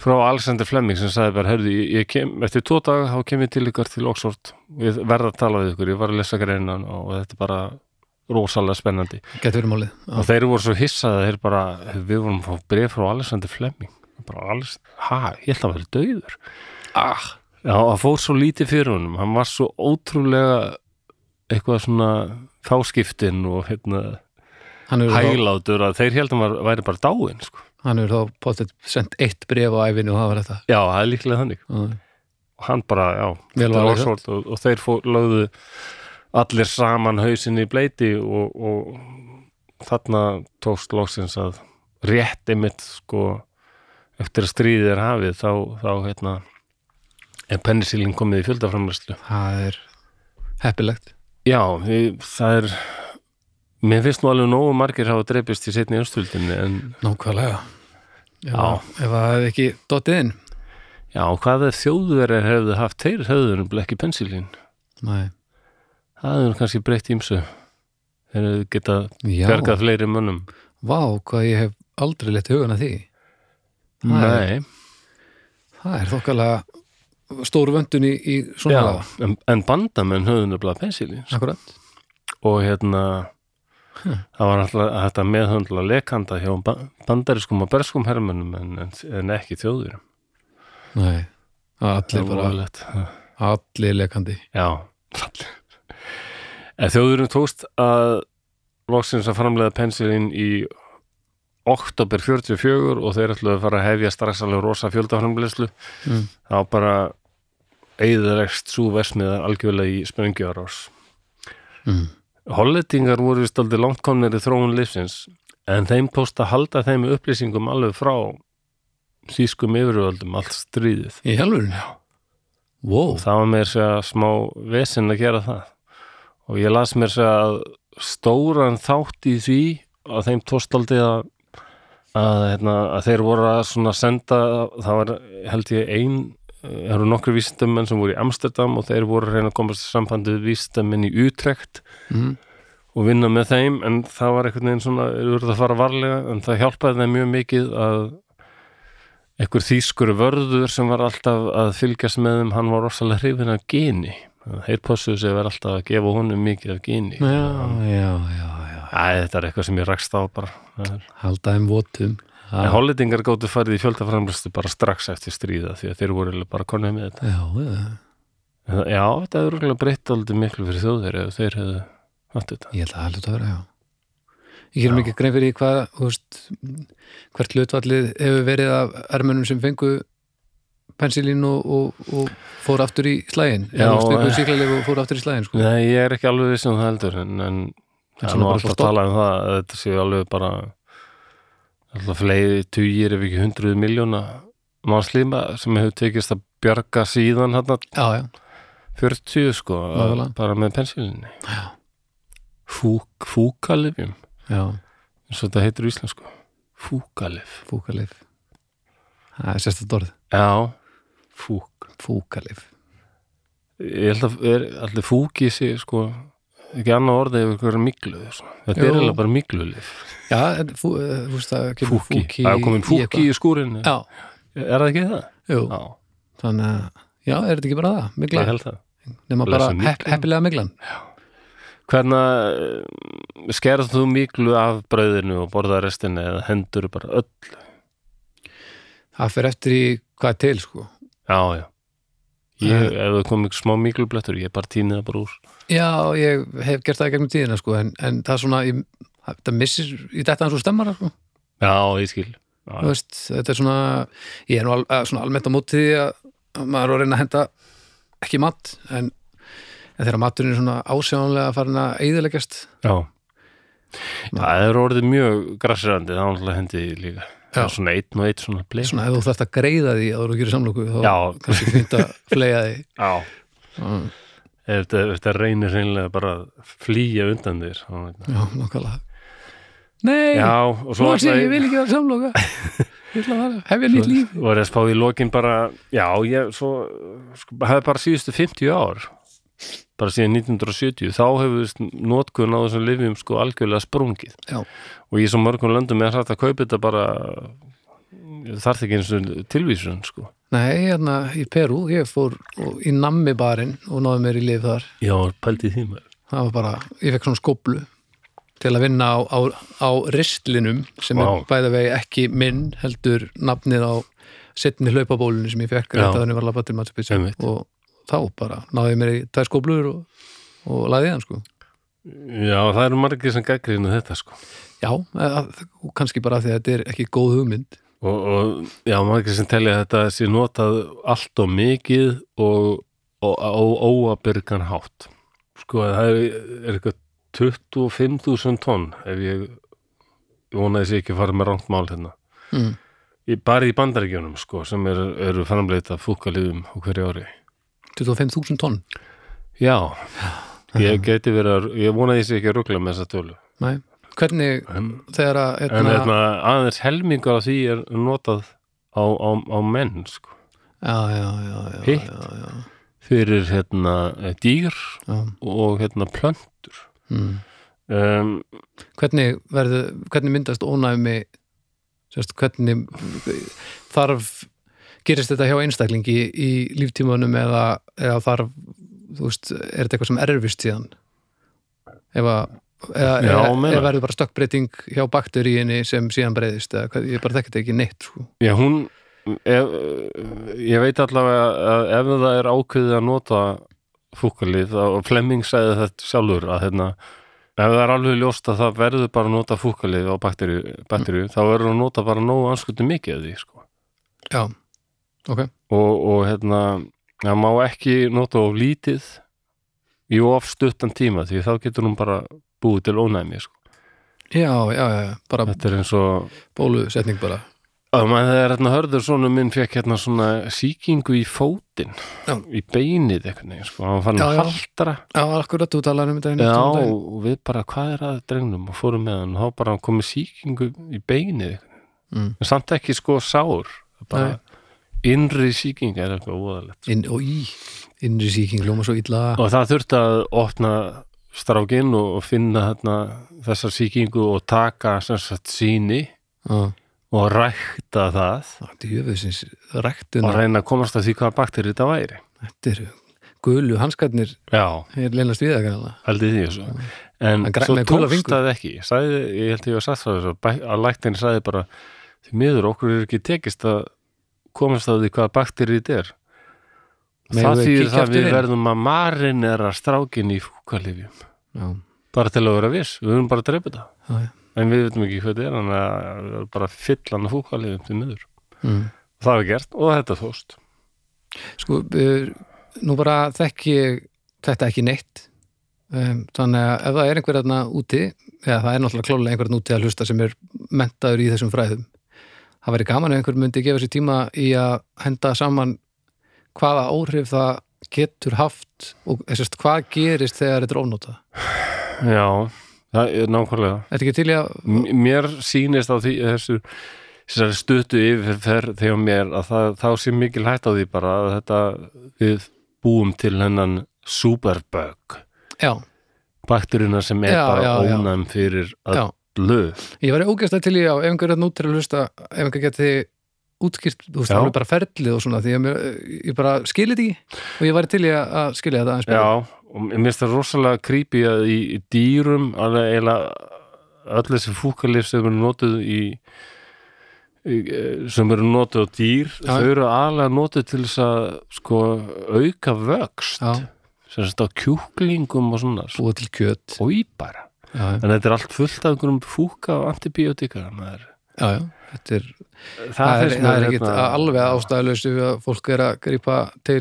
Speaker 1: frá Alexander Fleming sem sagði bara, herðu, ég, ég kem eftir tvo daga þá kem ég til ykkar til Oxford ég verða að tala við ykkur, ég var að lesa greinan og þetta er bara rosalega spennandi
Speaker 2: Gæti verið málið
Speaker 1: og
Speaker 2: Já,
Speaker 1: þeir voru svo hissaði þeir bara, við vorum að fá bref frá Alexander Fleming bara, Alex, ha, ég ætla að vera döður
Speaker 2: ah,
Speaker 1: já, það fór svo lítið fyrir honum hann var svo ótrúlega eitthvað svona fáskiptin og hérna
Speaker 2: Hann hefur þá,
Speaker 1: hæglátur að þeir heldum að væri bara dáin sko.
Speaker 2: hann hefur þá pottet sendt eitt bref á æfinu og það var þetta
Speaker 1: já, það er líklega þannig
Speaker 2: Já,
Speaker 1: og hann bara, já,
Speaker 2: Vel
Speaker 1: þetta
Speaker 2: valið
Speaker 1: var svort og, og þeir fó, lögðu allir saman hausinni í bleiti og, og þarna tókst loksins að rétt einmitt sko eftir að stríðið er hafið þá, þá hérna er pennisilin komið í fjöldaframlæslu
Speaker 2: Það er heppilegt
Speaker 1: já, því, það er mér finnst nú alveg nógu margir hafa dreipist í setni östvöldinni en
Speaker 2: Nákvæmlega Ef,
Speaker 1: Já.
Speaker 2: að- ef það hefði ekki dottið inn
Speaker 1: já, hvað er þjóðverðir hefðu haft þeir höfðunum ekki pensilin
Speaker 2: Nei
Speaker 1: það er kannski breytt ímsu þeir hefðu getað
Speaker 2: Já,
Speaker 1: bergað fleiri mönnum
Speaker 2: vá, hvað ég hef aldrei lett hugan að því Það er-
Speaker 1: Nei,
Speaker 2: Það er þokkalega stór vöndun í, í svona
Speaker 1: já, en, en bandamenn höfðu nefnilega pensilín sko.
Speaker 2: Akkurat
Speaker 1: og hérna það var alltaf þetta meðhöndla lekanda hjá ba bandariskum og berskum hermönnum en, en, en ekki þjóðurum
Speaker 2: Nei, allir bara
Speaker 1: Já,
Speaker 2: Allir lekandi
Speaker 1: allir En þjóðurum tókst að loksins að framleiða pensilín í oktober 44 og þeir ætluðu að fara að hefja strax alveg rosa fjöldaframleyslu
Speaker 2: mm.
Speaker 1: þá bara eigðaregst svo versmiða algjörlega í sprengjuarás
Speaker 2: Mm.
Speaker 1: Hollendingar voru vist aldrei langt komnir í þróun lífsins en þeim tókst að halda þeim upplýsingum alveg frá sískum yfirvöldum allt stríðið.
Speaker 2: Í helvurinn? Já Wow,
Speaker 1: Það var mér sér að smá vesinn að gera það og ég las mér sér að stóran þátt í því að þeim tókst aldrei að að, hérna, að þeir voru að svona senda það var held ég ein það eru nokkri vísindamenn sem voru í Amsterdam og þeir voru að reyna að komast í sambandi við vísindamenn í Utrecht
Speaker 2: mm.
Speaker 1: og vinna með þeim en það var einhvern veginn svona, þeir voru að fara varlega en það hjálpaði þeim mjög mikið að einhver þýskur vörður sem var alltaf að fylgjast með þeim, hann var rosalega hrifin af geni þeir possuðu sig að vera alltaf að gefa honum mikið af geni
Speaker 2: já, já, já, já.
Speaker 1: Æ, þetta er eitthvað sem ég rakst á bara Það er-
Speaker 2: haldaðum votum
Speaker 1: En
Speaker 2: já,
Speaker 1: hollendingar gáttu farið í fjöldaframlustu bara strax eftir stríða því að þeir voru eiginlega bara konnið með þetta.
Speaker 2: já, já.
Speaker 1: En það- Já, þetta hefur örugglega breytt aldrei miklu fyrir þjóðverið ef þeir hefðu hatt þetta.
Speaker 2: Ég held að það hlut að vera, já. Ég gerum ekki grein fyrir því hvað, þú veist, hvert hlutvallið hefur verið af ermönum sem fengu pensilín og, og, og fór aftur í slægin. Já.
Speaker 1: Já,
Speaker 2: Þú
Speaker 1: eh.
Speaker 2: veist, síklaleg og fór aftur í slægin, sko.
Speaker 1: Nei, ég er ekki alveg viss um það heldur en, en það er
Speaker 2: svona
Speaker 1: nú
Speaker 2: bara
Speaker 1: alltaf að
Speaker 2: stopp.
Speaker 1: tala um það að þetta séu alveg bara alltaf fleiri tugir ef ekki hundruð miljóna mannslíma sem hefur tekist að bjarga síðan hann
Speaker 2: Já, já.
Speaker 1: 40 sko að,
Speaker 2: Nákvæmlega.
Speaker 1: bara með pensilinni.
Speaker 2: Já.
Speaker 1: Fúk, fúkalifjum
Speaker 2: Já,
Speaker 1: eins og þetta heitir í Ísland sko. Fúkalif.
Speaker 2: fúkalif. Það er sérstætt orð.
Speaker 1: Já, fúk.
Speaker 2: Fúkalif.
Speaker 1: ég held að er, allir fúki sig sko ekki annað orðið yfir hverju miklu sko. þetta er
Speaker 2: Jú.
Speaker 1: eiginlega bara miklulif
Speaker 2: Já, en fú, eh, þú veist, það kemur
Speaker 1: fúki,
Speaker 2: fúki.
Speaker 1: það er komin
Speaker 2: í
Speaker 1: fúki
Speaker 2: eitthvað.
Speaker 1: í skúrin
Speaker 2: Já,
Speaker 1: er það ekki það?
Speaker 2: jú.
Speaker 1: Já,
Speaker 2: Þannig að, já, er þetta ekki bara það?
Speaker 1: ég
Speaker 2: Miglan.
Speaker 1: held það
Speaker 2: Nefna bara
Speaker 1: Blessa
Speaker 2: hepp,
Speaker 1: myglan.
Speaker 2: heppilega miglan.
Speaker 1: Hvernig skerðu eh, þú miklu af brauðinu og borða restina eða hendur bara öll?
Speaker 2: Það fer eftir í hvað er til, sko.
Speaker 1: Já, já. Ég,
Speaker 2: Það-
Speaker 1: ef það kom ykkur smá miklublettur, ég bara tíni það bara úr.
Speaker 2: Já, ég hef gert það í gegnum tíðina sko, en, en það er svona ég, það missir í þetta hans og stemmara sko.
Speaker 1: Já, ég skil. Já,
Speaker 2: Þú veist, þetta er svona ég er nú al, að- svona almennt á móti því að að maður er að reyna að henda ekki mat en, en þegar maturinn er svona ásjáanlega farin að eyðileggjast
Speaker 1: já. Það er orðið mjög grassirandi, það er alltaf hendi líka. Það er
Speaker 2: Já.
Speaker 1: svona einn og einn svona bleik.
Speaker 2: svona ef þú þarft að greiða því að þú gerir samlóku þá
Speaker 1: Já.
Speaker 2: kannski fínt að flega því
Speaker 1: Já.
Speaker 2: Mm,
Speaker 1: Ef þetta, ef þetta reynir reynilega bara að flýja undan þér. þá veit maður.
Speaker 2: Já, nákvæmlega Nei,
Speaker 1: Já, og svo
Speaker 2: svo sé ég,
Speaker 1: ætla
Speaker 2: ég vil ekki vera samlóka Ég ætla að fara- hefja nýtt líf
Speaker 1: var ég að spá í lokin bara, já, ég svo, sko, hefði bara síðustu 50 ár, bara síðan 1970, þá hefur notkun á þessum lifjum sko algjörlega sprungið.
Speaker 2: Já,
Speaker 1: Og í svo mörgum löndum er hægt að kaupa þetta bara, þarf ekki eins og tilvísun, sko.
Speaker 2: Nei, hérna í Perú, ég fór og- í nammi barinn og náði mér í lif þar.
Speaker 1: Já, pældi því maður.
Speaker 2: Það var bara, ég fekk svona skóplu til að vinna á, á, á ristlinum sem
Speaker 1: Vá.
Speaker 2: er bæða vegi ekki minn heldur nafnið á setni hlaupabólunni sem ég fekk
Speaker 1: Já.
Speaker 2: rétt að henni var labba til Matsupitsi
Speaker 1: Einmitt.
Speaker 2: og þá bara náði ég mér í tvær skóplur og, og laði hann sko.
Speaker 1: Já, það eru margir sem gaggrinu þetta, sko.
Speaker 2: Já, að, og kannski bara af því að þetta er ekki góð hugmynd.
Speaker 1: Og, og já, margir sem telja að þetta sé notað allt og mikið og, og, og óabyrgan hátt. Sko, það er, er eitthvað 25.000 tonn ef ég ég vona þess ekki að fara með rangt mál hérna.
Speaker 2: Mm.
Speaker 1: Í, bara í bandaríkjunum, sko, sem er, eru framleita fúkaliðum á hverju ári.
Speaker 2: 25.000 tonn.
Speaker 1: Já, ég geti verið að, ég vona þess ekki að ruggla með þessa tölu.
Speaker 2: Nei. Hvernig
Speaker 1: En,
Speaker 2: þegar að
Speaker 1: en hérna, aðeins helmingar af því er notað á, á, á menn, sko.
Speaker 2: já, já, já, já,
Speaker 1: Hitt.
Speaker 2: já, já,
Speaker 1: fyrir hérna dýr
Speaker 2: já.
Speaker 1: og hérna plöntur
Speaker 2: Mm.
Speaker 1: um,
Speaker 2: hvernig, verðu, hvernig myndast ónæmi sérst, hvernig þarf gerist þetta hjá einstaklingi í líftímanum eða, eða þarf þú veist, er þetta eitthvað sem erfist síðan ef að eða,
Speaker 1: Já,
Speaker 2: eða,
Speaker 1: meina.
Speaker 2: eða verður bara stökkbreyting hjá bakteríinni sem síðan breyðist eða, hvað- ég bara þekki þetta ekki neitt sko.
Speaker 1: já hún ef, ég veit allavega að ef það er ákveðið að nota fúkalið og Flemming sagði þetta sjálfur að hérna ef það er alveg ljóst að það verður bara að nota fúkalið á bakteríu, bakteríu
Speaker 2: Mm.
Speaker 1: þá verður að nota bara nógu anskutu mikið af því sko.
Speaker 2: já, ok
Speaker 1: og, og hérna það má ekki nota of lítið í of stuttan tíma því þá getur hún bara búið til ónæmi sko.
Speaker 2: já, já, já, já, bara
Speaker 1: þetta er eins og
Speaker 2: bólusetning bara
Speaker 1: Að maður þegar hérna hörður svona minn fekk hérna svona sýkingu í fótinn
Speaker 2: Já.
Speaker 1: í beinið einhvern veginn sko, hann fann
Speaker 2: Já,
Speaker 1: að
Speaker 2: já.
Speaker 1: haldra
Speaker 2: já, akkurat þú talaði um þetta
Speaker 1: Já,
Speaker 2: um daginn.
Speaker 1: og við bara, hvað er að drengnum og fórum með hann og þá bara komið sýkingu í beinið einhvern veginn.
Speaker 2: Mm.
Speaker 1: en samt ekki sko sár bara innri sýking er eitthvað óðalegt
Speaker 2: Inn, og í, innri sýking ljóma svo illa
Speaker 1: og það þurfti að opna strákin og og finna hérna, þessar sýkingu og taka sem sagt síni
Speaker 2: Já.
Speaker 1: og rækta það
Speaker 2: Það er jöfusins
Speaker 1: og
Speaker 2: ræktuna.
Speaker 1: reyna að komast að því hvaða bakterið þetta væri
Speaker 2: Þetta eru gulu hanskarnir
Speaker 1: já,
Speaker 2: er leynast við það kannala.
Speaker 1: haldið því þessu en
Speaker 2: Mm. Hann græ-
Speaker 1: svo
Speaker 2: með gula
Speaker 1: tókst
Speaker 2: fingur.
Speaker 1: það ekki Ég sagði, ég held ég var satt frá þessu bæ- að læktin sagði bara því miður okkur er ekki tekist að komast að því hvaða bakterið þetta er
Speaker 2: Megum
Speaker 1: það
Speaker 2: við
Speaker 1: þýðir
Speaker 2: kíkja
Speaker 1: það
Speaker 2: aftur
Speaker 1: að við
Speaker 2: inn?
Speaker 1: verðum að marinera strákin í fúkalifjum
Speaker 2: Já,
Speaker 1: bara til að vera viss, við verðum bara að dreipa það
Speaker 2: já, já.
Speaker 1: en við veitum ekki hvað þetta er þannig að við verðum bara að fylla hann að fúkalifjum til miður
Speaker 2: Mm.
Speaker 1: það var gert og þetta þóst
Speaker 2: Sko, eh, nú bara þekki ég þetta ekki neitt um, þannig að ef það er einhver þarna úti eða það er náttúrulega klálega einhver þarna úti að hlusta sem er mentaður í þessum fræðum það væri gaman ef einhver myndi gefa sér tíma í að henda saman hvaða áhrif það getur haft og sérst, hvað gerist þegar þetta er ofnóta
Speaker 1: já, það er nákvæmlega
Speaker 2: Þetta ekki til í að
Speaker 1: M- mér sýnist á því þessu þessari stuttu yfirferð þegar mér að það, þá sé mikil hætt á því bara að þetta við búum til hennan superbug
Speaker 2: já,
Speaker 1: bakterina sem er
Speaker 2: Já,
Speaker 1: bara
Speaker 2: já, já.
Speaker 1: ónæm fyrir
Speaker 2: já,
Speaker 1: öllu
Speaker 2: ég væri ógæslega til í að ef einhver þarna úti er að hlusta ef einhver geti útskýrt, þú veist,
Speaker 1: Já.
Speaker 2: alveg bara ferlið og svona því að mér, ég bara skilið þetta ekki og ég væri til í að að skilja þetta aðeins betur.
Speaker 1: já, og mér finnst það rosalega creepy að í, í dýrum alveg eiginlega öll þessi fúkalif sem eru notuð í í- e, sem eru notuð á dýr
Speaker 2: Já.
Speaker 1: þau eru aðlega notuð til þess að sko auka vöxt
Speaker 2: Já.
Speaker 1: sem þetta á kjúklingum og svona
Speaker 2: búa til kjöt
Speaker 1: spói bara
Speaker 2: já, já,
Speaker 1: en þetta er allt fullt af einhverjum fúka og antibiotika maður.
Speaker 2: já, já. þetta er,
Speaker 1: það,
Speaker 2: það er,
Speaker 1: finnst
Speaker 2: það
Speaker 1: mér
Speaker 2: er ekkit
Speaker 1: hérna-
Speaker 2: alveg ástæðalösi við að fólk er að grípa til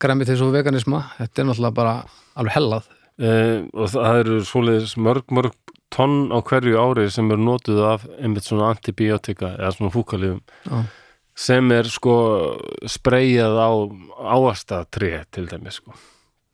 Speaker 2: græmið þessu veganisma þetta er náttúrulega bara alveg hellað
Speaker 1: Eh, og það eru svoleiðis mörg mörg tonn á hverju ári sem eru notuð af einmitt svona antibiotika eða svona fúkalifum
Speaker 2: já,
Speaker 1: sem er sko spreyjað á áastatri til dæmis sko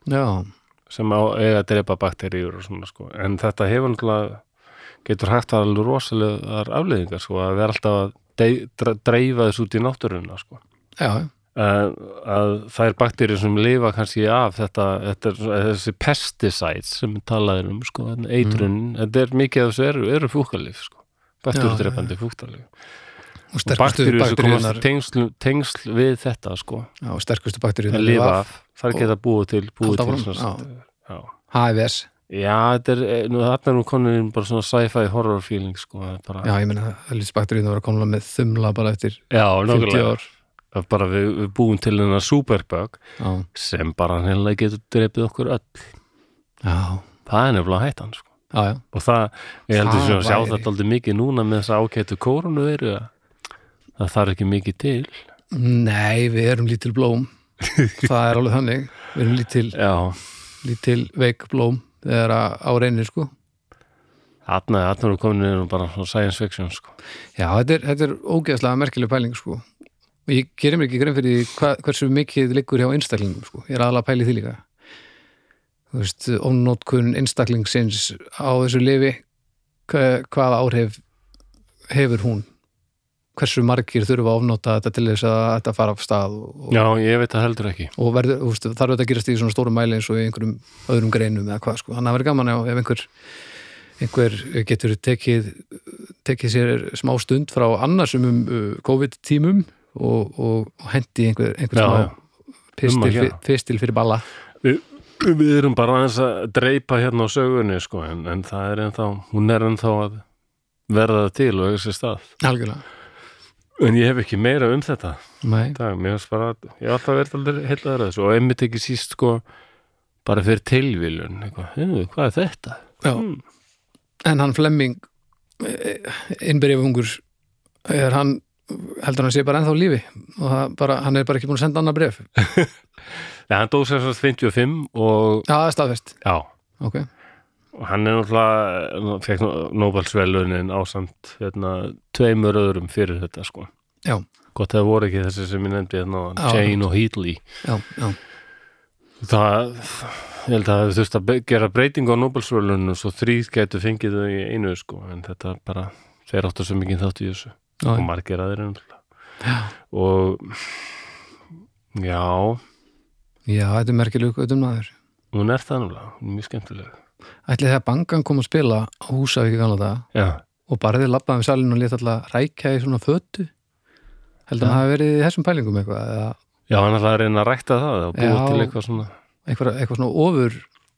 Speaker 2: já,
Speaker 1: sem á, eiga að drepa bakteríur og svona sko en þetta hefur náttúrulega getur hægt að alveg rosalegar afleðingar sko að vera alltaf að dey- dre- dreifa þess út í náttúruna sko
Speaker 2: já,
Speaker 1: að, að það er bakterjur sem lifa kannski af þetta, þetta er, svona- þessi pesticides sem við talaðum um, sko, þarna eitrun
Speaker 2: Mm.
Speaker 1: þetta er mikið af þessu eru, eru fúkalif sko. bakterjurtrefandi fúkalif
Speaker 2: og sterkustu
Speaker 1: bakterjur sem komast
Speaker 2: bakteríunar
Speaker 1: í tengsl, tengsl við þetta sko,
Speaker 2: já, og sterkustu
Speaker 1: að
Speaker 2: bakteríunar
Speaker 1: lifa af þar
Speaker 2: og-
Speaker 1: geta búið til, búið
Speaker 2: Halda
Speaker 1: til
Speaker 2: áfram,
Speaker 1: sem sagt, já.
Speaker 2: HFS,
Speaker 1: já, þetta er eh, nú, þarna er nú konin bara svona sci-fi horror feeling sko, það er bara,
Speaker 2: já, ég meina það lýst bakteríunar að komla með þumla bara eftir
Speaker 1: já
Speaker 2: 50
Speaker 1: nákvæmlega
Speaker 2: ár
Speaker 1: Það er bara við, við búum til hennar superbug
Speaker 2: já,
Speaker 1: sem bara hennilega getur drepið okkur öll
Speaker 2: já,
Speaker 1: það er nefnilega hættan sko
Speaker 2: já, já.
Speaker 1: og það, ég heldur
Speaker 2: Það
Speaker 1: sem að sjá
Speaker 2: væri-
Speaker 1: þetta aldrei mikið núna með þess að ákættu kórunu eru það þarf ekki mikið til
Speaker 2: nei, við erum lítil blóm það er alveg þannig við erum lítil
Speaker 1: já,
Speaker 2: lítil veik blóm þegar að á reynir sko
Speaker 1: þarna þarna eru komin inn og bara svona science fiction sko.
Speaker 2: já, þetta er, þetta er ógeðslega merkileg pæling sko og ég gerir mér ekki grein fyrir því hva, hversu mikið liggur hjá einstaklingum sko, ég er aðalega að pæli því líka þú veist, ónótkun einstaklingsins á þessu lifi hva- hvaða áhrif hefur hún hversu margir þurfa að ofnóta þetta til þess að þetta fara af stað og,
Speaker 1: já, ég veit það heldur ekki
Speaker 2: og verður, þú veist, þarf þetta að gerast í svona stórum mæli eins og í einhverjum öðrum greinum eða hvað sko, þannig að verður gaman ef ef einhver einhver getur tekið tekið sér smá stund frá annarsumum uh, COVID-tímum og, og, og hendi einhver, einhver
Speaker 1: Já, já.
Speaker 2: smá
Speaker 1: Um að
Speaker 2: pistil,
Speaker 1: gera.
Speaker 2: fyr- pistil fyrir balla
Speaker 1: við erum bara aðeins að dreipa hérna á sögunni sko, en, en það er ennþá, hún er ennþá að verða til og eiga sér stað
Speaker 2: algjörlega,
Speaker 1: en ég hef ekki meira um þetta
Speaker 2: nei,
Speaker 1: í dag, mér finnst bara, ég hef alltaf verið aldrei heillaður að þessu og einmitt ekki síst sko bara fyrir tilvílun eitthvað, "Hm, hvað er þetta?
Speaker 2: já
Speaker 1: Mm.
Speaker 2: en hann Flemming innbyrjufungur er hann heldur hann sé bara ennþá á lífi og það bara, hann er bara ekki búin að senda annað bref já,
Speaker 1: Já, hann dó sem sagt 55 og
Speaker 2: það er staðfest,
Speaker 1: já,
Speaker 2: ok
Speaker 1: og hann er náttúrulega fekk Nóbalsvelunin ásamt hérna, tveimur öðrum fyrir þetta sko.
Speaker 2: Já.
Speaker 1: Gott að það voru ekki þessi sem ég nefndi hérna,
Speaker 2: Já,
Speaker 1: Jane og Heatley
Speaker 2: já, já,
Speaker 1: Það, ég held að það hefur þurft að be- gera breytingu á Nóbalsvelunum svo þrýð gætu fengið þau í einu sko, en þetta bara, þeir áttu svo mikið þátt í þessu
Speaker 2: já,
Speaker 1: og margir aðeir náttúrulega og já,
Speaker 2: Já, þetta er merkileg gautum maður.
Speaker 1: hún er það náttúrulega, hún er mjög skemmtileg
Speaker 2: Ætli þegar bankan kom að spila á Húsavík í gamla daga,
Speaker 1: Já,
Speaker 2: og barðið labbaði um salin og leta alltaf rækja í svona fötu held að
Speaker 1: Já.
Speaker 2: hann hafi verið í þessum pælingum eitthvað eða
Speaker 1: Já, hann ætlaði að reyna að rækta það og búa
Speaker 2: Já.
Speaker 1: til eitthvað svona
Speaker 2: eitthvað, eitthvað svona ofur,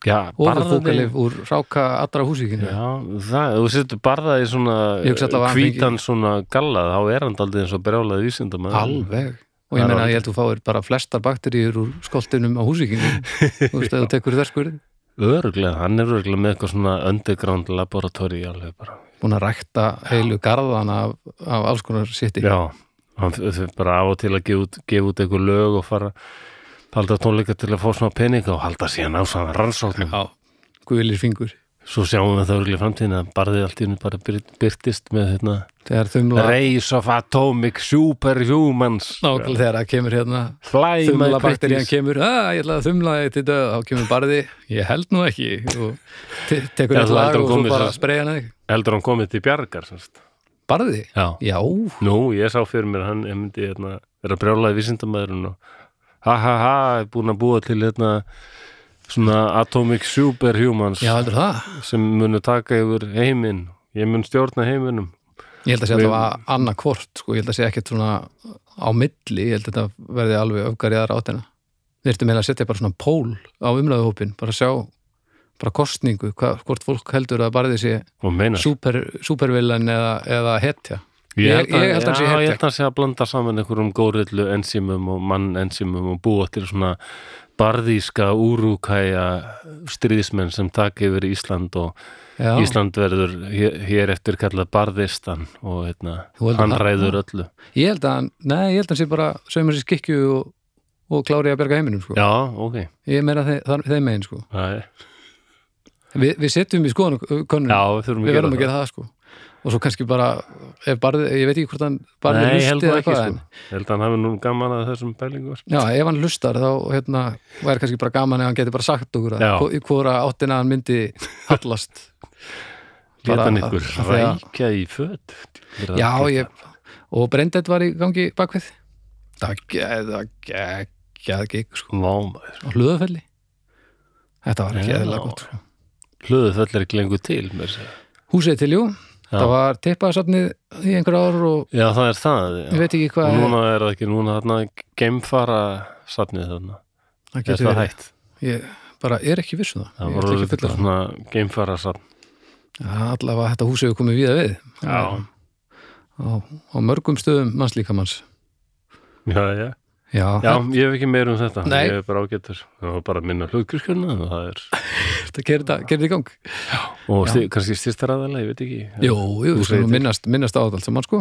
Speaker 1: Já,
Speaker 2: ofur
Speaker 1: barðið
Speaker 2: fókalif úr ráka allra húsíkinu
Speaker 1: Já, það, ef þú setur barðað í svona eh,
Speaker 2: Ég hugsa alltaf að hann
Speaker 1: hvítan svona gallað, þá er hann aldrei eins og brjálaði vísindum
Speaker 2: alveg og ég
Speaker 1: Það er
Speaker 2: meina að
Speaker 1: alveg.
Speaker 2: ég held að þú fáir bara flestar bakteríur úr skoltinum á húsíkinu þú veist að þú tekur þverskurði
Speaker 1: Öruglega, hann er öruglega með eitthvað svona underground laboratóri alveg bara
Speaker 2: búin að rækta heilu garðan af, af alls konar sitti
Speaker 1: Já, hann f- f- bara af og til að gefa út, gefa út einhver lög og fara halda tónleika til að fá svona peninga og halda síðan á svona rannsóknum
Speaker 2: Já, guðlir fingur
Speaker 1: Svo sjáum við það öruglega í framtíðin að barðið allt í hennu bara byrt- byrtist með hérna
Speaker 2: þegar þumla,
Speaker 1: Race of Atomic Superhumans
Speaker 2: nákvæmlega þegar það kemur hérna
Speaker 1: Fly my
Speaker 2: þumla bakterían
Speaker 1: pretties
Speaker 2: kemur að ég ætla að þumla þig til döð þá kemur barði, ég held nú ekki og te tekur
Speaker 1: Já,
Speaker 2: eitt
Speaker 1: þú
Speaker 2: lag
Speaker 1: heldur
Speaker 2: og
Speaker 1: hún
Speaker 2: svo
Speaker 1: komið
Speaker 2: bara
Speaker 1: sér.
Speaker 2: spreja hann þig
Speaker 1: Heldur hann komið til bjargar semst.
Speaker 2: barði,
Speaker 1: Já
Speaker 2: já,
Speaker 1: Nú, ég sá fyrir mér að hann ég myndi hérna, vera brjálaði vísindamæðurinn og ha ha ha, er búin að búa til hérna, svona Atomic Superhumans
Speaker 2: já heldur það
Speaker 1: sem munu taka yfir heiminn ég mun stjórna heiminum
Speaker 2: ég held að sé
Speaker 1: Við-
Speaker 2: alltaf að annað hvort sko, ég held að sé ekkert svona á milli ég held að þetta verði alveg öfgar í aðra áttina við ertum meðlega að setja bara svona pól á umræðuhópin, bara sjá bara kostningu, hva, hvort fólk heldur að barði sé
Speaker 1: og meina
Speaker 2: super, supervillan eða, eða hetja ég- ég held að hann sé
Speaker 1: já,
Speaker 2: hetja.
Speaker 1: ég held að hann sé að blanda saman einhverjum górillu enzimum og mann enzimum og búa til svona barðíska úrúkæja stríðismenn sem taka yfir Ísland og
Speaker 2: já,
Speaker 1: Ísland verður hér, hér eftir kallað barðistan og hérna,
Speaker 2: Þú heldur
Speaker 1: hann
Speaker 2: það?
Speaker 1: ræður öllu
Speaker 2: ég held að hann, nei, ég held að hann sé bara sögum sér skikju og, og klári að berga heiminum sko.
Speaker 1: Já, ok
Speaker 2: ég meira þe þar- þeim megin sko.
Speaker 1: Það er
Speaker 2: Vi, við setjum í skoðan konum,
Speaker 1: Já, við þurfum að
Speaker 2: við
Speaker 1: gera
Speaker 2: verðum að
Speaker 1: það.
Speaker 2: gera það sko. og svo kannski bara ef barði, ég veit ekki hvort hann barði
Speaker 1: Nei, ég
Speaker 2: lusti
Speaker 1: held nú
Speaker 2: eða
Speaker 1: ekki
Speaker 2: hvað,
Speaker 1: sko.
Speaker 2: en-
Speaker 1: Ég held að hann hafi nú gaman að þessum pælingu sko.
Speaker 2: Já, ef hann lustar þá hérna, væri kannski bara gaman ef hann geti bara sagt okkur
Speaker 1: Já.
Speaker 2: að hvo- í hvora áttina hann myndi hallast
Speaker 1: Leta
Speaker 2: Bara
Speaker 1: hann
Speaker 2: að-
Speaker 1: ykkur
Speaker 2: að því að-
Speaker 1: rækja í föt
Speaker 2: Já, ég, og Brendet var í gangi bakvið það geða geða gig sko,
Speaker 1: Vámaður
Speaker 2: á hlöðufelli Þetta var ekki
Speaker 1: Já.
Speaker 2: eðlilega gott sko.
Speaker 1: Hlöðu þöll er ekki lengur til mér segja.
Speaker 2: Húsið til, jú,
Speaker 1: Já.
Speaker 2: það var tippaðsafnið í einhver ár og
Speaker 1: Já, það er það já.
Speaker 2: ég veit ekki
Speaker 1: Og
Speaker 2: hvað
Speaker 1: núna er það ekki, núna þarna geimfara safnið þarna
Speaker 2: það
Speaker 1: Er
Speaker 2: getur
Speaker 1: það
Speaker 2: verið,
Speaker 1: hægt?
Speaker 2: ég bara er ekki viss um það,
Speaker 1: Það
Speaker 2: ég
Speaker 1: voru
Speaker 2: ætla ekki að
Speaker 1: þetta
Speaker 2: fulla
Speaker 1: svona geimfara safn
Speaker 2: það Allavega þetta húsið hefur komið víða við
Speaker 1: Já,
Speaker 2: á, á mörgum stöðum mannslíkamanns
Speaker 1: já, já
Speaker 2: Já,
Speaker 1: Já, ég hef ekki meir um þetta
Speaker 2: Nei.
Speaker 1: Ég er bara ágættur Það var bara að minna hlugkirkjörna og það er
Speaker 2: þetta gerir þetta gerir þetta í gang
Speaker 1: Og
Speaker 2: Já.
Speaker 1: sti, kannski styrsta ræðalega, ég veit ekki
Speaker 2: Jú, jú,
Speaker 1: Þú
Speaker 2: við skulum
Speaker 1: segir
Speaker 2: minnast, minnast á þetta allt saman sko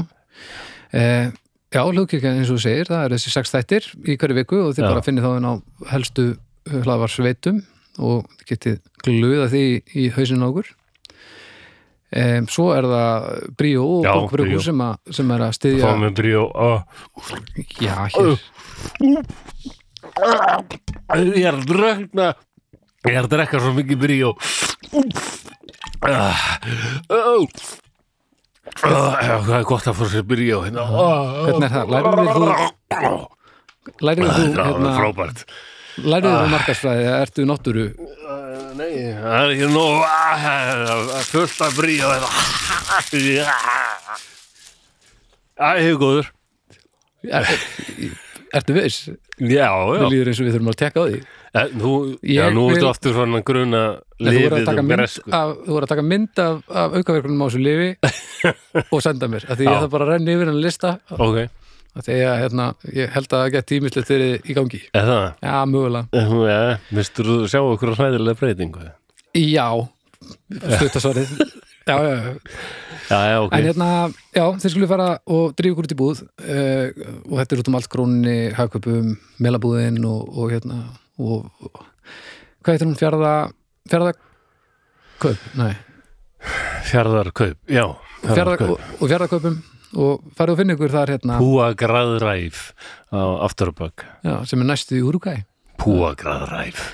Speaker 2: eh, Já, hlugkirkjan eins og þú segir það eru þessi sex þættir í hverju viku og þið
Speaker 1: Já.
Speaker 2: bara finnið þá henn á helstu eh, hlaðvarsveitum og þið getið glöða því í hausinn á okkur eh, Svo er það Bríó og
Speaker 1: Já, Bríó.
Speaker 2: Bókbrúku sem, að- sem er að styðja
Speaker 1: Fá með bríó oh.
Speaker 2: Já, hér
Speaker 1: Ég er að drökna Ég er að drekka svo mikið bríó Ah, ó. Ah, Hvað er gott að fór sér bríó hérna. Ah,
Speaker 2: Hvernig er það? Lærið við þú, lærið við þú,
Speaker 1: Það er alveg
Speaker 2: hérna,
Speaker 1: frábært
Speaker 2: lærið við þú markarsfræði eða ertu náttúru
Speaker 1: Ah, Nei, það er ekki nóg ah, það er fullt af bríó hérna. Ah, Æ, hefur góður
Speaker 2: er, Ertu viss?
Speaker 1: Já,
Speaker 2: Mér
Speaker 1: já
Speaker 2: líður eins og við þurfum að tekka á því
Speaker 1: Eh, Þú,
Speaker 2: Ég
Speaker 1: já, nú
Speaker 2: vil-
Speaker 1: ertu aftur svona gruna
Speaker 2: Nei, Þú voru að
Speaker 1: liðið
Speaker 2: taka
Speaker 1: um
Speaker 2: mynd
Speaker 1: gresku
Speaker 2: af, þú voru að taka mynd af, af aukaverkunum á þessu lifi og senda mér, af því ég
Speaker 1: Já.
Speaker 2: það bara að renna yfir hann lista,
Speaker 1: Ok,
Speaker 2: af því að hérna, ég held að það gett tímislegt verið í gangi
Speaker 1: er það?
Speaker 2: Já, mögulega,
Speaker 1: Já, mistur þú sjá okkur hræðilega breytingu
Speaker 2: já stuttasvarið já, já, já.
Speaker 1: Já, já, ok
Speaker 2: en hérna, já, þeir skulle fara og drífa ykkur út í búð uh, og þetta er út um allt krónni, hagköpum melabúðin og, og hérna og, og hvað heitir hún fjárða fjárða kaup, nei
Speaker 1: Fjarðarkaup, já
Speaker 2: Fjarða- og, og fjarðarkaupum og farið og finna ykkur þar hérna
Speaker 1: Púagraðræf á Afturbögg
Speaker 2: já, sem er næstu í Uruguay
Speaker 1: Púagraðræf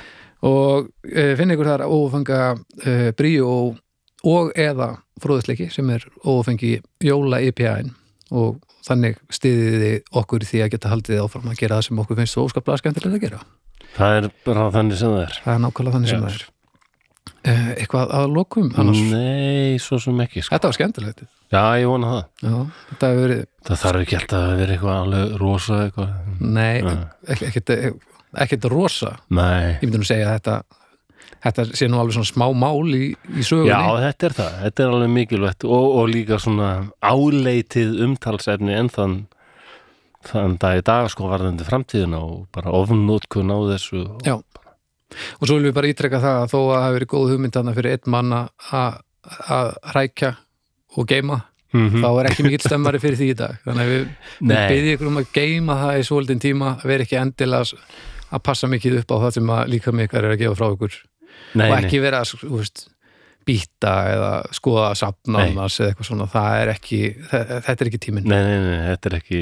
Speaker 2: og e, finna ykkur þar ófanga e, bríu og, og eða fróðisleiki sem er ófangi jóla IPA-in og þannig stiðið þið okkur í því að geta haldið áfram að gera það sem okkur finnst svo óskaplega skemmtilega að gera
Speaker 1: Það er bara þannig sem það er
Speaker 2: það er nákvæmlega þannig sem
Speaker 1: Já.
Speaker 2: það er eh, eitthvað að lokum annars.
Speaker 1: Nei, svo sem ekki sko.
Speaker 2: Þetta var skemmtilegt.
Speaker 1: Já, ég vona það
Speaker 2: Já, þetta hefur verið,
Speaker 1: Það þarf ekki alltaf að vera eitthvað alveg rosa eitthvað
Speaker 2: nei,
Speaker 1: Já.
Speaker 2: ek- ekkert ekkert rosa.
Speaker 1: Nei
Speaker 2: Ég myndi nú segja að þetta, þetta sé nú alveg svona smá mál í, í sögunni.
Speaker 1: Já, þetta er það, þetta er alveg mikilvægt og, og líka svona áleitið umtalsefni en þann þann dag í dag sko varðandi framtíðina og bara ofnótkun á þessu og,
Speaker 2: Já. Og svo viljum við bara ítrekka það að þó að það hafi verið góð hugmynd hana fyrir einn mann að- að að hrækja og geima,
Speaker 1: Mhm.
Speaker 2: þá er ekki mikill stemmari fyrir því í dag. Þannig að við, við
Speaker 1: Nei.
Speaker 2: byrðum ykkur um að geima það í svolítinn tíma, að vera ekki endilega s- að passa mikið upp á það sem að líka mikar er að gefa frá ykkur.
Speaker 1: nei,
Speaker 2: og ekki vera, s- þú veist, býta eða skoða safna
Speaker 1: Nei.
Speaker 2: annars eða eitthvað svona, það er ekki, þe- þetta er ekki tíminn.
Speaker 1: nei, nei, nei, þetta er ekki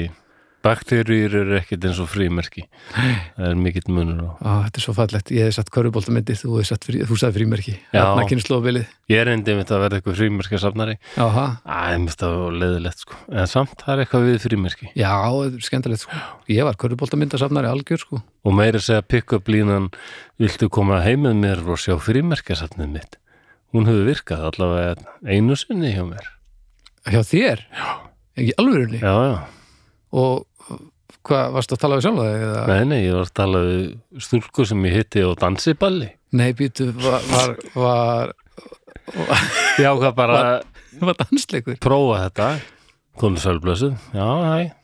Speaker 1: bakterjur eru ekkit eins og frímerki það er mikill munur á
Speaker 2: Á, þetta er svo fallegt, ég hef satt körfuboltamyndir, þú hefði satt frí, þú sagði frímerki, Hérna
Speaker 1: Já.
Speaker 2: þarna kynnslóðabilið.
Speaker 1: ég er endið mitt að verða eitthvað frímerkja safnari
Speaker 2: Áha,
Speaker 1: Æ, mér finnst það leðilegt sko en samt það er eitthvað við frímerki
Speaker 2: Já, þetta er skemmtilegt sko. Ég var körfuboltamyndasafnari algjör sko.
Speaker 1: og meira að segja pick-up línan viltu koma heim með mér og sjá frímerkjasafnið mitt hún hefur virkað allavega einu sinni hjá mér
Speaker 2: Hjá þér? Já. Ekki alvörunni?
Speaker 1: já, já,
Speaker 2: Og hvað, varstu að tala við sjálfa þig? Eða?
Speaker 1: nei, nei, ég var að tala við stúlku sem ég hitti á dansiballi
Speaker 2: Nei, býtu, var, var, var,
Speaker 1: ég ákvað bara að
Speaker 2: var dansleikur?
Speaker 1: prófa þetta konu sölblössu, já, hæ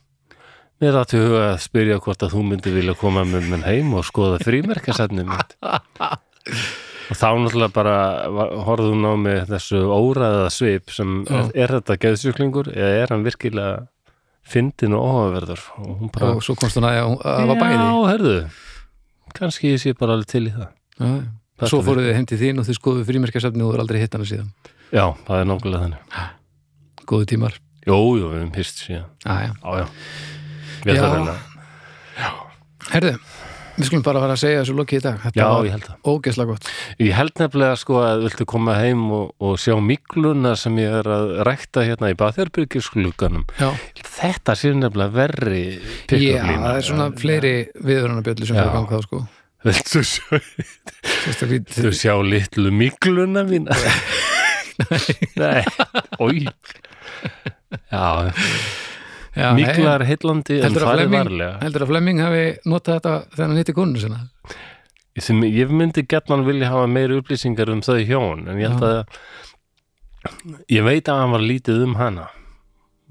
Speaker 1: mér er að til huga að spyrja hvort að þú myndi vilja koma með mér heim og skoða frímerkjasafnið mitt og þá náttúrulega bara var- horfði hún á mig þessu óræða svip sem er, er þetta geðsjúklingur eða er hann virkilega fyndin og óhaverður og hún bara,
Speaker 2: Og svo komst hún að að það var bæði.
Speaker 1: já, herðu kannski ég sé bara alveg til í það
Speaker 2: Já.
Speaker 1: Þetta
Speaker 2: Svo fóruð þið heim til þín og þið skoðu frímerkjasafni og þú er aldrei hitt hana síðan.
Speaker 1: já, það er nákvæmlega þannig
Speaker 2: Góðu tímar.
Speaker 1: jú, jú, við höfum hýst síðan
Speaker 2: Já, já.
Speaker 1: já, já, við
Speaker 2: Já.
Speaker 1: það reyna
Speaker 2: Herðu, við skulum bara fara að segja þessu lokið í dag. Þetta
Speaker 1: já,
Speaker 2: var
Speaker 1: ég held það
Speaker 2: ógeðslega gott.
Speaker 1: ég held nefnilega sko að viltu koma heim og, og sjá mikluna sem ég er að rækta hérna í Bathjarbyrgisglugganum
Speaker 2: Já,
Speaker 1: þetta sé nefnilega verri
Speaker 2: já
Speaker 1: pick-up lína.
Speaker 2: það er svona fleiri viðvörunarbjöldu sem
Speaker 1: Já.
Speaker 2: fyrir ganga þá sko.
Speaker 1: Viltu sjá,
Speaker 2: Sérstaklega
Speaker 1: viltu sjá litlu mikluna mína? Nei. Ói. Já,
Speaker 2: Já, nei,
Speaker 1: miklar heillandi en
Speaker 2: heldur að,
Speaker 1: farið
Speaker 2: Flemming,
Speaker 1: varlega.
Speaker 2: heldur að Flemming hafi notað þetta þegar hann hitti konu sinna
Speaker 1: Sem ég myndi getman vilja hafa meiri upplýsingar um þau hjón, en ég held
Speaker 2: Já.
Speaker 1: að ég veit að hann var lítið um hana.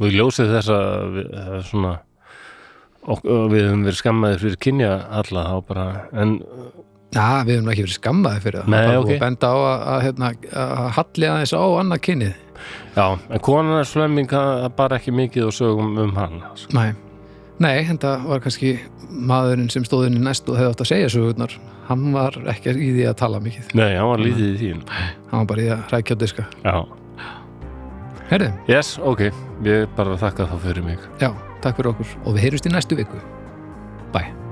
Speaker 1: Og ég ljósið þess að við, það er svona og, og við höfum verið skammaðið fyrir kynja alla þá bara, en
Speaker 2: Já, við höfum nú ekki verið skammaði fyrir það
Speaker 1: Nei,
Speaker 2: Það er bara
Speaker 1: ok.
Speaker 2: búið að benda á að, að, hérna, að halli aðeins á annað kynið
Speaker 1: já, en konarnar slemming það bara ekki mikið og sögum um hana sko.
Speaker 2: Nei, Nei þetta var kannski maðurinn sem stóð inn í næst og hefði átt að segja sögurnar Hann var ekki í því að tala mikið
Speaker 1: Nei, hann var lítið í þín
Speaker 2: Hann var bara í því að rækja á diska
Speaker 1: Já,
Speaker 2: Herði,
Speaker 1: yes, ok, ég bara þakka þá fyrir mig
Speaker 2: já, takk fyrir okkur og við heyrjumst í næstu viku Bye